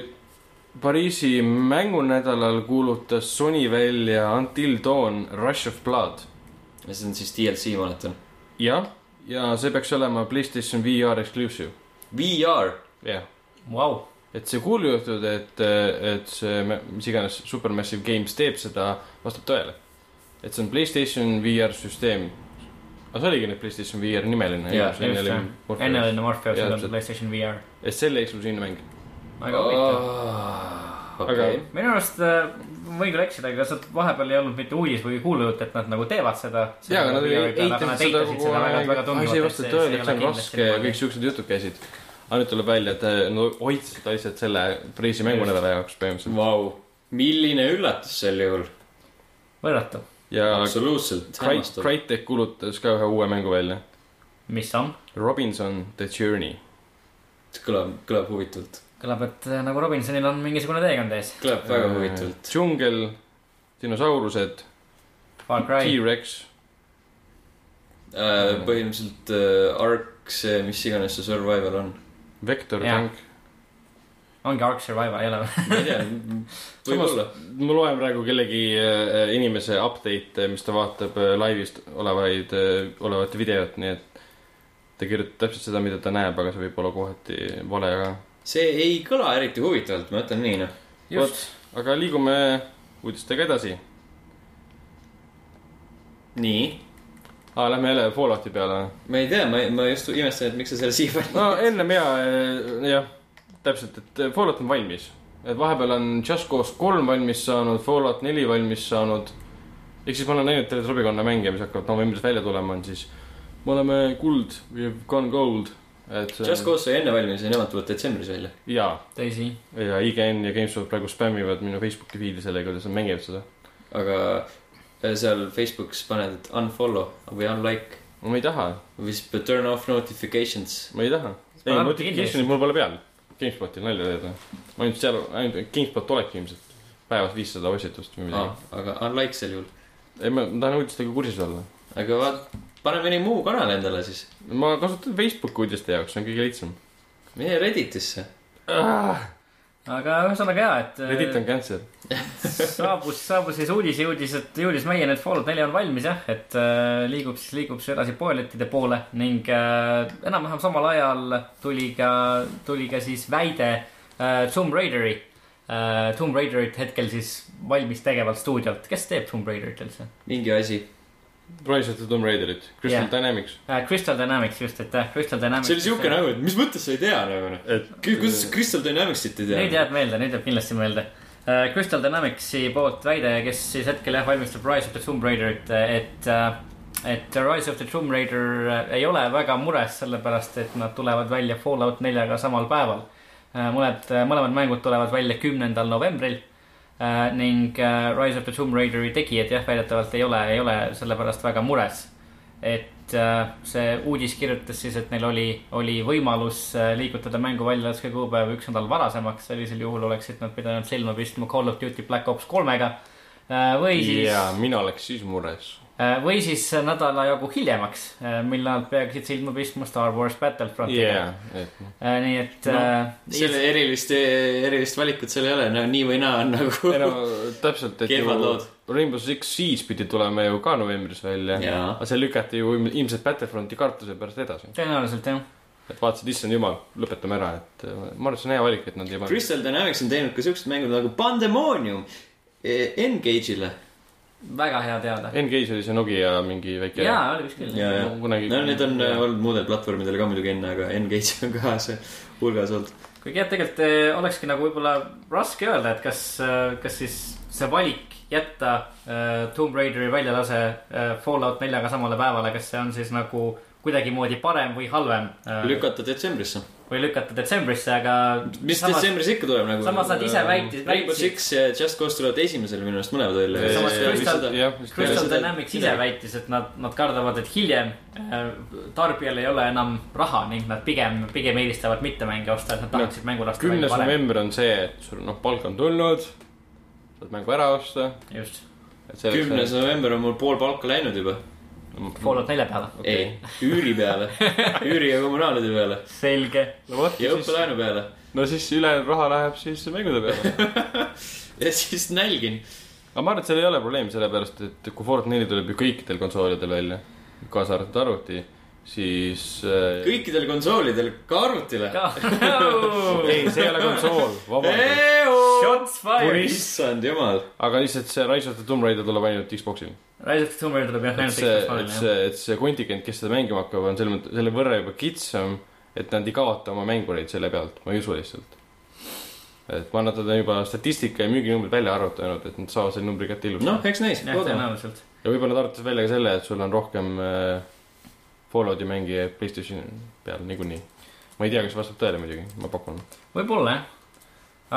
[SPEAKER 2] Pariisi mängunädalal kuulutas Sony välja Until Dawn Rush of Blood .
[SPEAKER 1] see on siis DLC , ma mäletan .
[SPEAKER 2] jah , ja see peaks olema Playstation VR exclusive ,
[SPEAKER 1] VR ,
[SPEAKER 2] jah .
[SPEAKER 3] Vau ,
[SPEAKER 2] et see kuulujutud , et , et see , mis iganes Supermassive Games teeb seda , vastab tõele . et see on Playstation VR süsteem . aga see oligi nüüd Playstation VR nimeline .
[SPEAKER 1] Jaa,
[SPEAKER 3] just, jah. enne oli Morpheus ,
[SPEAKER 2] Jaa,
[SPEAKER 3] nüüd
[SPEAKER 2] täpselt.
[SPEAKER 3] on PlayStation VR .
[SPEAKER 2] et selle eksklusiivne mäng .
[SPEAKER 3] väga huvitav .
[SPEAKER 1] okei
[SPEAKER 2] Aga-
[SPEAKER 3] minu arust äh, võin küll eksida , aga sealt vahepeal ei olnud mitte uudis või kuulujutt , et nad nagu teevad seda .
[SPEAKER 2] jaa , aga nad ei eitanud seda kogu aeg , asi ei vasta tõele , see on raske ja kõik siuksed jutud käisid . aga nüüd tuleb välja , et eh, no hoidsid asjad selle Pariisi mängunädala jaoks põhimõtteliselt .
[SPEAKER 1] vau , milline üllatus sel juhul ,
[SPEAKER 3] võrratu ,
[SPEAKER 2] ja
[SPEAKER 1] absoluutselt
[SPEAKER 2] Crytek-
[SPEAKER 1] hämmastav .
[SPEAKER 2] Crytek kuulutas ka ühe uue mängu välja .
[SPEAKER 3] mis on ,
[SPEAKER 2] Robinson The Journey .
[SPEAKER 1] kõlab , kõlab huvitavalt ,
[SPEAKER 3] kõlab , et äh, nagu Robinsonil on mingisugune teekond ees .
[SPEAKER 1] kõlab väga huvitavalt .
[SPEAKER 2] Äh, džungel , dinosaurused ,
[SPEAKER 3] Far Cry ,
[SPEAKER 2] T-Rex ,
[SPEAKER 1] põhimõtteliselt äh, Ark , see , mis iganes see survival on .
[SPEAKER 2] vektor ,
[SPEAKER 3] Jah.
[SPEAKER 2] tank .
[SPEAKER 3] ongi Ark Survival , ei ole või ?
[SPEAKER 1] ma ei tea , võib-olla .
[SPEAKER 2] ma loen praegu kellegi äh, inimese update'e , mis ta vaatab äh, laivist olevaid , olevat videot , nii et ta kirjutab täpselt seda , mida ta näeb , aga see võib olla kohati vale ka .
[SPEAKER 1] see ei kõla eriti huvitavalt , ma ütlen nii , noh .
[SPEAKER 2] vot , aga liigume uudistega edasi .
[SPEAKER 1] nii ,
[SPEAKER 2] aa , lähme jälle Fallouti peale .
[SPEAKER 1] ma ei tea , ma , ma just imestan , et miks sa selle siia panid .
[SPEAKER 2] no ennem ja , jah , täpselt , et eh, Fallout on valmis . et vahepeal on Just Cause kolm valmis saanud , Fallout neli valmis saanud . ehk siis ma olen näinud terve sobikonna mänge , mis hakkavad novembris välja tulema , on siis . me oleme kuld , we have gone gold . et .
[SPEAKER 1] Just . Cause sai enne valmis ja nemad tulevad detsembris välja .
[SPEAKER 2] jaa ,
[SPEAKER 3] tõsi ,
[SPEAKER 2] ja IGN ja GameStop praegu spämmivad minu Facebooki feed'i sellega , kuidas nad mängivad seda .
[SPEAKER 1] aga äh, seal Facebookis paned et unfollow või unlike
[SPEAKER 2] ma ei taha ,
[SPEAKER 1] või siis turn off notifications .
[SPEAKER 2] ma ei taha .
[SPEAKER 3] Ma
[SPEAKER 2] ei ,
[SPEAKER 3] arvan,
[SPEAKER 2] notification'id mul pole peal . GameSpotil nalja teha . ainult seal , ainult GameSpot olebki ilmselt päevas viissada postitust või midagi
[SPEAKER 1] Ah, . aga unlike sel juhul .
[SPEAKER 2] ei , ma ma tahan uudistega kursis olla .
[SPEAKER 1] aga vaat , pane mõni muu kanal endale siis .
[SPEAKER 2] ma kasutan Facebooki uudiste jaoks , see on kõige lihtsam
[SPEAKER 1] mine Redditisse .
[SPEAKER 2] ah, .
[SPEAKER 3] aga ühesõnaga jaa , et .
[SPEAKER 2] Reddit on cancer .
[SPEAKER 3] saabus , saabus siis uudis , jõudis , et jõudis meieni , et Fallout neli on valmis jah , et äh, liigub siis , liigub siis edasi poelettide poole ning äh, enam-vähem samal ajal tuli ka , tuli ka siis väide äh, Tomb Raideri äh, , Tomb Raiderit hetkel siis valmis tegevalt stuudiolt , kes teeb Tomb Raiderit üldse
[SPEAKER 1] mingi asi .
[SPEAKER 2] Rise of the Tomb Raiderit , Crystal
[SPEAKER 3] Jah.
[SPEAKER 2] yeah. Dynamics .
[SPEAKER 3] äh, ? Crystal Dynamics just , aitäh , Crystal Dynamics . äh,
[SPEAKER 1] see oli siuke . nagu , et mis mõttes sa ei tea nagu noh .
[SPEAKER 2] et
[SPEAKER 1] kuidas sa Crystal Dynamicsit ei
[SPEAKER 3] nüüd
[SPEAKER 1] tea ?
[SPEAKER 3] jääb meelde , nüüd jääb kindlasti meelde . Crystal Dynamicsi poolt väide , kes siis hetkel jah valmistab Rise of the Tomb Raiderit , et , et Rise of the Tomb Raider äh, ei ole väga mures , sellepärast et nad tulevad välja Fallout neljaga samal päeval . mõned , mõlemad mängud tulevad välja kümnendal novembril äh, ning äh, Rise of the Tomb Raideri tegijad jah , väidetavalt ei ole , ei ole selle pärast väga mures . et äh, see uudis kirjutas siis , et neil oli , oli võimalus äh, liigutada mängu välja laske kuupäev üks nädal varasemaks , sellisel juhul oleksid nad pidanud silma pistma Call of Duty Black Ops kolmega äh, või siis
[SPEAKER 2] ja mina oleks siis mures .
[SPEAKER 3] äh, või siis nädala jagu hiljemaks , mille nad peaksid silma pistma Star Wars Battlefrontiga
[SPEAKER 2] jaa , et
[SPEAKER 3] Äh, nii et
[SPEAKER 1] No,
[SPEAKER 3] äh,
[SPEAKER 1] selle erilist , erilist valikut seal ei ole , no nii või naa on
[SPEAKER 2] ei no
[SPEAKER 1] nagu .
[SPEAKER 2] täpselt , et
[SPEAKER 1] Kehvad lood.
[SPEAKER 2] Rainbow Six Siege pidi tulema ju ka novembris välja .
[SPEAKER 1] Jaa.
[SPEAKER 2] aga see lükati ju ilm- ilmselt Battlefronti kartuse pärast edasi .
[SPEAKER 3] tõenäoliselt jah ,
[SPEAKER 2] et vaatasid , issand jumal , lõpetame ära , et äh, ma arvan , et see on hea valik , et nad ei pane .
[SPEAKER 1] Crystal Dynamics on teinud ka siuksed mängud nagu Pandemonium eh, Engage'ile .
[SPEAKER 3] väga hea teada .
[SPEAKER 2] N-Gaze oli see Nokia mingi väike .
[SPEAKER 3] jaa , oli vist küll .
[SPEAKER 1] ja , ja
[SPEAKER 2] Ma kunagi-
[SPEAKER 1] no need on
[SPEAKER 2] jah.
[SPEAKER 1] äh, olnud muudel platvormidel ka muidugi enne , aga Engage on ka see hulgas olnud .
[SPEAKER 3] kuigi jah , tegelikult eh, olekski nagu võib-olla raske öelda , et kas , kas siis see valik jätta eh, Tomb Raideri väljalase eh, Fallout neljaga samale päevale , kas see on siis nagu kuidagimoodi parem või halvem ?
[SPEAKER 1] lükata detsembrisse .
[SPEAKER 3] või lükata detsembrisse , aga .
[SPEAKER 1] mis samas... detsembris ikka tuleb nagu .
[SPEAKER 3] samas nad ise väitis-
[SPEAKER 1] Rainbow
[SPEAKER 3] väitsid-
[SPEAKER 1] Six ja Just Cause tulevad esimesel minu arust mõlemad välja .
[SPEAKER 3] Samas Crystal- Crystal
[SPEAKER 1] seda-
[SPEAKER 3] Dynamics ise
[SPEAKER 1] midagi.
[SPEAKER 3] väitis , et nad , nad kardavad , et hiljem äh, tarbijal ei ole enam raha ning nad pigem , pigem eelistavad mitte mänge osta , et nad tahaksid mängu lasta .
[SPEAKER 2] kümnes . november on see , et sul noh , palk on tulnud , saad mängu ära osta .
[SPEAKER 3] just ,
[SPEAKER 1] kümnes november on mul pool palka läinud juba .
[SPEAKER 3] Fallout nelja peale .
[SPEAKER 1] ei , üüri peale , üüri ja kommunaalide peale
[SPEAKER 3] selge .
[SPEAKER 2] no vot ,
[SPEAKER 1] ja
[SPEAKER 2] siis ,
[SPEAKER 1] õppelaenu peale .
[SPEAKER 2] no siis ülejäänud raha läheb siis mängude peale .
[SPEAKER 1] ja siis nälgin .
[SPEAKER 2] aga ma arvan , et seal ei ole probleemi , sellepärast et kui Ford neli tuleb ju kõikidel konsoolidel välja , kaasa arvatud arvuti , siis äh... .
[SPEAKER 1] kõikidel konsoolidel , ka arvutile .
[SPEAKER 2] ei , see ei ole konsool , vabandust .
[SPEAKER 3] Shots fired .
[SPEAKER 1] issand jumal .
[SPEAKER 2] aga lihtsalt see Rise of the Tomb Raider tuleb ainult Xboxil .
[SPEAKER 3] Rise of the Tomb Raider tuleb
[SPEAKER 2] et
[SPEAKER 3] jah , ainult
[SPEAKER 2] see , et
[SPEAKER 3] Xbox One'il .
[SPEAKER 2] see , et see kontingent , kes seda mängima hakkab , on selle , selle võrra juba kitsam , et nad ei kaota oma mängureid selle pealt , ma ei usu lihtsalt . et ma arvan , et nad on juba statistika ja müüginumbrid välja arvutanud , et nad saavad selle numbri kätte ilusti .
[SPEAKER 1] noh , eks näis ,
[SPEAKER 3] jah ,
[SPEAKER 1] loodame .
[SPEAKER 3] tõenäoliselt .
[SPEAKER 2] ja võib-olla nad arvutasid välja ka selle , et sul on rohkem äh, Fallouti mängija Playstationi peal niikuinii . ma ei tea , kas vastab tõele muidugi , ma pakun .
[SPEAKER 3] võib-olla jah .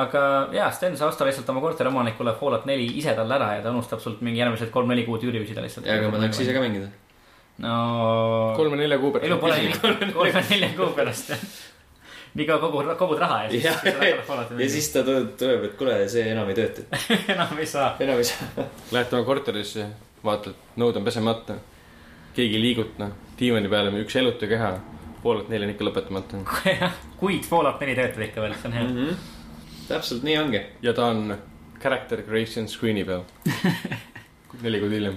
[SPEAKER 3] aga jaa , Sten , sa osta lihtsalt oma korteriomanikule Fallout neli ise talle ära ja ta unustab sult mingi järgmised kolm-neli kuud üüri küsida lihtsalt .
[SPEAKER 1] aga ma tahaks ise ka mängida .
[SPEAKER 3] no .
[SPEAKER 2] kolme-nelja kuu
[SPEAKER 3] elu pole
[SPEAKER 2] pärast .
[SPEAKER 3] nii , kolme-nelja kuu pärast . nii kaua kogu , kogud raha ja
[SPEAKER 1] ja
[SPEAKER 3] siis saad hakata Fallouti mängima.
[SPEAKER 1] siis ta tuleb , tuleb , et kuule , see enam ei tööta .
[SPEAKER 3] enam ei saa .
[SPEAKER 1] enam ei saa .
[SPEAKER 2] Lähed oma korterisse , vaatad , nõud on pesemata , keegi ei liiguta , diivani peal on üks elutu keha , Fallout neli on ikka lõpetamata
[SPEAKER 3] kuid Fallout neli töötab ikka veel , see on hea .
[SPEAKER 1] täpselt nii ongi .
[SPEAKER 2] ja ta on character creation screen'i peal . neli kuud hiljem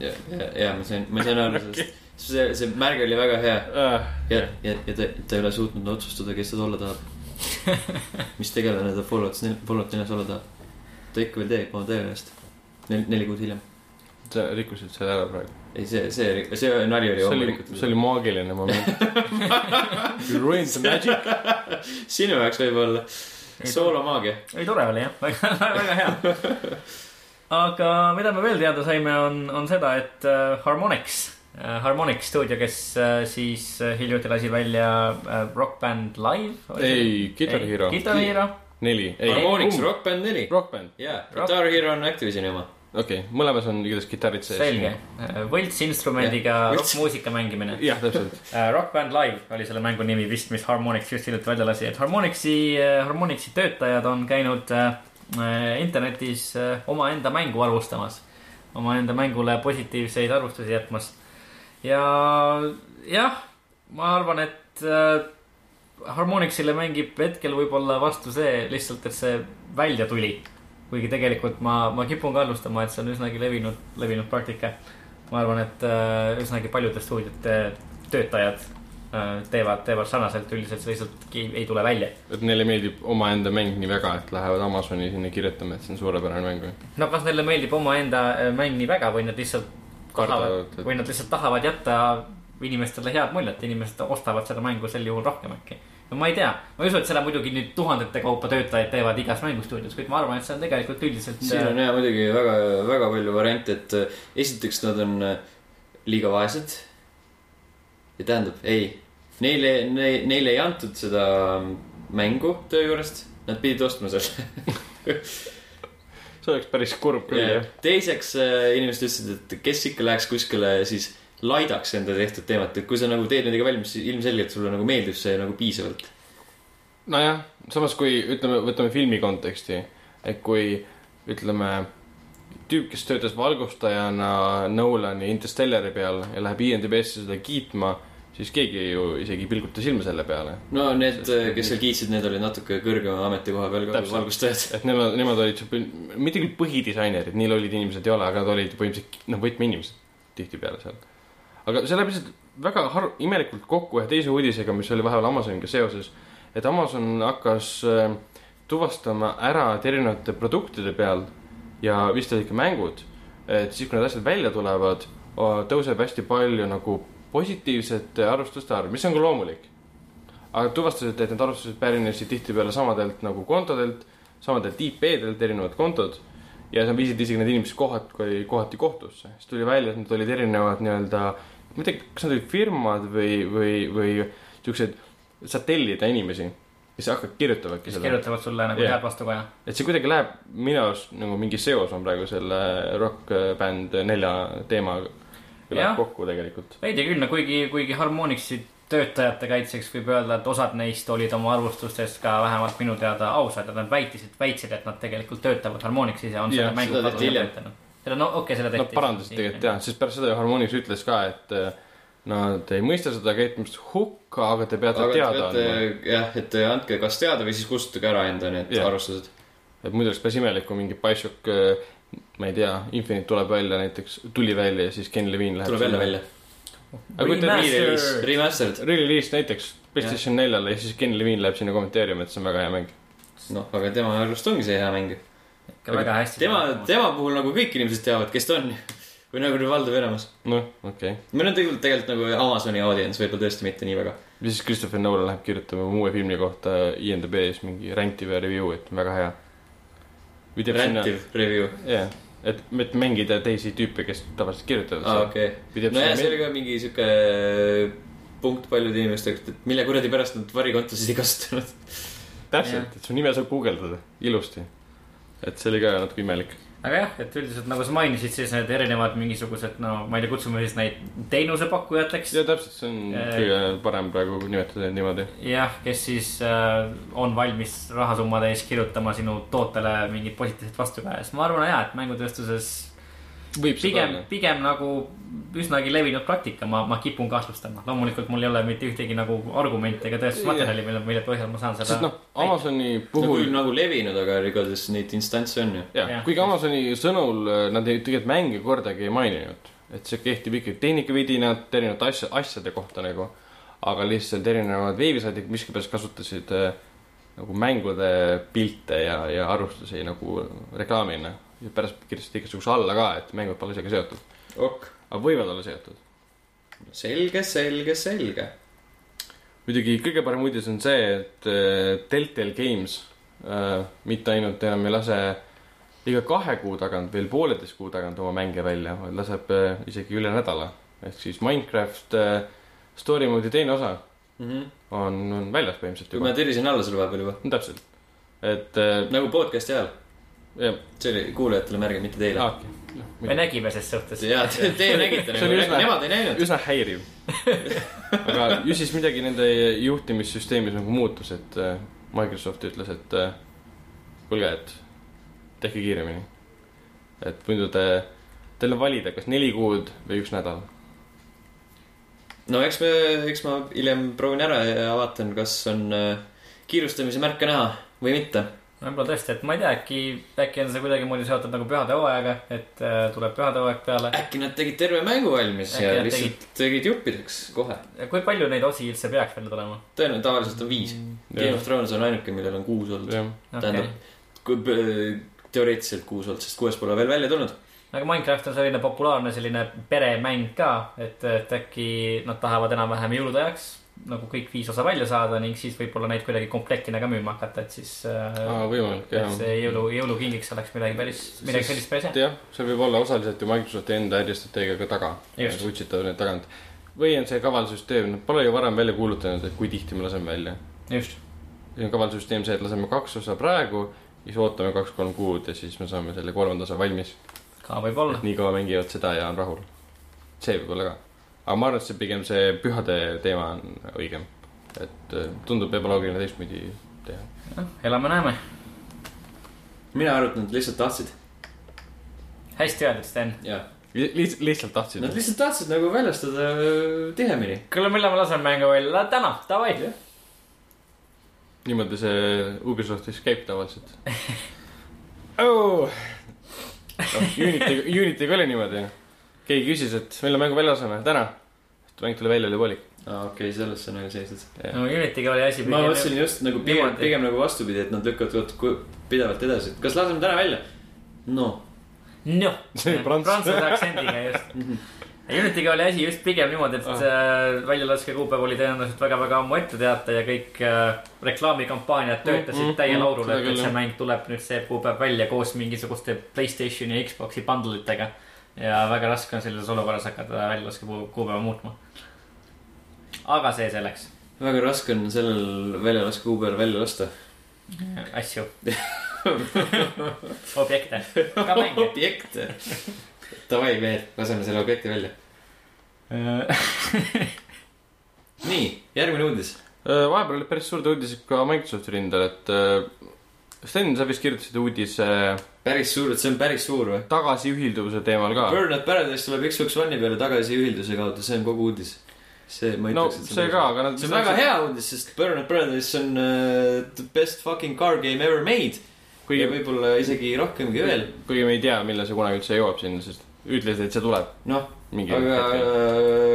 [SPEAKER 1] ja , ja , ja ma sain , ma sain aru sellest . see , see märg oli väga hea
[SPEAKER 2] äh, .
[SPEAKER 1] ja , ja , ja ta , ta ei ole suutnud otsustada , kes ta olla tahab . mis tegelane ta Fallout , Fallout neljas olla tahab . ta ikka veel teeb oma töö eest . neli , neli kuud hiljem .
[SPEAKER 2] sa rikkusid selle ära praegu .
[SPEAKER 1] ei , see , see , see nali oli
[SPEAKER 2] see oli ,
[SPEAKER 1] loomulikult .
[SPEAKER 2] see oli maagiline moment . You ruined the magic .
[SPEAKER 1] sinu jaoks võib-olla . soolomaagia .
[SPEAKER 3] ei , tore oli jah , väga , väga hea . aga mida me veel teada saime , on , on seda , et äh, Harmonix äh, , Harmonix stuudio , kes äh, siis äh, hiljuti lasi välja äh, Rock Band Live .
[SPEAKER 2] ei , Guitar Hero
[SPEAKER 3] Guitar Hero ,
[SPEAKER 2] neli , ei .
[SPEAKER 1] Harmonix Rock Band neli .
[SPEAKER 2] Rock Band ,
[SPEAKER 1] jaa , Guitar Hero on Activisioni oma .
[SPEAKER 2] okei okay. , mõlemas on igatahes kitarrid sees .
[SPEAKER 3] selge . võltsinstrumendiga
[SPEAKER 1] Jah, võlts-
[SPEAKER 3] rokkmuusika mängimine .
[SPEAKER 2] jah , täpselt .
[SPEAKER 3] Äh, Rock Band Live oli selle mängu nimi vist , mis Harmonix just hiljuti välja lasi , et Harmonixi , Harmonixi töötajad on käinud äh, äh, internetis äh, omaenda mängu arvustamas . omaenda mängule positiivseid arvustusi jätmas . ja jah , ma arvan , et äh, Harmonixile mängib hetkel võib-olla vastu see lihtsalt , et see välja tuli . kuigi tegelikult ma , ma kipun kahtlustama , et see on üsnagi levinud , levinud praktika . ma arvan , et äh, üsnagi paljude stuudiote töötajad äh, teevad , teevad sarnaselt , üldiselt see lihtsalt ki- ei tule välja .
[SPEAKER 2] et neile meeldib omaenda mäng nii väga , et lähevad Amazoni sinna kirjutama , et see on suurepärane mäng või ?
[SPEAKER 3] no kas neile meeldib omaenda äh, mäng nii väga või nad lihtsalt tahavad
[SPEAKER 2] Kardavad, , et-
[SPEAKER 3] või nad lihtsalt tahavad jätta inimestele head muljet , inimesed ostavad seda mängu sel juhul rohkem äkki . no ma ei tea , ma ei usu , et seda muidugi nüüd tuhandete kaupa töötajaid teevad igas mängustuudios , kuid ma arvan , et see on tegelikult üldiselt . äh,
[SPEAKER 1] siin on jaa muidugi väga , väga palju variante , et äh, esiteks nad on äh, liiga vaesed . ja tähendab , ei , neile , neile ei antud seda mängu töö juurest , nad pidid ostma selle .
[SPEAKER 2] see oleks päris kurb küll jah .
[SPEAKER 1] teiseks äh, inimesed ütlesid , et kes ikka läheks kuskile äh, siis laidaks enda tehtud teemat , et kui sa nagu teed midagi valmis , siis ilmselgelt sulle nagu meeldib see nagu piisavalt .
[SPEAKER 2] nojah , samas kui ütleme , võtame filmi konteksti , et kui ütleme , tüüp , kes töötas valgustajana Nolani Interstellari peal ja läheb IMDB-sse seda kiitma , siis keegi ju isegi ei pilguta silma selle peale .
[SPEAKER 1] no need , kes seal kiitsid , need olid natuke kõrgema ametikoha peal ka
[SPEAKER 2] Täpselt.
[SPEAKER 1] valgustajad .
[SPEAKER 2] et nemad , nemad olid , mitte küll põhidisainerid , nii lollid inimesed ei ole , aga nad olid põhimõtteliselt noh , võtmeinimesed tihtipeale seal . aga see läheb lihtsalt väga har- , imelikult kokku ühe teise uudisega , mis oli vahepeal Amazoniga seoses , et Amazon hakkas äh, tuvastama ära , et erinevate produktide peal ja vist olid ka mängud , et siis , kui need asjad välja tulevad , tõuseb hästi palju nagu positiivsete arvustuste arv , mis on ka loomulik . aga tuvastasid , et need arvustused pärinesid tihtipeale samadelt nagu kontodelt , samadelt IP-delt erinevad kontod ja seal viisid isegi need inimesed kohati , kohati kohtusse , siis tuli välja , et need olid erinevad nii-öelda , ma ei tea , kas nad olid firmad või , või , või siuksed saad tellida inimesi , kes hakkavad kirjutavadki
[SPEAKER 3] kes
[SPEAKER 2] seda .
[SPEAKER 3] kirjutavad sulle nagu
[SPEAKER 2] Jah.
[SPEAKER 3] head vastukaja .
[SPEAKER 2] et see kuidagi läheb minu arust nagu mingi seos on praegu selle rokkbänd nelja teemaga
[SPEAKER 3] Jah.
[SPEAKER 2] läheb kokku tegelikult .
[SPEAKER 3] veidi küll , no kuigi , kuigi Harmonixi töötajate kaitseks võib öelda , et osad neist olid oma arvustustes ka vähemalt minu teada ausad ja nad väitisid , väitsid , et nad tegelikult töötavad Harmonixis ja on
[SPEAKER 2] Jah,
[SPEAKER 3] selle
[SPEAKER 2] seda
[SPEAKER 3] mängu
[SPEAKER 1] tehti
[SPEAKER 3] kallal
[SPEAKER 1] hiljem.
[SPEAKER 3] töötanud . seda , no okei okay, , seda
[SPEAKER 2] Nad
[SPEAKER 3] tehti .
[SPEAKER 2] parandasid tegelikult jah , sest pärast seda ju Harmonix ütles ka , et eh, nad ei mõista seda käitumist hukka , aga te peate
[SPEAKER 1] aga
[SPEAKER 2] aga teada
[SPEAKER 1] te
[SPEAKER 2] andma .
[SPEAKER 1] peate jah , et eh, andke kas teada või siis kustutage ära enda need
[SPEAKER 2] Jah.
[SPEAKER 1] arvustused .
[SPEAKER 2] et muidu oleks päris imelik , kui mingi Bioshock , ma ei tea , Infinite tuleb välja näiteks , tuli välja ja siis Ken Levine läheb .
[SPEAKER 1] tuleb jälle välja .
[SPEAKER 2] aga kujuta ette ,
[SPEAKER 1] Re-release , remastered .
[SPEAKER 2] Re-release näiteks Playstation neljale ja siis Ken Levine läheb sinna kommenteeriuma , et see on väga hea mäng .
[SPEAKER 1] noh , aga tema arust ongi see hea mäng .
[SPEAKER 3] ikka väga hästi .
[SPEAKER 1] tema , tema puhul nagu kõik inimesed teavad , kes ta on . või nagu valdav enamus .
[SPEAKER 2] noh , okei okay. .
[SPEAKER 1] meil on tegelikult , tegelikult nagu Amazoni audients võib-olla tõesti mitte nii väga .
[SPEAKER 2] ja siis Christopher Nolan läheb kirjutama uue filmi kohta IMDB-s mingi räntiv ja review , et väga hea . või teeb sinna ,
[SPEAKER 1] Rantiv review .
[SPEAKER 2] jah , et , et mängida teisi tüüpe , kes tavaliselt kirjutavad
[SPEAKER 1] aa , Ah, okei .
[SPEAKER 2] või teeb
[SPEAKER 1] nojah , see
[SPEAKER 2] sinna
[SPEAKER 1] oli , ka mingi sihuke punkt paljude inimeste jaoks , et mille kuradi pärast nad varikontosid ei kasutanud .
[SPEAKER 2] täpselt , et su nime saab guugeldada ilusti . et see oli ka natuke imelik .
[SPEAKER 3] aga jah , et üldiselt nagu sa mainisid , siis need erinevad mingisugused , no ma ei tea , kutsume siis neid teenusepakkujateks .
[SPEAKER 2] ja täpselt , see on
[SPEAKER 3] Eh.
[SPEAKER 2] kõige parem praegu nimetada neid niimoodi .
[SPEAKER 3] jah , kes siis äh, on valmis rahasummade eest kirjutama sinu tootele mingit positiivset vastukaja , sest ma arvan jaa , et mängutööstuses
[SPEAKER 2] võib seda
[SPEAKER 3] pigem
[SPEAKER 2] olla .,
[SPEAKER 3] pigem nagu üsnagi levinud praktika , ma , ma kipun kahtlustama . loomulikult mul ei ole mitte ühtegi nagu argumente ega tõestusmaterjali , mille , mille põhjal ma saan
[SPEAKER 2] sest
[SPEAKER 3] seda
[SPEAKER 2] noh , Amazoni
[SPEAKER 1] no
[SPEAKER 2] puhul
[SPEAKER 1] küll nagu levinud , aga igatahes neid instantse on ju .
[SPEAKER 2] jah
[SPEAKER 3] Jah. ,
[SPEAKER 2] kuigi Amazoni sõnul äh, nad ei, tegelikult mänge kordagi ei maininud , et see kehtib ikkagi tehnikavidinad erinevate asja , asjade kohta nagu , aga lihtsalt erinevad veebisaidid miskipärast kasutasid äh, nagu mängude pilte ja , ja arvustusi nagu reklaamina ja pärast kirjutasid igasuguse alla ka , et mängud pole isegi seotud ,
[SPEAKER 1] ok ,
[SPEAKER 2] aga võivad olla seotud .
[SPEAKER 1] selge , selge , selge .
[SPEAKER 2] muidugi kõige parem uudis on see , et äh, Deltel Games äh, mitte ainult enam ei lase iga kahe kuu tagant , veel pooleteist kuu tagant oma mänge välja , vaid laseb äh, isegi üle nädala . ehk siis Minecraft äh, story mode'i teine osa on, on väljas põhimõtteliselt
[SPEAKER 1] kui Mhm. ma
[SPEAKER 2] juba .
[SPEAKER 1] tirisin alla selle vahepeal juba ,
[SPEAKER 2] täpselt , et äh,
[SPEAKER 1] nagu podcast'i ajal ,
[SPEAKER 2] jah ,
[SPEAKER 1] see oli kuulajatele märgin , mitte teile .
[SPEAKER 3] me
[SPEAKER 2] Ah, okei .
[SPEAKER 3] nägime ses suhtes .
[SPEAKER 1] ja te, teie nägite
[SPEAKER 2] See oli
[SPEAKER 1] nagu ,
[SPEAKER 2] üsna-
[SPEAKER 1] nemad ei näinud .
[SPEAKER 2] üsna häiriv . aga ju siis midagi nende juhtimissüsteemis nagu muutus , et äh, Microsoft ütles , et äh, kuulge , et tehke kiiremini . et muidu te , teil on valida , kas neli kuud või üks nädal .
[SPEAKER 1] no eks me , eks ma hiljem proovin ära ja vaatan , kas on äh, kiirustamise märke näha või mitte .
[SPEAKER 3] võib-olla tõesti , et ma ei tea , äkki , äkki on see kuidagimoodi seotud nagu pühade hooajaga , et äh, tuleb pühade hooaeg peale .
[SPEAKER 1] äkki nad tegid terve mängu valmis
[SPEAKER 3] Äkki
[SPEAKER 1] ja
[SPEAKER 3] nad
[SPEAKER 1] lihtsalt tegid, juppideks kohe .
[SPEAKER 2] Äh.
[SPEAKER 3] kui palju neid osi üldse peaks veel tulema ?
[SPEAKER 1] tõenäoliselt tavaliselt on viis . Game of Thrones on ainuke , millel on kuus olnud .
[SPEAKER 2] Mm. jah ,
[SPEAKER 3] okei
[SPEAKER 1] Tähendab- , kui p- teoreetiliselt kuus olnud , sest kuues pole veel välja tulnud .
[SPEAKER 3] aga Minecraft on selline populaarne selline peremäng ka , et , et äkki nad tahavad enam-vähem jõulude ajaks nagu kõik viis osa välja saada ning siis võib-olla neid kuidagi komplektina ka müüma hakata , et siis äh,
[SPEAKER 2] võimalik
[SPEAKER 3] et
[SPEAKER 2] jah .
[SPEAKER 3] see jõulu , jõulukingiks oleks midagi päris , midagi sellist päris hea .
[SPEAKER 2] jah , see võib olla osaliselt ju Microsofti enda äristrateegiaga taga , Nagu
[SPEAKER 3] Just.
[SPEAKER 2] utsitab neid tagant või on see kaval süsteem , nad pole ju varem välja kuulutanud , et kui tihti me laseme välja .
[SPEAKER 3] just ,
[SPEAKER 2] ja kaval süsteem see , et laseme kaks osa praegu , siis ootame kaks-kolm kuud ja siis me saame selle kolmanda osa valmis .
[SPEAKER 3] ka võib-olla .
[SPEAKER 2] nii kaua mängivad seda ja on rahul . see võib olla ka . aga ma arvan , et see pigem see pühade teema on õigem . et eh, tundub ebaloogiline teistpidi teha .
[SPEAKER 3] elame-näeme .
[SPEAKER 1] mina arvan , et nad lihtsalt tahtsid .
[SPEAKER 3] hästi öeldud , Sten .
[SPEAKER 1] jah ,
[SPEAKER 2] lihtsalt , lihtsalt tahtsin
[SPEAKER 1] nad . lihtsalt tahtsid nagu väljastada äh, tihemini .
[SPEAKER 3] kuule , millal me laseme mängu välja ? täna , davai .
[SPEAKER 2] niimoodi see Ubisoftis käib tavaliselt oh. . Noh, Unity , Unity'ga oli niimoodi . keegi küsis , et millal mängu välja laseme , täna . mäng tuli välja , oli poolik .
[SPEAKER 1] aa , okei , selles on nagu seisnud .
[SPEAKER 3] no Unity'ga oli asi .
[SPEAKER 1] ma mõtlesin just nagu pigem ,
[SPEAKER 3] Niimoodi.
[SPEAKER 1] pigem nagu vastupidi , et nad lükkavad vot kui- pidevalt edasi , et kas laseme täna välja ? noh ,
[SPEAKER 3] noh ,
[SPEAKER 2] See oli prants-
[SPEAKER 3] prantsuse aktsendiga just . Unity'ga oli asi just pigem niimoodi , et äh, väljalaskekuupäev oli tõenäoliselt väga-väga ammu ette teada ja kõik äh, reklaamikampaaniad töötasid
[SPEAKER 2] Mm,
[SPEAKER 3] mm,
[SPEAKER 2] mm,
[SPEAKER 3] mm, täie
[SPEAKER 2] mm,
[SPEAKER 3] laulul ,
[SPEAKER 2] seda
[SPEAKER 3] et
[SPEAKER 2] küll,
[SPEAKER 3] et
[SPEAKER 2] jah.
[SPEAKER 3] see mäng tuleb nüüd see kuupäev välja koos mingisuguste Playstationi ja Xbox'i bundle'itega . ja väga raske on sellises olukorras hakata väljalaskekuupäeva muutma . aga see selleks .
[SPEAKER 1] väga raske on sellel väljalaskuupäeval välja lasta .
[SPEAKER 3] asju objekte , ka mänge .
[SPEAKER 1] objekte . Davai , mehed , laseme selle objekti välja . nii , järgmine uudis .
[SPEAKER 2] Äh, vahepeal olid päris suured uudised ka Microsofti rindel , et äh, Sten , sa vist kirjutasid uudise
[SPEAKER 1] päris suur , see on päris suur või ?
[SPEAKER 2] tagasiühilduvuse teemal ka .
[SPEAKER 1] Burnout Paradise tuleb Xbox One'i peale tagasi ühilduse kaudu , see on kogu uudis . see , ma ei
[SPEAKER 2] no
[SPEAKER 1] ütleks , et
[SPEAKER 2] see ka , aga nad .
[SPEAKER 1] see on väga . hea uudis , sest Burnout Paradise on uh, the best fucking car game ever made ja
[SPEAKER 2] kuigi ,
[SPEAKER 1] võib-olla isegi rohkemgi veel .
[SPEAKER 2] kuigi me ei tea , millal see kunagi üldse jõuab sinna , sest ütlesid , et see tuleb
[SPEAKER 1] noh ,
[SPEAKER 2] mingi .
[SPEAKER 1] aga ,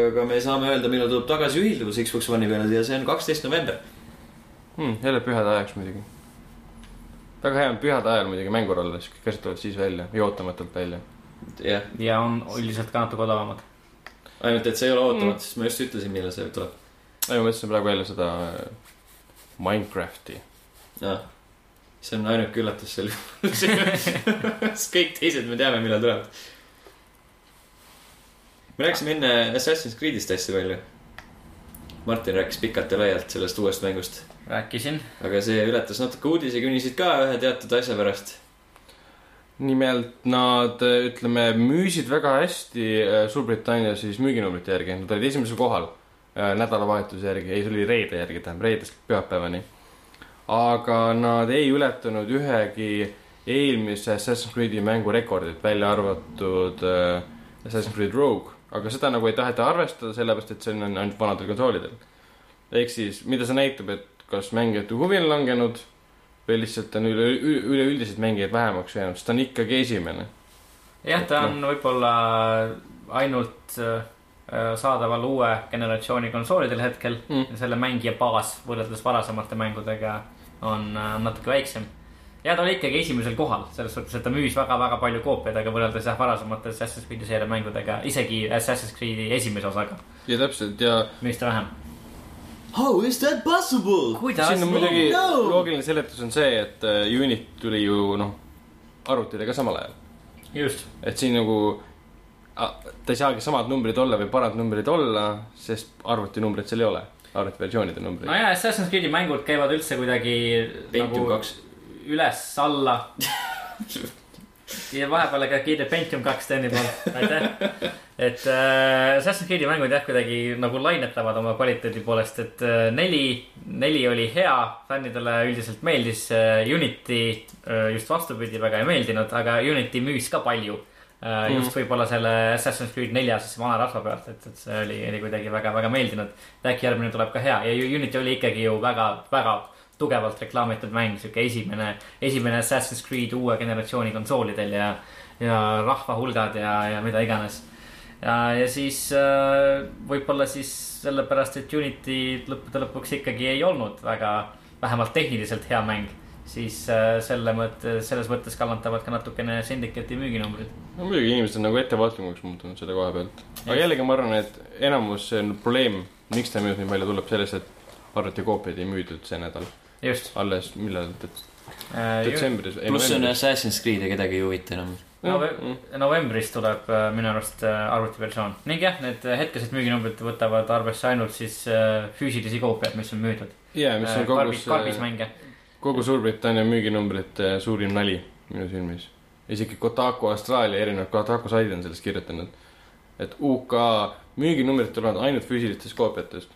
[SPEAKER 1] aga me saame öelda , millal tuleb tagasi ühilduvus Xbox One'i peale ja see on kaksteist november .
[SPEAKER 2] hmm, . jälle pühade ajaks muidugi . väga hea on pühade ajal muidugi mängul olla , siis kõik asjad tulevad siis välja ja ootamatult välja .
[SPEAKER 1] jah ,
[SPEAKER 3] ja on üldiselt ka natuke odavamad .
[SPEAKER 1] ainult et see ei ole ootamatu mm. , sest ma just ütlesin , millal see tuleb
[SPEAKER 2] ei , ma mõtlesin praegu jälle seda äh, Minecrafti .
[SPEAKER 1] no. . see on ainuke üllatus sel juhul . sest kõik teised me teame , millal tulevad . me rääkisime enne Assassin's Creed'ist hästi palju . Martin rääkis pikalt ja laialt sellest uuest mängust ,
[SPEAKER 3] rääkisin .
[SPEAKER 1] aga see ületas natuke uudisekünniseid ka ühe teatud asja pärast .
[SPEAKER 2] nimelt nad , ütleme , müüsid väga hästi äh, Suurbritannia siis müüginumbrite järgi , nad olid esimesel kohal äh, nädalavahetuse järgi , ei , see oli reede järgi , tähendab reedest pühapäevani . aga nad ei ületanud ühegi eelmise Assassin's Creed'i mängu rekordit , välja arvatud äh, Assassin's Creed Rogue , aga seda nagu ei taheta arvestada , sellepärast et see on ainult vanadel konsoolidel . ehk siis , mida see näitab , et kas mängijate huvi on langenud või lihtsalt on üle , üleüldiselt mängijaid vähemaks jäänud , sest ta on ikkagi esimene .
[SPEAKER 3] jah , ta on võib-olla ainult äh, saadaval uue generatsiooni konsoolidel hetkel
[SPEAKER 2] Mm.
[SPEAKER 3] mm. . selle mängija baas võrreldes varasemate mängudega on äh, natuke väiksem . ja ta oli ikkagi esimesel kohal , selles suhtes , et ta müüs väga-väga palju koopiaid , aga võrreldes jah , varasemate Assassin's Creed'i seeria mängudega , isegi Assassin's Creed'i esimese osaga
[SPEAKER 2] ja täpselt ja
[SPEAKER 3] müüs ta vähem .
[SPEAKER 1] How is that possible ?
[SPEAKER 3] kuidas
[SPEAKER 2] siin on muidugi
[SPEAKER 1] no.
[SPEAKER 2] loogiline seletus on see , et äh, Unit tuli ju noh , arvutidega samal ajal ,
[SPEAKER 3] just ,
[SPEAKER 2] et siin nagu a- ta ei saagi samad numbrid olla või parad numbrid olla , sest arvutinumbreid seal ei ole , arvutiversioonide numbreid no, .
[SPEAKER 3] nojah , Assassin's Creed'i mängud käivad üldse kuidagi nagu
[SPEAKER 1] Pentium kaks.
[SPEAKER 3] üles-alla . ja vahepeal ka kiire Pentium kaks Steni poolt , aitäh . et äh, Assassin's Creed'i mängud jah , kuidagi nagu lainetavad oma kvaliteedi poolest , et äh, neli , neli oli hea , fännidele üldiselt meeldis äh, . Unity äh, just vastupidi , väga ei meeldinud , aga Unity müüs ka palju äh, . just võib-olla selle Assassin's Creed nelja siis vana rasva pealt , et , et see oli , oli kuidagi väga-väga meeldinud . et äkki järgmine tuleb ka hea ja ju- Unity oli ikkagi ju väga-väga tugevalt reklaamitud mäng , sihuke esimene , esimene Assassin's Creed uue generatsiooni konsoolidel ja , ja rahvahulgad ja , ja mida iganes . ja , ja siis äh, võib-olla siis sellepärast , et Unity lõppude lõpuks ikkagi ei olnud väga , vähemalt tehniliselt hea mäng , siis äh, selle mõtte , selles mõttes kannatavad ka natukene Syndicate'i müüginumbrid .
[SPEAKER 2] no muidugi inimesed on nagu ettevaatlikumaks muutunud selle koha pealt , aga jällegi ma arvan , et enamus see on probleem , miks ta müüs nii palju , tuleb sellest , et arvutikoopiaid ei müüdud see nädal ,
[SPEAKER 3] just
[SPEAKER 2] alles millal ,
[SPEAKER 3] äh, .
[SPEAKER 2] detsembris .
[SPEAKER 1] pluss on Assassin's Creed ja kedagi ei huvita enam .
[SPEAKER 3] Nove- , novembris tuleb äh, minu arust äh, arvutiversioon ning jah , need äh, hetkesed müüginumbrid võtavad arvesse ainult siis äh, füüsilisi koopiaid , mis on müüdud .
[SPEAKER 2] jaa ,
[SPEAKER 3] Äh,
[SPEAKER 2] mis on kogu
[SPEAKER 3] karbis , karbismänge .
[SPEAKER 2] kogu Suurbritannia müüginumbrite suurim nali minu silmis . isegi Kotaku Austraalia erinevad Kotaku said on sellest kirjutanud , et UK müüginumbrid tulevad ainult füüsilistest koopiatest .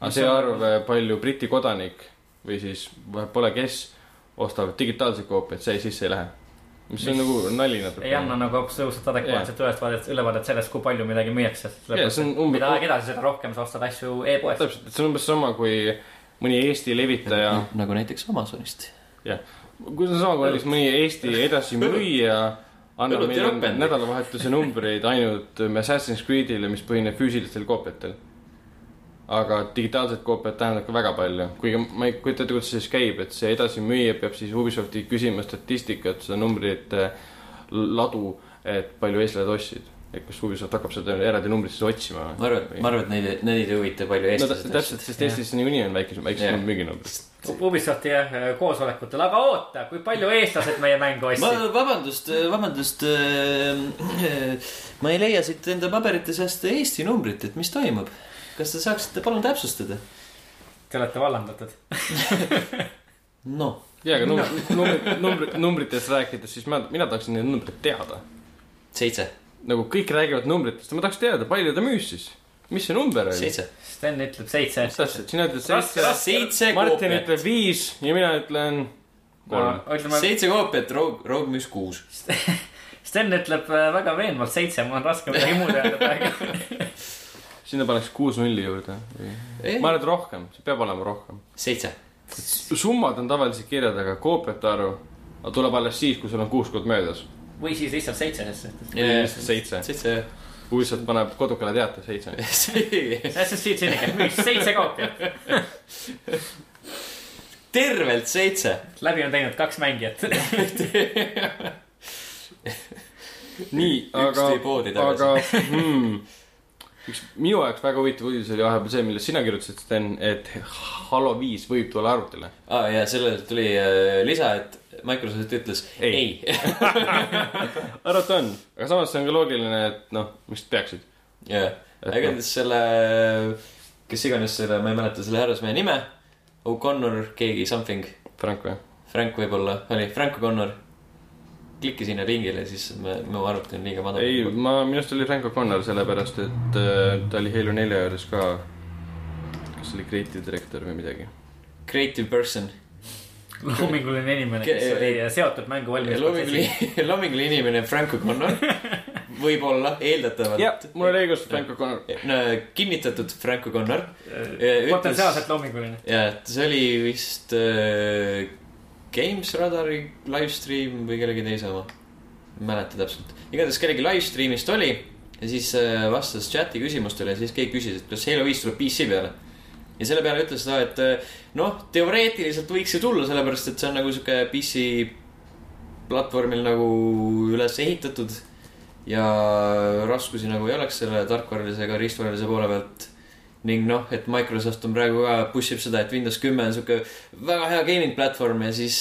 [SPEAKER 2] aga see arv , palju Briti kodanik või siis vahet pole kes ostavad digitaalseid koopiaid , see sisse ei lähe . mis on
[SPEAKER 3] Mis
[SPEAKER 2] nagu nali natuke .
[SPEAKER 3] ei anna nagu absoluutselt adekvaatset ülevaadet , ülevaadet sellest , kui palju midagi müüakse .
[SPEAKER 2] Jaa, see on umbes-
[SPEAKER 3] mida aeg edasi , seda rohkem sa ostad asju e-poest .
[SPEAKER 2] täpselt , see on umbes sama kui mõni Eesti levitaja
[SPEAKER 1] nagu näiteks Amazonist .
[SPEAKER 2] kui see sama korralik mõni Eesti edasimüüja annab
[SPEAKER 1] Õlut ja
[SPEAKER 2] meile
[SPEAKER 1] ropendit.
[SPEAKER 2] nädalavahetuse numbreid ainult um, Assassin's Creed'ile , mis põhineb füüsilistel koopiatel . aga digitaalsed koopiad tähendab ka väga palju , kuigi ma ei kujuta ette , kuidas see siis käib , et see edasimüüja peab siis Ubisofti küsima statistikat , seda numbrite ladu , et palju eestlased ostsid . et kas Ubisoft hakkab seda eraldi numbrit siis otsima
[SPEAKER 1] ma arvan , ma arvan , et neid , neid ei huvita palju
[SPEAKER 2] no
[SPEAKER 1] eestlased
[SPEAKER 2] tä- täpselt , sest
[SPEAKER 3] jah.
[SPEAKER 2] Eestis niikuinii on väikesem ,
[SPEAKER 1] Jah.
[SPEAKER 2] väiksem müüginumber .
[SPEAKER 3] Ubisofti jah , koosolekutel , aga oota , kui palju eestlased meie mängu
[SPEAKER 1] ma
[SPEAKER 3] ostsid ?,
[SPEAKER 1] vabandust , vabandust . ma ei leia siit enda paberite seast Eesti numbrit , et mis toimub . kas te saaksite palun täpsustada ?
[SPEAKER 3] Te olete vallandatud .
[SPEAKER 4] noh ,
[SPEAKER 2] jaa , aga numbrit , numbrit , numbrit , numbritest rääkides , siis ma , mina tahaksin neid numbreid teada .
[SPEAKER 1] seitse ,
[SPEAKER 2] nagu kõik räägivad numbritest , ma tahaks teada , palju ta müüs siis ? mis see number oli ?
[SPEAKER 1] seitse .
[SPEAKER 3] Sten ütleb seitse .
[SPEAKER 2] täpselt , sina ütled
[SPEAKER 3] Raske,
[SPEAKER 2] seitse ,
[SPEAKER 1] seitse
[SPEAKER 2] Martin
[SPEAKER 1] koopiat ,
[SPEAKER 2] ütleb viis ja mina ütlen kolm .
[SPEAKER 3] ütleme ,
[SPEAKER 1] seitse koopiat , Rogue , Rogue müüs kuus .
[SPEAKER 3] Sten ütleb äh, väga veenvalt seitse , mul on raske midagi muud öelda praegu .
[SPEAKER 2] sinna paneks kuus nulli juurde . ma arvan , et rohkem , see peab olema rohkem .
[SPEAKER 1] seitse ,
[SPEAKER 2] summad on tavaliselt kirjas , aga koopiate arv tuleb alles siis , kui sul on kuus kuud möödas .
[SPEAKER 3] või siis lihtsalt seitse , sest et .
[SPEAKER 2] seitse ,
[SPEAKER 1] seitse ,
[SPEAKER 2] kui lihtsalt paneb kodukale teate seitse .
[SPEAKER 3] jah , sest siit sinna käib , müüs seitse koopiat .
[SPEAKER 1] tervelt seitse .
[SPEAKER 3] läbi on teinud kaks mängijat .
[SPEAKER 2] nii ,
[SPEAKER 1] Üks
[SPEAKER 2] aga
[SPEAKER 1] tõi poodi , tagasi.
[SPEAKER 2] aga hmm, üks minu jaoks väga huvitav uudis oli vahepeal see , millest sina kirjutasid , Sten , et Halo viis võib tulla arvutile .
[SPEAKER 1] aa ja sellele Ah, tuli äh, lisa , et Microsoft ütles ei,
[SPEAKER 2] Ei.
[SPEAKER 1] ei. .
[SPEAKER 2] arvata on , aga samas see on ka loogiline , et noh , miks peaksid .
[SPEAKER 1] jah ,
[SPEAKER 2] Äh,
[SPEAKER 1] aga igatahes selle , kes iganes selle , ma ei mäleta selle härrasmehe nime , O'Connor , keegi something ,
[SPEAKER 2] Frank või ?
[SPEAKER 1] Frank võib-olla oli , Frank O'Connor . klikki sinna lingile , siis me , me arvutame liiga
[SPEAKER 2] ei ,
[SPEAKER 1] madalalt .
[SPEAKER 2] ma , minu arust oli Frank O'Connor sellepärast , et äh, ta oli Halo nelja juures ka , kas see oli creative director või midagi .
[SPEAKER 1] Creative person ,
[SPEAKER 3] loominguline inimene , kes oli äh, seotud mängu valmis .
[SPEAKER 1] loominguline , loominguline inimene Frank O'Connor , võib-olla ,
[SPEAKER 2] jah
[SPEAKER 1] eeldatavalt .,
[SPEAKER 2] mul oli õigus , Frank O'Connor .
[SPEAKER 1] no, . kinnitatud Frank O'Connor
[SPEAKER 3] Äh, potentsiaalselt loominguline .
[SPEAKER 1] ja see oli vist äh, Games Radari livestream või kellegi teise oma . ei mäleta täpselt , igatahes kellegi livestreamist oli ja siis äh, vastas chati küsimustele ja siis keegi küsis , et kas Halo viis tuleb PC peale . ja selle peale ütles ta , et äh, noh , teoreetiliselt võiks see tulla , sellepärast et see on nagu sihuke PC platvormil nagu üles ehitatud ja raskusi nagu ei oleks selle tarkvaralise ega riistvaralise poole pealt ning noh , et Microsoft on praegu ka push ib seda , et Windows kümme on sihuke väga hea gaming platvorm ja siis ,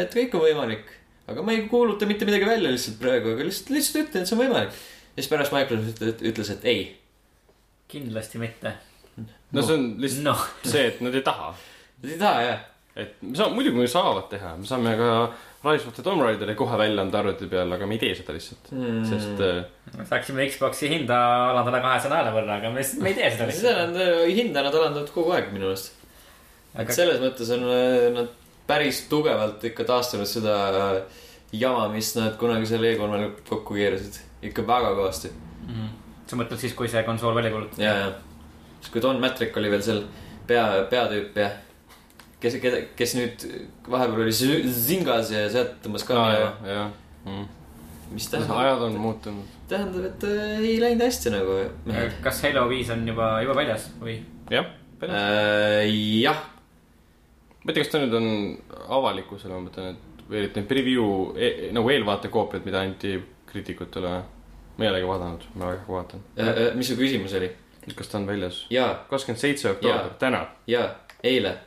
[SPEAKER 1] et kõik on võimalik . aga ma ei kuuluta mitte midagi välja lihtsalt praegu , aga lihtsalt , lihtsalt ütlen , et see on võimalik . ja siis pärast Microsoft üt- ütles , et ei .
[SPEAKER 3] kindlasti mitte .
[SPEAKER 2] no see on lihtsalt
[SPEAKER 3] noh ,
[SPEAKER 2] see , et nad ei taha .
[SPEAKER 1] Nad ei taha jah .
[SPEAKER 2] et me saame , muidugi me saavad teha , me saame ka Rise of the Tomb Raideri kohe välja anda arvuti peal , aga me ei tee seda lihtsalt
[SPEAKER 1] Hmm.
[SPEAKER 2] mm. , sest äh,
[SPEAKER 3] saaksime Xbox'i hinda alandada kahesaja naela võrra , aga me , me ei tee
[SPEAKER 1] seda
[SPEAKER 3] seda lihtsalt .
[SPEAKER 1] nad , hinda nad alandavad kogu aeg minu meelest . et
[SPEAKER 3] aga
[SPEAKER 1] selles mõttes on äh, nad päris tugevalt ikka taastanud seda äh, jama , mis nad kunagi seal E3-l kokku keerasid . ikka väga kõvasti .
[SPEAKER 3] Mhm. sa mõtled siis , kui see konsool välja kuulutati ?
[SPEAKER 1] ja , ja . siis kui Don Matrick oli veel seal pea , peatüüp ja kes , kes nüüd vahepeal oli Zü- Zingas ja sealt tõmbas ka
[SPEAKER 2] aa,
[SPEAKER 1] minema
[SPEAKER 2] jah , jah mm. .
[SPEAKER 1] mis tähendab ,
[SPEAKER 2] ajad on muutunud .
[SPEAKER 1] tähendab , et äh, ei läinud hästi nagu .
[SPEAKER 3] kas Halo viis on juba , juba väljas või ?
[SPEAKER 2] jah ,
[SPEAKER 1] Äh.
[SPEAKER 2] ma
[SPEAKER 1] jah ,
[SPEAKER 2] ei tea , kas ta nüüd on avalikkusele , ma mõtlen , et või et need preview e e- nagu eelvaatekoopiad , mida anti kriitikutele või ? ma ei olegi vaadanud , ma väga vaatan .
[SPEAKER 1] Äh, mis su küsimus oli ?
[SPEAKER 2] kas ta on väljas ?
[SPEAKER 1] ja ,
[SPEAKER 2] kakskümmend seitse oktoober
[SPEAKER 1] Jaa. ,
[SPEAKER 2] täna .
[SPEAKER 1] ja eile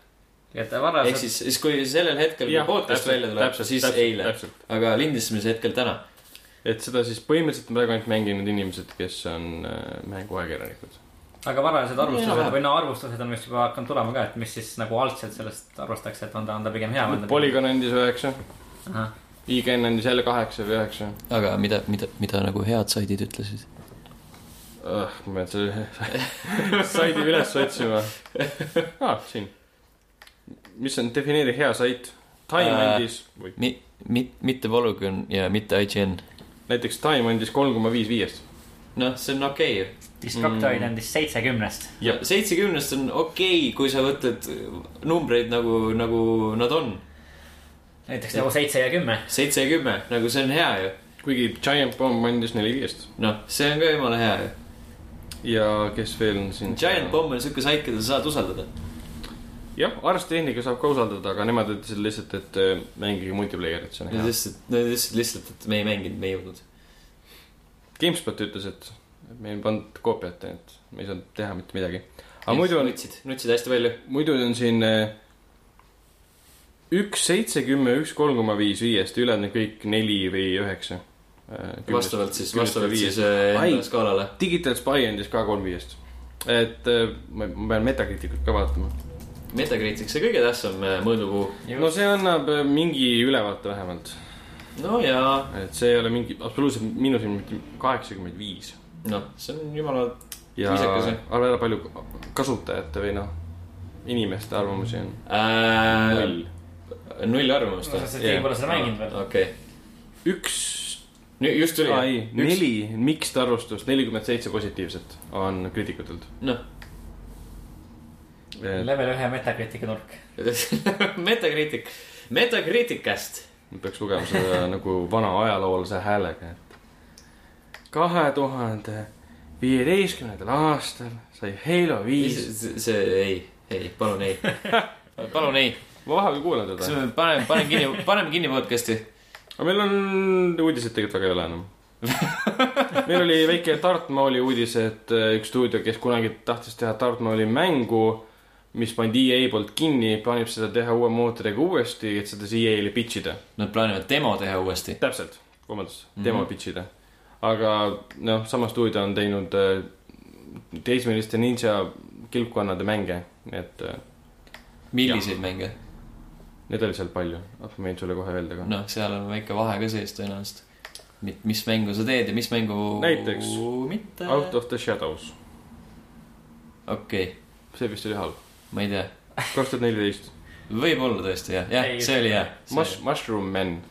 [SPEAKER 3] et
[SPEAKER 1] ehk
[SPEAKER 3] varasem ,
[SPEAKER 1] siis , siis kui sellel hetkel , kui podcast välja tuleb , siis täpselt, eile ,
[SPEAKER 2] täpselt ,
[SPEAKER 1] aga lindistamise hetkel täna .
[SPEAKER 2] et seda siis põhimõtteliselt on praegu ainult mänginud inimesed , kes on äh, mänguajakirjanikud .
[SPEAKER 3] aga varased arvustused
[SPEAKER 1] Enam-vähem.
[SPEAKER 3] või no arvustused on vist juba hakanud tulema ka , et mis siis nagu algselt sellest arvatakse , et on ta , on ta pigem hea .
[SPEAKER 2] Polygon andis üheksa ,
[SPEAKER 3] Ahah.
[SPEAKER 2] IGN andis jälle kaheksa või üheksa
[SPEAKER 1] aga mida , mida , mida nagu head saidid ütlesid ?
[SPEAKER 2] uh, . ma pean selle saidi üles otsima ah, . siin , mis on , defineeri hea sait . Time
[SPEAKER 1] Äh.
[SPEAKER 2] andis , või
[SPEAKER 1] Mi- , mi- , mitte Polygon ja mitte IGN .
[SPEAKER 2] näiteks Time andis kolm koma viis viiest .
[SPEAKER 1] noh , see on okei okay, ju .
[SPEAKER 3] Destructoid andis seitsekümnest .
[SPEAKER 1] ja seitsekümnest on okei okay, , kui sa võtad numbreid nagu , nagu nad on .
[SPEAKER 3] näiteks nagu seitse ja kümme .
[SPEAKER 1] seitse ja kümme , nagu see on hea ju .
[SPEAKER 2] kuigi Giant Bomb andis neli viiest
[SPEAKER 1] noh , see on ka jumala hea ju .
[SPEAKER 2] ja kes veel on siin ?
[SPEAKER 1] Giant Bomb on siuke saik , keda sa saad usaldada .
[SPEAKER 2] jah , arstitehnika saab ka usaldada , aga nemad ütlesid lihtsalt , et äh, mängige multiplayerit , see on
[SPEAKER 1] Nad
[SPEAKER 2] hea .
[SPEAKER 1] lihtsalt , nad lihtsalt , lihtsalt , et me ei mänginud , me ei jõudnud .
[SPEAKER 2] GameSpot ütles , et me ei pannud koopiat , et me ei saanud teha mitte midagi . aga muidu on ,
[SPEAKER 1] nutsid , nutsid hästi palju .
[SPEAKER 2] muidu on siin äh, üks seitse , kümme , üks kolm koma viis viiest , ülejäänud on kõik neli või üheksa . Eh,
[SPEAKER 1] vastavalt siis , vastavalt siis äh,
[SPEAKER 2] Ai.
[SPEAKER 1] enda skaalale .
[SPEAKER 2] eh, Digital Spy andis ka kolm viiest . et äh, ma ma pean Metacriticut ka vaatama .
[SPEAKER 1] Metacritic , see kõige tähtsam äh, mõõdupuu .
[SPEAKER 2] no see annab äh, mingi ülevaate vähemalt ,
[SPEAKER 1] no jaa ,
[SPEAKER 2] et see ei ole mingi absoluutselt miinus on mitte kaheksakümmend viis .
[SPEAKER 1] noh , see on jumala
[SPEAKER 2] ja
[SPEAKER 1] Viisakas, jah.
[SPEAKER 2] arva ära palju kasutajate või noh , inimeste arvamusi on
[SPEAKER 1] äh,
[SPEAKER 2] null .
[SPEAKER 1] null arvamust
[SPEAKER 3] sa
[SPEAKER 1] või ?
[SPEAKER 3] oled keegi pole seda mänginud veel .
[SPEAKER 1] okei ,
[SPEAKER 2] üks ,
[SPEAKER 1] just tuli .
[SPEAKER 2] ei , neli mixed arvustust , nelikümmend seitse positiivset on kriitikutelt .
[SPEAKER 1] noh ,
[SPEAKER 3] level ühe Metacritic'i nurk .
[SPEAKER 1] Metacritic , Metacriticast .
[SPEAKER 2] peaks lugema seda nagu vana ajaloolase häälega , et kahe tuhande viieteistkümnendal aastal sai Halo viis .
[SPEAKER 1] see , ei , ei , palun ei . palun ei ,
[SPEAKER 2] ma vahepeal kuulan
[SPEAKER 1] kas
[SPEAKER 2] teda ,
[SPEAKER 1] me paneme , paneme kinni , paneme kinni podcast'i .
[SPEAKER 2] aga meil on uudiseid tegelikult väga ei ole enam . meil oli väike Tartmaali uudis , et äh, üks stuudio , kes kunagi tahtis teha Tartmaali mängu , mis pandi EA poolt kinni , plaanib seda teha uue mootoriga uuesti , et seda siis EA-le pitch ida .
[SPEAKER 1] Nad plaanivad demo teha uuesti .
[SPEAKER 2] täpselt , vabandust , demo mm -hmm. pitch ida . aga noh , sama stuudio on teinud äh, teismeliste ninja kilpkonnade mänge , et äh,
[SPEAKER 1] milliseid mänge ?
[SPEAKER 2] neid oli seal palju , ma võin sulle kohe öelda ka no. .
[SPEAKER 1] noh , seal on väike vahe ka sees tõenäoliselt . mis mängu sa teed ja mis mängu .
[SPEAKER 2] Näiteks.
[SPEAKER 1] mitte .
[SPEAKER 2] Out of the Shadows ,
[SPEAKER 1] okei ,
[SPEAKER 2] see vist oli halb ,
[SPEAKER 1] ma ei tea ,
[SPEAKER 2] kaks tuhat neliteist .
[SPEAKER 1] võib-olla tõesti jah , jah ,
[SPEAKER 3] Ei,
[SPEAKER 1] see oli hea .
[SPEAKER 2] Mush- , Mushroom Man ,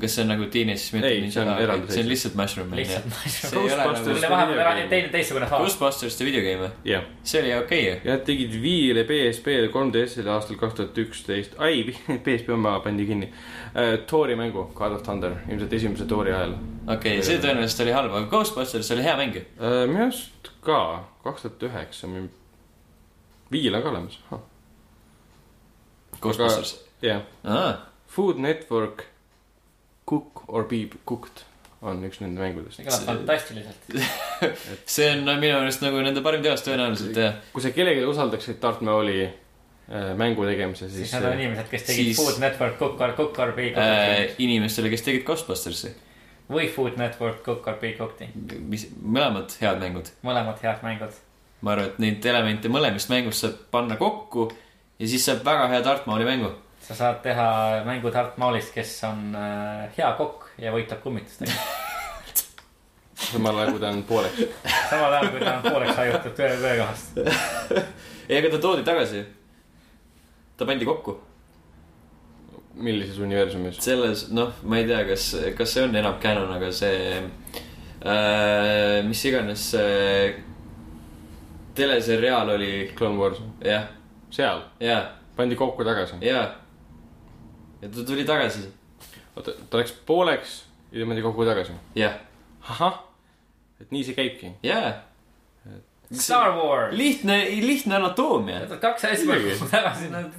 [SPEAKER 1] kas see on nagu Teenage Mutant
[SPEAKER 2] Ei, see on
[SPEAKER 1] Ninja- see
[SPEAKER 2] eraldi
[SPEAKER 1] on
[SPEAKER 2] seisnud.
[SPEAKER 1] lihtsalt Mushroom Man jah .
[SPEAKER 3] lihtsalt .
[SPEAKER 1] See ei ole nagu-
[SPEAKER 2] Ghostbusters-
[SPEAKER 3] mille vahepeal ära teinud teistsugune faas .
[SPEAKER 1] Ghostbusterste videogame ,
[SPEAKER 2] jah .
[SPEAKER 1] see oli okei okay. .
[SPEAKER 2] ja nad tegid Viiele PSP-le , 3DS-le aastal kaks tuhat üksteist , ai , PSP oma pandi kinni äh, . Tori mängu , God of Thunder , ilmselt esimese Tori ajal
[SPEAKER 1] okei okay, , see tõenäoliselt oli halb , aga Ghostbusters oli hea mäng ju .
[SPEAKER 2] Äh, minu arust ka , kaks tuhat üheksa , viil on ka olemas .
[SPEAKER 1] Ghostbusters
[SPEAKER 2] jah ,
[SPEAKER 1] aga... .
[SPEAKER 2] Food Network , Cook or be cooked on üks nende mängudest .
[SPEAKER 3] kõlab fantastiliselt .
[SPEAKER 1] see on no, minu meelest nagu nende parim teos tõenäoliselt ja
[SPEAKER 2] kui sa kellelegi usaldaksid Tart Maoli äh, mängu tegemise , siis äh,
[SPEAKER 3] siis need on inimesed , kes tegid
[SPEAKER 1] siis-
[SPEAKER 3] Food Network , Cookar , Cookar , Big
[SPEAKER 1] äh,
[SPEAKER 3] Cookti
[SPEAKER 1] inimestele , kes tegid Ghostbustersi .
[SPEAKER 3] või Food Network , Cookar , Big Cookti .
[SPEAKER 1] mis , mõlemad head mängud .
[SPEAKER 3] mõlemad head mängud .
[SPEAKER 1] ma arvan , et neid elemente mõlemast mängust saab panna kokku ja siis saab väga hea Darth Mauli mängu .
[SPEAKER 3] sa saad teha mängu Tart Maalist , kes on äh, hea kokk ja võitleb kummitustega .
[SPEAKER 2] samal ajal kui ta on pooleks .
[SPEAKER 3] samal ajal , kui ta on pooleks hajutud töö , töökohast .
[SPEAKER 1] ei , aga ta toodi tagasi . ta pandi kokku .
[SPEAKER 2] millises universumis ?
[SPEAKER 1] selles , noh , ma ei tea , kas , kas see on enam canon , aga see äh, , mis iganes see teleseriaal oli ,
[SPEAKER 2] Clone Wars ,
[SPEAKER 1] jah ,
[SPEAKER 2] seal
[SPEAKER 1] ja ,
[SPEAKER 2] pandi kokku tagasi .
[SPEAKER 1] ja . ja ta tuli tagasi ,
[SPEAKER 2] oota , ta läks pooleks ja pandi kokku tagasi .
[SPEAKER 1] jah ,
[SPEAKER 2] ahah , et nii see käibki .
[SPEAKER 1] ja .
[SPEAKER 3] Star Wars .
[SPEAKER 1] lihtne , lihtne anatoomia .
[SPEAKER 3] Need on kaks asja
[SPEAKER 2] Muidugi.
[SPEAKER 3] kokku tagasi , nad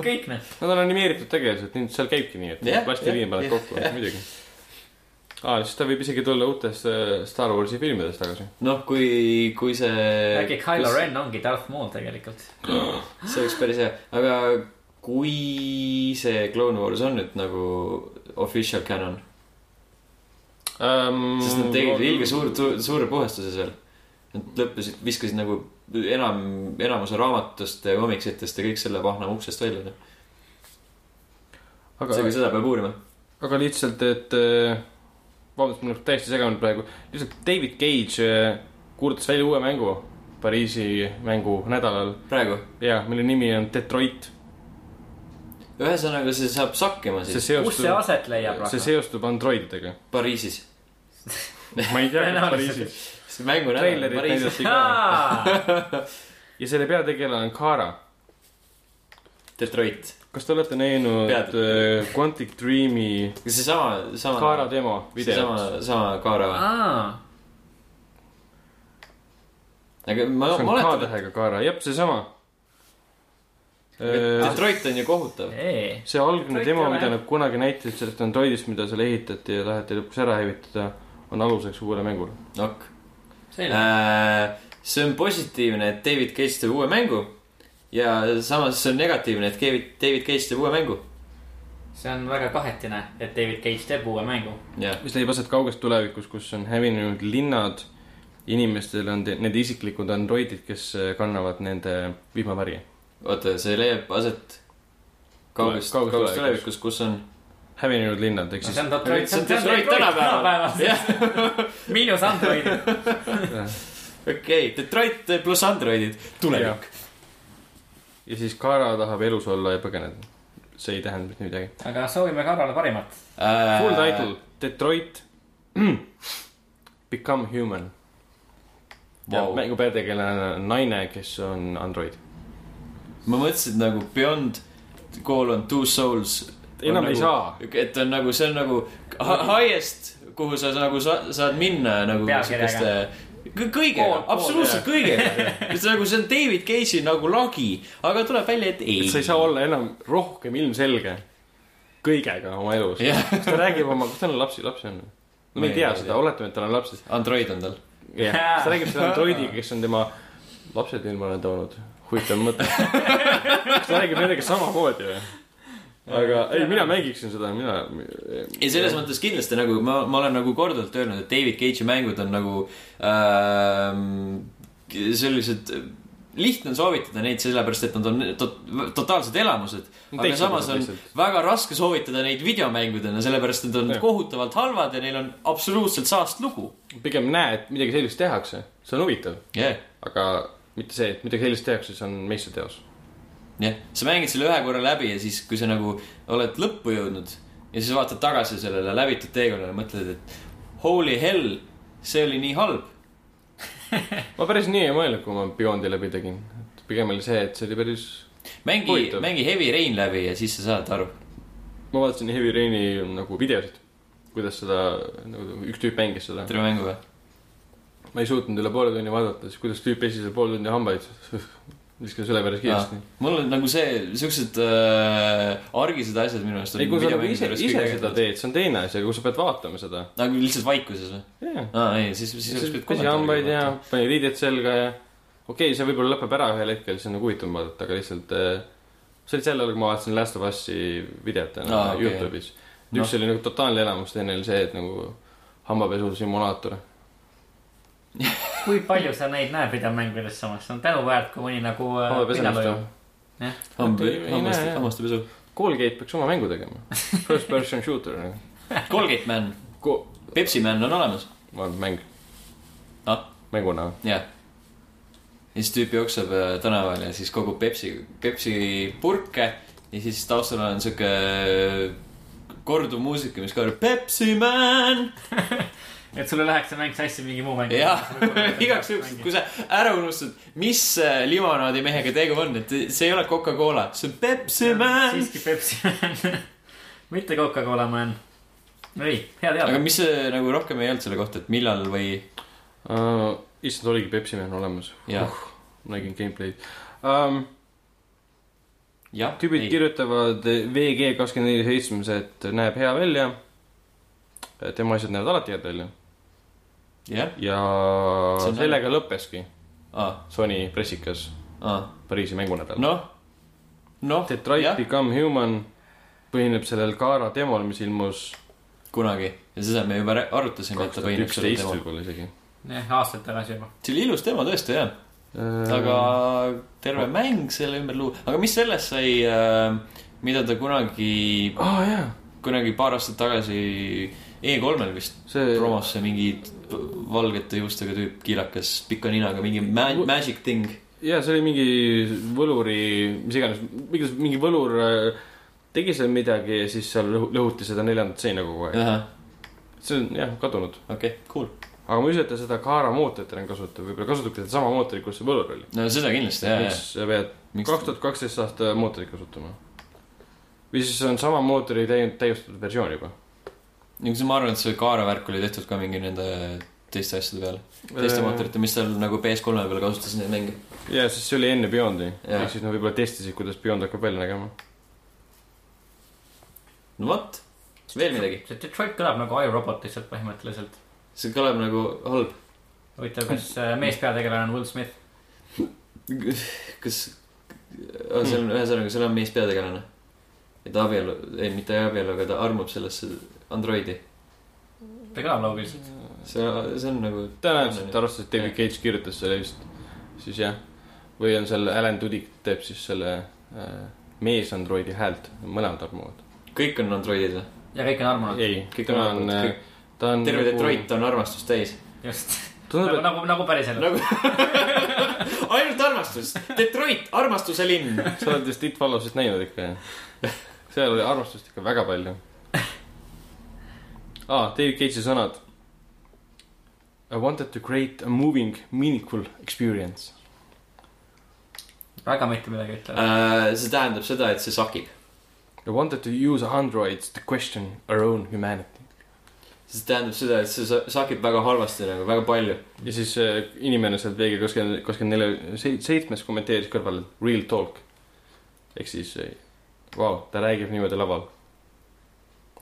[SPEAKER 3] kõik need .
[SPEAKER 2] Nad on animeeritud tegelased , nüüd seal käibki nii , et
[SPEAKER 1] Jah,
[SPEAKER 2] plastiliin
[SPEAKER 1] jah,
[SPEAKER 2] paned
[SPEAKER 1] jah,
[SPEAKER 2] kokku , muidugi . aa , siis ta võib isegi tulla uutes äh, Star Warsi filmides tagasi .
[SPEAKER 1] noh , kui , kui see .
[SPEAKER 3] äkki Kylo Ren ongi Darth Maul tegelikult .
[SPEAKER 1] Äh, see oleks päris hea , aga kui see Clone Wars on nüüd nagu official canon ,
[SPEAKER 2] Ehm,
[SPEAKER 1] sest
[SPEAKER 2] Mm,
[SPEAKER 1] nad tegid ilge suur , suure puhastuse seal . Nad lõppesid , viskasid nagu enam , enamuse raamatust ja komiksitest ja kõik selle pahna uksest välja .
[SPEAKER 2] aga
[SPEAKER 1] seega , seda peab uurima .
[SPEAKER 2] aga lihtsalt , et äh, vabandust , mul on täiesti segane praegu , lihtsalt David Cage äh, kuulutas välja uue mängu Pariisi mängu nädalal
[SPEAKER 1] praegu ,
[SPEAKER 2] ja mille nimi on Detroit .
[SPEAKER 1] ühesõnaga , see saab sakkima
[SPEAKER 2] see
[SPEAKER 1] siis
[SPEAKER 3] kus see
[SPEAKER 2] seostub ,
[SPEAKER 3] aset leiab ?
[SPEAKER 2] see seostub androididega .
[SPEAKER 1] Pariisis .
[SPEAKER 2] ma ei tea , kas
[SPEAKER 3] Tõenäoliselt.
[SPEAKER 2] Pariisis .
[SPEAKER 1] see mängu nädal
[SPEAKER 2] treilerit
[SPEAKER 1] on Pariisis .
[SPEAKER 2] näidati ka
[SPEAKER 3] Aa,
[SPEAKER 2] ja selle peategelane on Kara
[SPEAKER 1] Detroit .
[SPEAKER 2] kas te olete näinud
[SPEAKER 1] Pead-
[SPEAKER 2] äh, Quantic Dreami
[SPEAKER 1] seesama , sama .
[SPEAKER 2] Kaara demo
[SPEAKER 1] sama
[SPEAKER 2] videot ?,
[SPEAKER 1] sama Kaara või ?
[SPEAKER 3] aa.
[SPEAKER 1] aga ma ,
[SPEAKER 2] see
[SPEAKER 1] ma
[SPEAKER 2] on
[SPEAKER 1] oletan ,
[SPEAKER 2] K-tähega Kaara , jep , seesama .
[SPEAKER 1] et
[SPEAKER 2] see
[SPEAKER 1] Detroit on ju kohutav .
[SPEAKER 3] Ei.
[SPEAKER 2] algne
[SPEAKER 3] Detroit
[SPEAKER 2] demo ,
[SPEAKER 3] ei ole,
[SPEAKER 2] mida
[SPEAKER 3] jah.
[SPEAKER 2] nad kunagi näitasid sellest Androidist , mida seal ehitati ja taheti lõpuks ära hävitada , on aluseks uuele mängule .
[SPEAKER 1] ok .
[SPEAKER 3] selge .
[SPEAKER 1] Äh, see on positiivne , et David Cage teeb uue mängu ja samas see on negatiivne , et David , David Cage teeb uue mängu .
[SPEAKER 3] see on väga kahetine , et David Cage teeb uue mängu .
[SPEAKER 1] jah ,
[SPEAKER 2] mis leiab aset kauges tulevikus , kus on hävinenud linnad , inimestel on te- nende isiklikud androidid , kes kannavad nende äh, vihmaväri .
[SPEAKER 1] oota , see leiab aset kaugest ,
[SPEAKER 2] Kaugus-
[SPEAKER 1] kaugest
[SPEAKER 2] kaugus
[SPEAKER 1] tulevikus , kus on .
[SPEAKER 2] hävinenud linnad , ehk siis
[SPEAKER 3] see on Detroit , see on Detroit tänapäeval . miinus Android .
[SPEAKER 1] okei , Detroit pluss Androidid , tulevik .
[SPEAKER 2] ja siis Kara tahab elus olla ja põgeneda . see ei tähenda mitte midagi .
[SPEAKER 3] aga soovime Karlale parimat .
[SPEAKER 2] Full
[SPEAKER 1] Äh,
[SPEAKER 2] title , Detroit Become Human . ja
[SPEAKER 1] Vau.
[SPEAKER 2] mängu peategelane on naine , kes on android .
[SPEAKER 1] ma mõtlesin nagu Beyond , Call on two souls .
[SPEAKER 2] enam
[SPEAKER 1] nagu,
[SPEAKER 2] ei saa .
[SPEAKER 1] et on nagu , see on nagu hi- highest , kuhu sa nagu sa, saad minna nagu
[SPEAKER 3] Pealkirjaga.
[SPEAKER 1] siukeste- kõ- kõigega
[SPEAKER 3] Pool- , pool,
[SPEAKER 1] absoluutselt kõigega . et see nagu , see on David Cage'i nagu lagi , aga tuleb välja , et ei .
[SPEAKER 2] et sa ei saa olla enam rohkem ilmselge kõigega oma elus .
[SPEAKER 1] jah ,
[SPEAKER 2] kas ta räägib oma , kas tal on lapsi , lapsi on ? me ei tea seda , oletame , et tal on lapsi .
[SPEAKER 1] Android on tal .
[SPEAKER 2] jah , siis ta räägib selle androidiga , kes on tema lapsed ilmale toonud . huvitav mõte . kas ta räägib nendega samamoodi või ? aga ei , mina mängiksin seda , mina .
[SPEAKER 1] ja selles mõttes kindlasti nagu ma , ma olen nagu korduvalt öelnud , et David Cage'i mängud on nagu ähm, sellised , lihtne on soovitada neid sellepärast , et nad on tot, totaalsed elamused . aga samas on väga raske soovitada neid videomängudena , sellepärast et nad on
[SPEAKER 2] Jah.
[SPEAKER 1] kohutavalt halvad ja neil on absoluutselt saast lugu .
[SPEAKER 2] pigem näe , et midagi sellist tehakse , see on huvitav ,
[SPEAKER 1] jah ,
[SPEAKER 2] aga mitte see , et midagi sellist tehakse , see on meistriteos .
[SPEAKER 1] jah , sa mängid selle ühe korra läbi ja siis , kui sa nagu oled lõppu jõudnud ja siis vaatad tagasi sellele läbitud teekonnale , mõtled , et holy hell , see oli nii halb .
[SPEAKER 2] ma päris nii ei mõelnud , kui ma Beyondi läbi tegin . pigem oli see , et see oli päris ,
[SPEAKER 1] mängi ,
[SPEAKER 2] Huvitav.
[SPEAKER 1] mängi Heavy Rain läbi ja siis sa saad aru .
[SPEAKER 2] ma vaatasin Heavy Raini nagu videosid , kuidas seda , nagu üks tüüp mängis seda .
[SPEAKER 1] terve mängu või ?
[SPEAKER 2] ma ei suutnud üle poole tunni vaadata , siis kuidas tüüp esimese poole tunni hambaid viskas üle päris kiiresti .
[SPEAKER 1] mul on nagu see , siuksed äh, argised asjad minu arust .
[SPEAKER 2] ei , kui sa nagu ise , ise seda . teed , see on teine asi , aga kui sa pead vaatama seda .
[SPEAKER 1] nagu lihtsalt vaikuses või ?
[SPEAKER 2] jaa .
[SPEAKER 1] aa , ei , siis , siis oleks pidanud
[SPEAKER 2] pesi hambaid ja . pani riided selga ja okei okay, , see võib-olla lõpeb ära ühel hetkel , see on nagu huvitav vaadata , aga lihtsalt eh, see oli sel ajal , kui ma vaatasin Last of Us'i videot täna
[SPEAKER 1] Aa,
[SPEAKER 2] no,
[SPEAKER 1] okei.
[SPEAKER 2] Youtube'is . üks no. oli nagu totaalne elamus , teine oli see , et nagu hambapesu simulaator .
[SPEAKER 1] Äh,
[SPEAKER 3] kui palju sa neid näed videomängudes samas , see on tänuväärt , kui mõni nagu .
[SPEAKER 2] hambapesemist ju .
[SPEAKER 1] hambaid
[SPEAKER 2] Ei, , ei
[SPEAKER 1] hammaste
[SPEAKER 2] näe, , jah.
[SPEAKER 1] hammaste pesu .
[SPEAKER 2] Colgate peaks oma mängu tegema . First person shooter nagu. .
[SPEAKER 1] Colgate Man ,
[SPEAKER 2] Ko- ,
[SPEAKER 1] Pepsi Man on olemas ,
[SPEAKER 2] ma arvan , mäng
[SPEAKER 1] Ah? .
[SPEAKER 2] mänguna .
[SPEAKER 1] jah . ja siis tüüp jookseb äh, tänaval ja siis kogub Pepsi , Pepsi purke ja siis taustal on siuke äh, korduv muusika , mis kõlab Pepsi Man .
[SPEAKER 3] et sulle läheks see mäng sassi mingi muu mäng .
[SPEAKER 1] jah , igaks juhuks , kui sa ära unustad , mis äh, limonaadimehega tegu on , et see ei ole Coca-Cola , see on Pepsi Man .
[SPEAKER 3] siiski Pepsi Man . mitte Coca-Cola Man . ei , hea teada
[SPEAKER 1] aga . mis see nagu rohkem ei olnud selle kohta , et millal või ?
[SPEAKER 2] Uh, issand , oligi Pepsi Man olemas .
[SPEAKER 1] jah ,
[SPEAKER 2] nägin gameplay'd um, .
[SPEAKER 1] jah .
[SPEAKER 2] tüübid ei. kirjutavad VG kakskümmend neli seitsmes , et näeb hea välja . tema asjad näevad alati head välja
[SPEAKER 1] jah ,
[SPEAKER 2] ja
[SPEAKER 1] See on
[SPEAKER 2] sellega äge. lõppeski
[SPEAKER 1] aa ,
[SPEAKER 2] Sony pressikas
[SPEAKER 1] aa ,
[SPEAKER 2] Pariisi mängunädal no, .
[SPEAKER 1] noh , noh ,
[SPEAKER 2] Detroit
[SPEAKER 1] jah.
[SPEAKER 2] yeah. Become Human põhineb sellel Kaara demol , mis ilmus
[SPEAKER 1] kunagi ja seda me juba rää- arutasime , et
[SPEAKER 2] kaks
[SPEAKER 1] ta
[SPEAKER 2] tuhat
[SPEAKER 1] põhineb selle
[SPEAKER 2] üksteist
[SPEAKER 1] demo .
[SPEAKER 2] võib-olla isegi .
[SPEAKER 3] jah , aastaid tagasi juba .
[SPEAKER 1] see oli ilus demo tõesti jah , aga terve
[SPEAKER 2] Äh.
[SPEAKER 1] mäng selle ümber luua , aga mis sellest sai , mida ta kunagi ,
[SPEAKER 2] aa oh, jaa ,
[SPEAKER 1] kunagi paar aastat tagasi E3-l vist
[SPEAKER 2] see
[SPEAKER 1] promos see mingi p- valgete juustega tüüp , kiilakas , pika ninaga , mingi ma-
[SPEAKER 2] Mu-
[SPEAKER 1] magic thing .
[SPEAKER 2] ja see oli mingi võluri , mis iganes , mingi , mingi võlur äh, tegi seal midagi ja siis seal lõhu- lõhuti seda neljandat seina kogu aeg .
[SPEAKER 1] okei
[SPEAKER 2] see on jah , kadunud .
[SPEAKER 1] okay, , cool .
[SPEAKER 2] aga ma ei usu , et ta seda Kaara mootorit enam kasutab , võib-olla kasutabki sedasama mootorit , kus see võlur oli .
[SPEAKER 1] no seda kindlasti , jaa , jaa .
[SPEAKER 2] miks sa pead
[SPEAKER 1] miks
[SPEAKER 2] kaks tuhat kaksteist aasta mootorit kasutama ? või siis see on sama mootori täiend- , täiustatud versioon juba .
[SPEAKER 1] nagu see , ma arvan , et see Kaara värk oli tehtud ka mingi nende teiste asjade peale ,
[SPEAKER 2] Äh,
[SPEAKER 1] teiste mootorite , mis seal nagu PS3-e peal kasutas neid mänge .
[SPEAKER 2] jaa , sest see oli enne Beyondi ,
[SPEAKER 1] Jaa.
[SPEAKER 2] ehk siis nad võib-olla testisid , kuidas Beyond hakkab välja nägema .
[SPEAKER 1] no vot , veel midagi .
[SPEAKER 3] see Detroit kõlab nagu iRobot lihtsalt põhimõtteliselt .
[SPEAKER 1] see kõlab nagu halb .
[SPEAKER 3] huvitav , kas äh, meespeategelane on Will Smith ?
[SPEAKER 1] kas , seal on , ühesõnaga , seal on mees peategelane . et ta abielu , ei mitte ei abielu , aga ta armub sellesse androidi .
[SPEAKER 3] ta kõlab loogiliselt .
[SPEAKER 1] see , see on nagu
[SPEAKER 2] tõenäoliselt arvestades , et David Cage kirjutas selle vist , siis jah . või on seal Alan Tudyk teeb siis selle äh, meesandroidi häält , mõlemad armuvad .
[SPEAKER 1] kõik on androidid või ?
[SPEAKER 4] ja kõik on armunud .
[SPEAKER 2] ei ,
[SPEAKER 1] Kõik
[SPEAKER 2] ta
[SPEAKER 1] on
[SPEAKER 2] on äh,
[SPEAKER 1] armunud, ,
[SPEAKER 2] ta on . nagu
[SPEAKER 1] terve Detroit on armastust täis .
[SPEAKER 4] just .
[SPEAKER 2] tundub ,
[SPEAKER 3] nagu ,
[SPEAKER 2] et
[SPEAKER 3] nagu , nagu päriselt .
[SPEAKER 1] nagu ainult armastust . Detroit , armastuse linn .
[SPEAKER 2] sa oled vist It Follows'it näinud ikka jah ? seal oli armastust ikka väga palju . aa , David Cage'i sõnad . I wanted to create a moving meaningful experience .
[SPEAKER 4] väga mitte midagi ütlema .
[SPEAKER 1] Äh, see tähendab seda , et see sakib .
[SPEAKER 2] I wanted to use androids to question our own humanity .
[SPEAKER 1] see tähendab seda , et see sa- sakib väga halvasti nagu , väga palju .
[SPEAKER 2] ja siis äh, inimene seal veega kuskil , kuskil nelja , seitsmes kommenteeris kõrval real talk . ehk siis , vau , ta räägib niimoodi laval .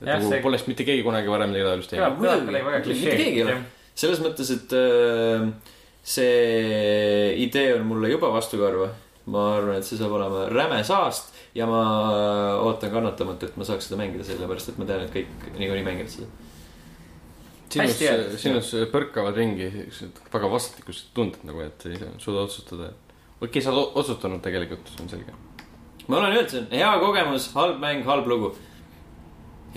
[SPEAKER 2] et
[SPEAKER 3] Jah,
[SPEAKER 2] nagu
[SPEAKER 3] see-
[SPEAKER 2] poleks mitte keegi kunagi varem midagi taolist teinud .
[SPEAKER 3] kõlab , kõlab kuidagi väga
[SPEAKER 1] Mitte keegi ei ole.
[SPEAKER 3] klišee .
[SPEAKER 1] selles mõttes , et äh, see idee on mulle juba vastukarva . ma arvan , et see saab olema räme saast ja ma äh, ootan kannatamatu , et ma saaks seda mängida , sellepärast et ma tean , et kõik niikuinii mängivad seda .
[SPEAKER 2] sinus
[SPEAKER 3] Hästi öeldud, ,
[SPEAKER 2] sinus põrkavad ringi siuksed väga vastastikused tunded nagu , et ei suuda otsustada . okei okay, , sa oled o- otsustanud tegelikult , see on selge .
[SPEAKER 1] ma olen öelnud , see on hea kogemus , halb mäng , halb lugu .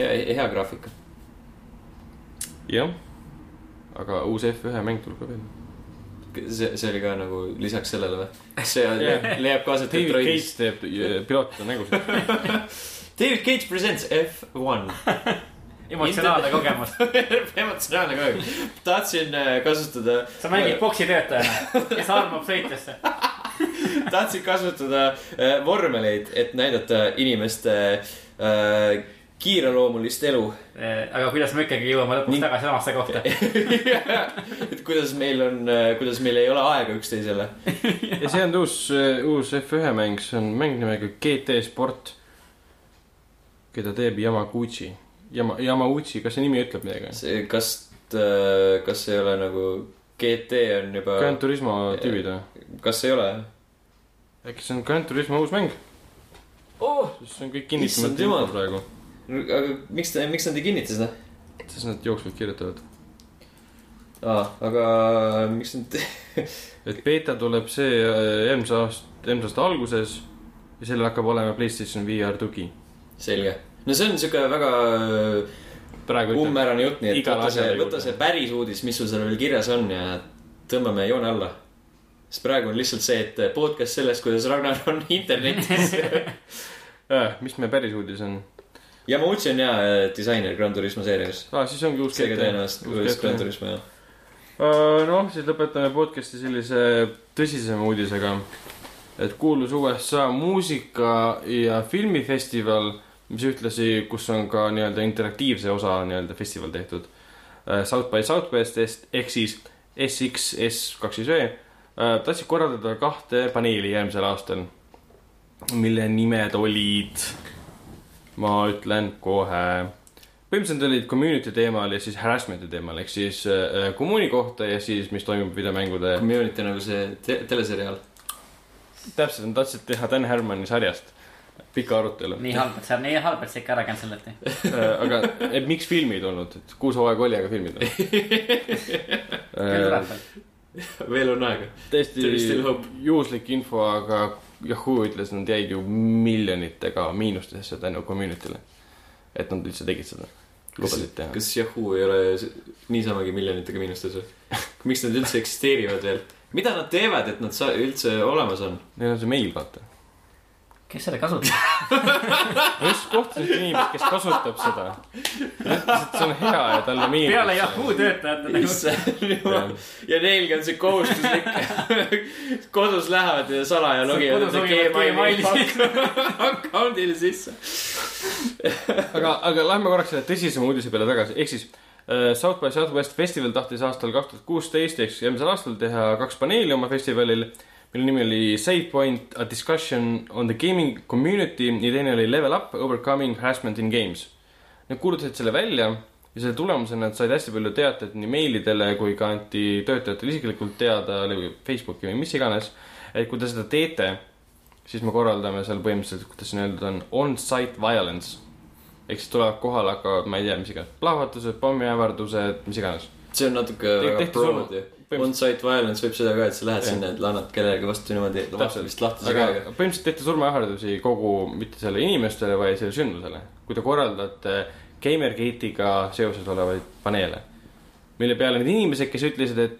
[SPEAKER 1] hea , hea graafika .
[SPEAKER 2] jah . aga uus F1 mäng tuleb ka veel .
[SPEAKER 1] see , see oli ka nagu lisaks sellele või ? see on,
[SPEAKER 2] Jah.
[SPEAKER 1] leiab ka aset
[SPEAKER 2] David
[SPEAKER 1] Detroitis .
[SPEAKER 2] Cage teeb eh, pilootide nägusid .
[SPEAKER 1] David Cage presents F1 .
[SPEAKER 3] emotsionaalne kogemus .
[SPEAKER 1] emotsionaalne ka . tahtsin äh, kasutada ,
[SPEAKER 3] sa mängid poksitöötajana , kes armab sõitjasse .
[SPEAKER 1] tahtsin kasutada äh, vormeleid , et näidata inimeste äh, kiireloomulist elu
[SPEAKER 3] Äh, aga kuidas me ikkagi jõuame lõpuks
[SPEAKER 1] Ning-
[SPEAKER 3] tagasi samasse kohta ?
[SPEAKER 1] et kuidas meil on , kuidas meil ei ole aega üksteisele .
[SPEAKER 2] ja see on uus , uus F1 mäng , see on mäng nimega GT Sport , keda teeb Yamaguchi . Yama- , Yamauchi , kas see nimi ütleb midagi ?
[SPEAKER 1] see , kas , kas ei ole nagu GT on juba ,
[SPEAKER 2] Gran Turismo
[SPEAKER 1] äh,
[SPEAKER 2] tüübid või ?
[SPEAKER 1] kas ei ole ?
[SPEAKER 2] äkki see on Gran Turismo uus mäng ?
[SPEAKER 1] Oh,
[SPEAKER 2] see on kõik
[SPEAKER 1] Issand
[SPEAKER 2] kinnitamata
[SPEAKER 1] jumal.
[SPEAKER 2] info praegu ,
[SPEAKER 1] aga miks ta , miks nad ei kinnita seda
[SPEAKER 2] sest nad jooksvalt kirjutavad .
[SPEAKER 1] ah, ? aga miks nad ,
[SPEAKER 2] et beeta tuleb see äh, eelmise aasta , eelmise aasta alguses ja sellel hakkab olema Playstation VR tugi .
[SPEAKER 1] selge . no see on siuke väga
[SPEAKER 2] praegu ütleme ,
[SPEAKER 1] umbmäärane jutt , nii et
[SPEAKER 2] Igale
[SPEAKER 1] võta see ,
[SPEAKER 2] asjale
[SPEAKER 1] võta
[SPEAKER 2] juurde.
[SPEAKER 1] see päris uudis , mis sul seal veel kirjas on ja tõmbame joone alla . sest praegu on lihtsalt see , et äh, podcast sellest , kuidas Ragnar on internetis .
[SPEAKER 2] Äh, mis meie päris uudis on
[SPEAKER 1] ja ma uudsin ja äh, disainer Gran Turismo seerias .
[SPEAKER 2] ah, , siis ongi uus
[SPEAKER 1] seega
[SPEAKER 2] GTA.
[SPEAKER 1] tõenäoliselt ,
[SPEAKER 2] Uus
[SPEAKER 1] kuidas
[SPEAKER 2] GTA.
[SPEAKER 1] Gran Turismo jah .
[SPEAKER 2] Äh, noh , siis lõpetame podcast'i sellise tõsisema uudisega , et kuulus USA muusika ja filmifestival , mis ühtlasi , kus on ka nii-öelda interaktiivse osa nii-öelda festival tehtud äh, South by Southwest'ist ehk siis SXS kaks siis V äh, , tahtsid korraldada kahte paneeli järgmisel aastal , mille nimed olid , ma ütlen kohe põhimõtteliselt olid community teemal ja siis harassment'i teemal ehk siis äh, kommuuni kohta ja siis , mis toimub videomängude .
[SPEAKER 1] Community nagu see te teleseriaal .
[SPEAKER 2] täpselt , nad tahtsid teha Dan Harmoni sarjast pika arutelu ,
[SPEAKER 4] nii halb , et see on nii halb , et see ikka ära cancel'iti .
[SPEAKER 2] aga et miks filmi ei tulnud , et kuus hooaega oli , aga filmi ei tulnud .
[SPEAKER 1] veel on aega .
[SPEAKER 2] täiesti
[SPEAKER 1] There is still hope.
[SPEAKER 2] juhuslik info , aga Yahoo ütles , nad jäid ju miljonitega miinustesse tänu community'le . et nad üldse tegid seda , lubasid teha .
[SPEAKER 1] kas Yahoo ei ole s- niisamagi miljonitega miinustes või ? miks nad üldse eksisteerivad veel ? mida nad teevad , et nad sa- üldse olemas on ?
[SPEAKER 2] Neil on see meil , vaata .
[SPEAKER 4] kes seda kasutab ?
[SPEAKER 2] ma just kohtasin inimest , kes kasutab seda . ta ütles , et see on hea ja talle meeldib .
[SPEAKER 3] peale Yahoo töötajate nagu
[SPEAKER 1] issand jumal . ja neilgi on see kohustuslik . kodus lähevad ja salaja logivad
[SPEAKER 3] kodus logivad Gmaili.
[SPEAKER 1] account'ile sisse .
[SPEAKER 2] aga , aga lähme korraks selle tõsisema uudise peale tagasi , ehk siis äh, South by Southwest festival tahtis aastal kaks tuhat kuusteist ehk siis eelmisel aastal teha kaks paneeli oma festivalil , mille nimi oli Save Point , a discussion on the gaming community ja teine oli Level up , overcoming harassment in games . Nad kuulutasid selle välja ja selle tulemusena nad said hästi palju teateid nii meilidele kui ka anti töötajatele isiklikult teada läbi Facebooki või mis iganes , et kui te seda teete , siis me korraldame seal põhimõtteliselt , kuidas see nii-öelda on , on-site violence ehk siis tulevad kohale , hakkavad , ma ei tea , mis iganes , plahvatused , pommiähvardused , mis iganes .
[SPEAKER 1] see on natuke
[SPEAKER 2] Te-
[SPEAKER 1] väga
[SPEAKER 2] tehti
[SPEAKER 1] prod ju . On-site violence võib seda ka , et sa lähed
[SPEAKER 2] Jah.
[SPEAKER 1] sinna , et lannad kellelegi vastu niimoodi , et lapsed vist lahtise
[SPEAKER 2] aga
[SPEAKER 1] käega .
[SPEAKER 2] põhimõtteliselt tehti surmaähvardusi kogu , mitte selle inimestele , vaid selle sündmusele . kui te korraldate Gamergate'iga seoses olevaid paneele , mille peale need inimesed , kes ütlesid , et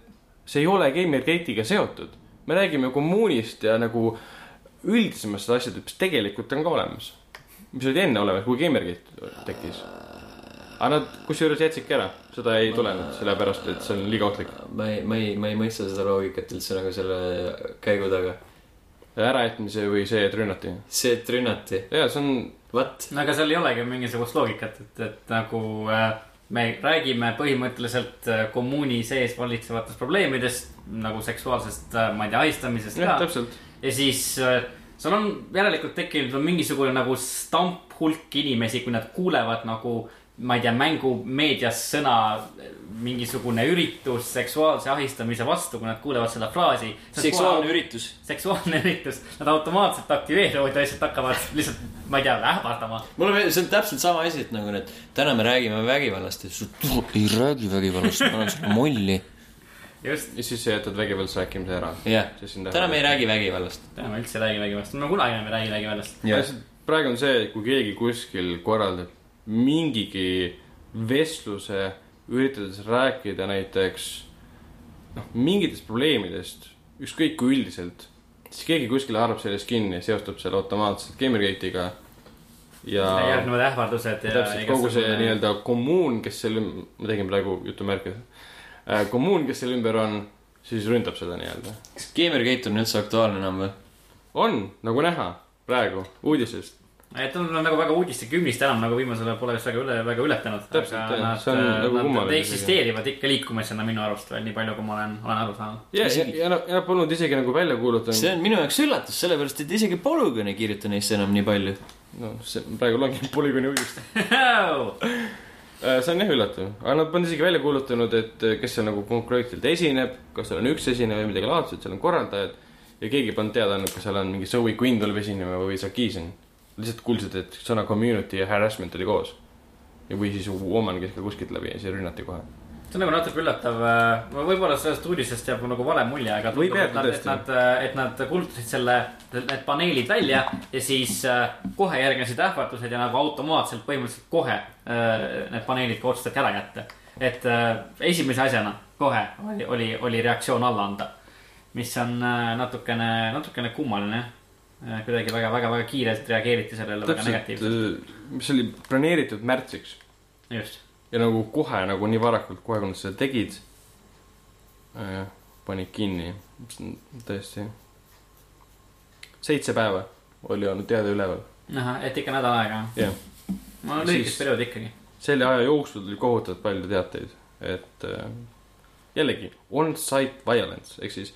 [SPEAKER 2] see ei ole Gamergate'iga seotud . me räägime kommuunist ja nagu üldisemast asjadest , mis tegelikult on ka olemas . mis olid enne olemas , kui Gamergate tekkis . aga nad kusjuures jätsidki ära , seda ei tulenud , sellepärast et see on liiga ohtlik .
[SPEAKER 1] ma ei , ma ei , ma ei mõista seda loogikat üldse nagu selle käigu taga .
[SPEAKER 2] ärajätmise või see , et rünnati .
[SPEAKER 1] see , et rünnati ,
[SPEAKER 2] ja see on
[SPEAKER 1] what ?
[SPEAKER 3] no aga seal ei olegi mingisugust loogikat , et , et nagu äh, me räägime põhimõtteliselt äh, kommuuni sees valitsevatest probleemidest nagu seksuaalsest , ma ei tea , ahistamisest
[SPEAKER 2] jah ,
[SPEAKER 3] ka .
[SPEAKER 2] täpselt .
[SPEAKER 3] ja siis äh, seal on järelikult tekkinud on mingisugune nagu stamp hulk inimesi , kui nad kuulevad nagu , ma ei tea , mängumeedias sõna , mingisugune üritus seksuaalse ahistamise vastu , kui nad kuulevad seda fraasi .
[SPEAKER 1] seksuaalne üritus .
[SPEAKER 3] seksuaalne üritus , nad automaatselt aktiveeruvad ja lihtsalt hakkavad lihtsalt , ma ei tea , ähvardama .
[SPEAKER 1] mul on , see on täpselt sama asi , et nagu need , täna me räägime vägivallast ja siis ei räägi vägivallast , ma olen siuke molli .
[SPEAKER 3] just ,
[SPEAKER 2] ja siis sa jätad vägivaldse rääkimise ära .
[SPEAKER 1] jah ,
[SPEAKER 2] Siis on
[SPEAKER 1] täna me ei räägi vägivallast .
[SPEAKER 3] täna me üldse ei räägi vägivallast , no kunagi enam ei räägi vägivallast .
[SPEAKER 2] praegu on see , et kui keegi kuskil korraldab mingigi vestluse , üritades rääkida näiteks noh , mingitest probleemidest , ükskõik kui üldiselt , siis keegi kuskil haarab sellest kinni ja seostab selle automaatselt Gamergate'iga ja
[SPEAKER 3] järgnevad ähvardused ja .
[SPEAKER 2] täpselt kogu see . nii-öelda kommuun , kes selle , ma tegin praegu jutumärkides , kommuun , kes selle ümber on , siis ründab seda nii-öelda .
[SPEAKER 1] kas Gamergate on üldse aktuaalne enam või ?
[SPEAKER 2] on , nagu näha praegu uudisest .
[SPEAKER 3] et nad on nagu väga uudistekünnist enam nagu viimasel ajal pole vist väga üle , väga ületanud .
[SPEAKER 2] Täpselt, jah. See on nagu
[SPEAKER 3] Nad
[SPEAKER 2] kummaline
[SPEAKER 3] eksisteerivad ikka liikumisena minu arust veel nii palju , kui ma olen , olen aru saanud .
[SPEAKER 2] ja , ja , ja nad , ja nad polnud isegi nagu välja
[SPEAKER 1] see
[SPEAKER 2] kuulutanud .
[SPEAKER 1] on minu jaoks üllatus , sellepärast et isegi Polügon ei kirjuta neist enam nii palju .
[SPEAKER 2] no see praegu langeb polügooni uudist . see on jah üllatav , aga nad polnud isegi välja kuulutanud , et äh, kes seal nagu konkreetselt esineb , kas seal on üks esineja või midagi laadset , seal on korraldajad ja keegi polnud teada andnud , kas seal on mingi Zoe Quinn tuleb esinema või Sarkisian . lihtsalt kuulsid , et sõna community ja harassment oli koos . ja , või siis woman käis ka kuskilt läbi ja siis rünnati kohe .
[SPEAKER 3] see on nagu natuke üllatav , võib-olla sellest uudisest jääb mul nagu vale mulje , aga
[SPEAKER 2] Võib
[SPEAKER 3] tundub, et
[SPEAKER 2] jääda
[SPEAKER 3] nad- et
[SPEAKER 2] tõesti.
[SPEAKER 3] nad , et nad kuulutasid selle , need paneelid välja ja siis äh, kohe järgnesid ähvardused ja nagu automaatselt põhimõtteliselt kohe äh, need paneelid ka otsustati ära jätta . et äh, esimese asjana kohe oli , oli , oli reaktsioon alla anda , mis on äh, natukene , natukene kummaline . kuidagi väga-väga-väga kiirelt reageeriti sellele , väga
[SPEAKER 2] täpselt äh,
[SPEAKER 3] negatiivselt ,,
[SPEAKER 2] mis oli planeeritud märtsiks
[SPEAKER 3] just .
[SPEAKER 2] ja nagu kohe nagu nii varakult , kohe kui nad seda tegid äh, , panid kinni , tõesti . seitse päeva oli olnud teade üleval ,
[SPEAKER 3] ahah , et ikka nädal aega ,
[SPEAKER 2] jah .
[SPEAKER 3] no
[SPEAKER 2] Siis-
[SPEAKER 3] lühikest perioodi ikkagi .
[SPEAKER 2] selle aja jooksul tuli kohutavalt palju teateid , et äh, jällegi on-site violence ehk siis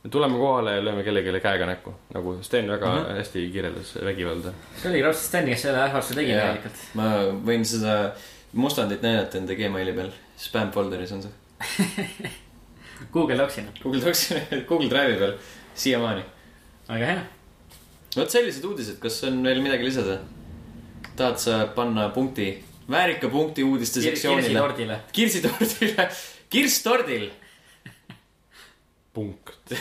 [SPEAKER 2] me tuleme kohale ja lööme kellelegi käega näkku , nagu Sten väga mm -hmm. hästi kirjeldas vägivalda .
[SPEAKER 3] see oligi raudselt Steni , kes selle ähvarduse tegi
[SPEAKER 1] Jaa.
[SPEAKER 3] tegelikult .
[SPEAKER 1] ma võin seda mustandit näidata enda Gmaili peal , spam folder'is on see .
[SPEAKER 3] Google noh. Docsina ,
[SPEAKER 1] Google Docs , Google Drive'i peal siiamaani .
[SPEAKER 3] väga hea .
[SPEAKER 1] vot sellised uudised , kas on veel midagi lisada ? tahad sa panna punkti , väärika punkti uudiste sektsioonile ?
[SPEAKER 3] kirsitordile .
[SPEAKER 1] kirsitordile , kirstordil .
[SPEAKER 2] punkt .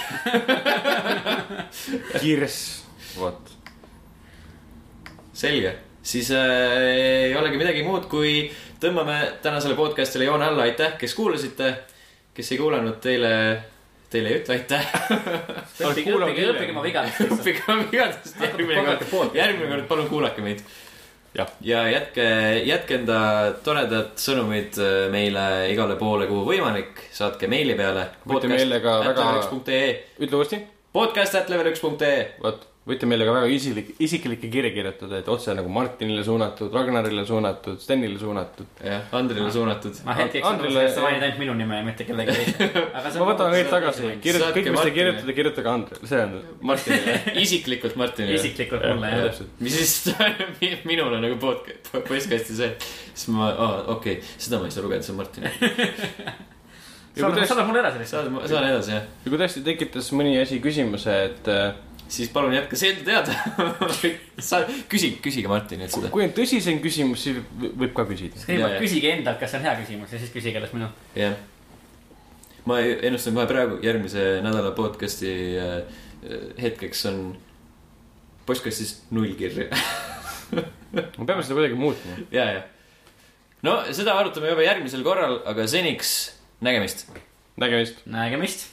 [SPEAKER 2] kirss , vot .
[SPEAKER 1] selge , siis äh, ei olegi midagi muud , kui tõmbame tänasele podcast'ile joone alla , aitäh , kes kuulasite . kes ei kuulanud , teile , teile ei ütle aitäh .
[SPEAKER 3] õppige ,
[SPEAKER 2] kuulame
[SPEAKER 3] õppige ,
[SPEAKER 2] hiljem.
[SPEAKER 3] õppige oma vigadest lihtsalt .
[SPEAKER 1] õppige oma vigadest järgmine
[SPEAKER 3] Vaadake
[SPEAKER 1] kord ,
[SPEAKER 3] poolt.
[SPEAKER 1] järgmine kord palun kuulake meid .
[SPEAKER 2] Jah.
[SPEAKER 1] ja jätke , jätke enda toredad sõnumid äh, meile igale poole , kuhu võimalik , saatke meili peale .
[SPEAKER 2] Võite meile ka väga-
[SPEAKER 1] podcast.level1.ee ,
[SPEAKER 2] ütle uuesti
[SPEAKER 1] podcast.level1.ee .
[SPEAKER 2] vot , võite meile ka väga isiklik , isiklikke kirja kirjutada , et otse nagu Martinile suunatud , Ragnarile suunatud , Stenile suunatud .
[SPEAKER 1] jah , Andrile suunatud .
[SPEAKER 3] ma hetkeks
[SPEAKER 2] Andrile-
[SPEAKER 3] arvasin , et sa mainid ainult minu nime ja mitte kellegi teise .
[SPEAKER 2] ma võtan kõik tagasi , kirjuta ,
[SPEAKER 1] Saatke
[SPEAKER 2] kõik , mis te
[SPEAKER 1] Martinile.
[SPEAKER 2] kirjutate , kirjutage Andrele , see on .
[SPEAKER 1] Martinile , isiklikult Martinile .
[SPEAKER 3] isiklikult mulle jah .
[SPEAKER 1] mis siis minul on nagu podcast , postkasti see , siis ma , okei okay. , seda ma ei saa lugeda , see on Martinile .
[SPEAKER 3] saadad , saadad mulle edasi lihtsalt .
[SPEAKER 1] saan , saan edasi jah ,
[SPEAKER 2] ja kui tõesti tekitas mõni asi küsimuse , et äh,
[SPEAKER 1] siis palun jätke see enda teada . sa , küsi , küsige Martinilt seda .
[SPEAKER 2] kui on tõsisem küsimus , siis võib ka küsida .
[SPEAKER 3] kõigepealt
[SPEAKER 1] Jaa, jaa.
[SPEAKER 3] küsige endalt , kas see on hea küsimus ja siis küsige alles minult .
[SPEAKER 1] jah . ma ennustan kohe praegu järgmise nädala podcast'i äh, hetkeks on postkastis null kirja
[SPEAKER 2] me peame seda kuidagi muutma .
[SPEAKER 1] ja , ja . no seda arutame juba järgmisel korral , aga seniks nägemist .
[SPEAKER 2] nägemist .
[SPEAKER 4] nägemist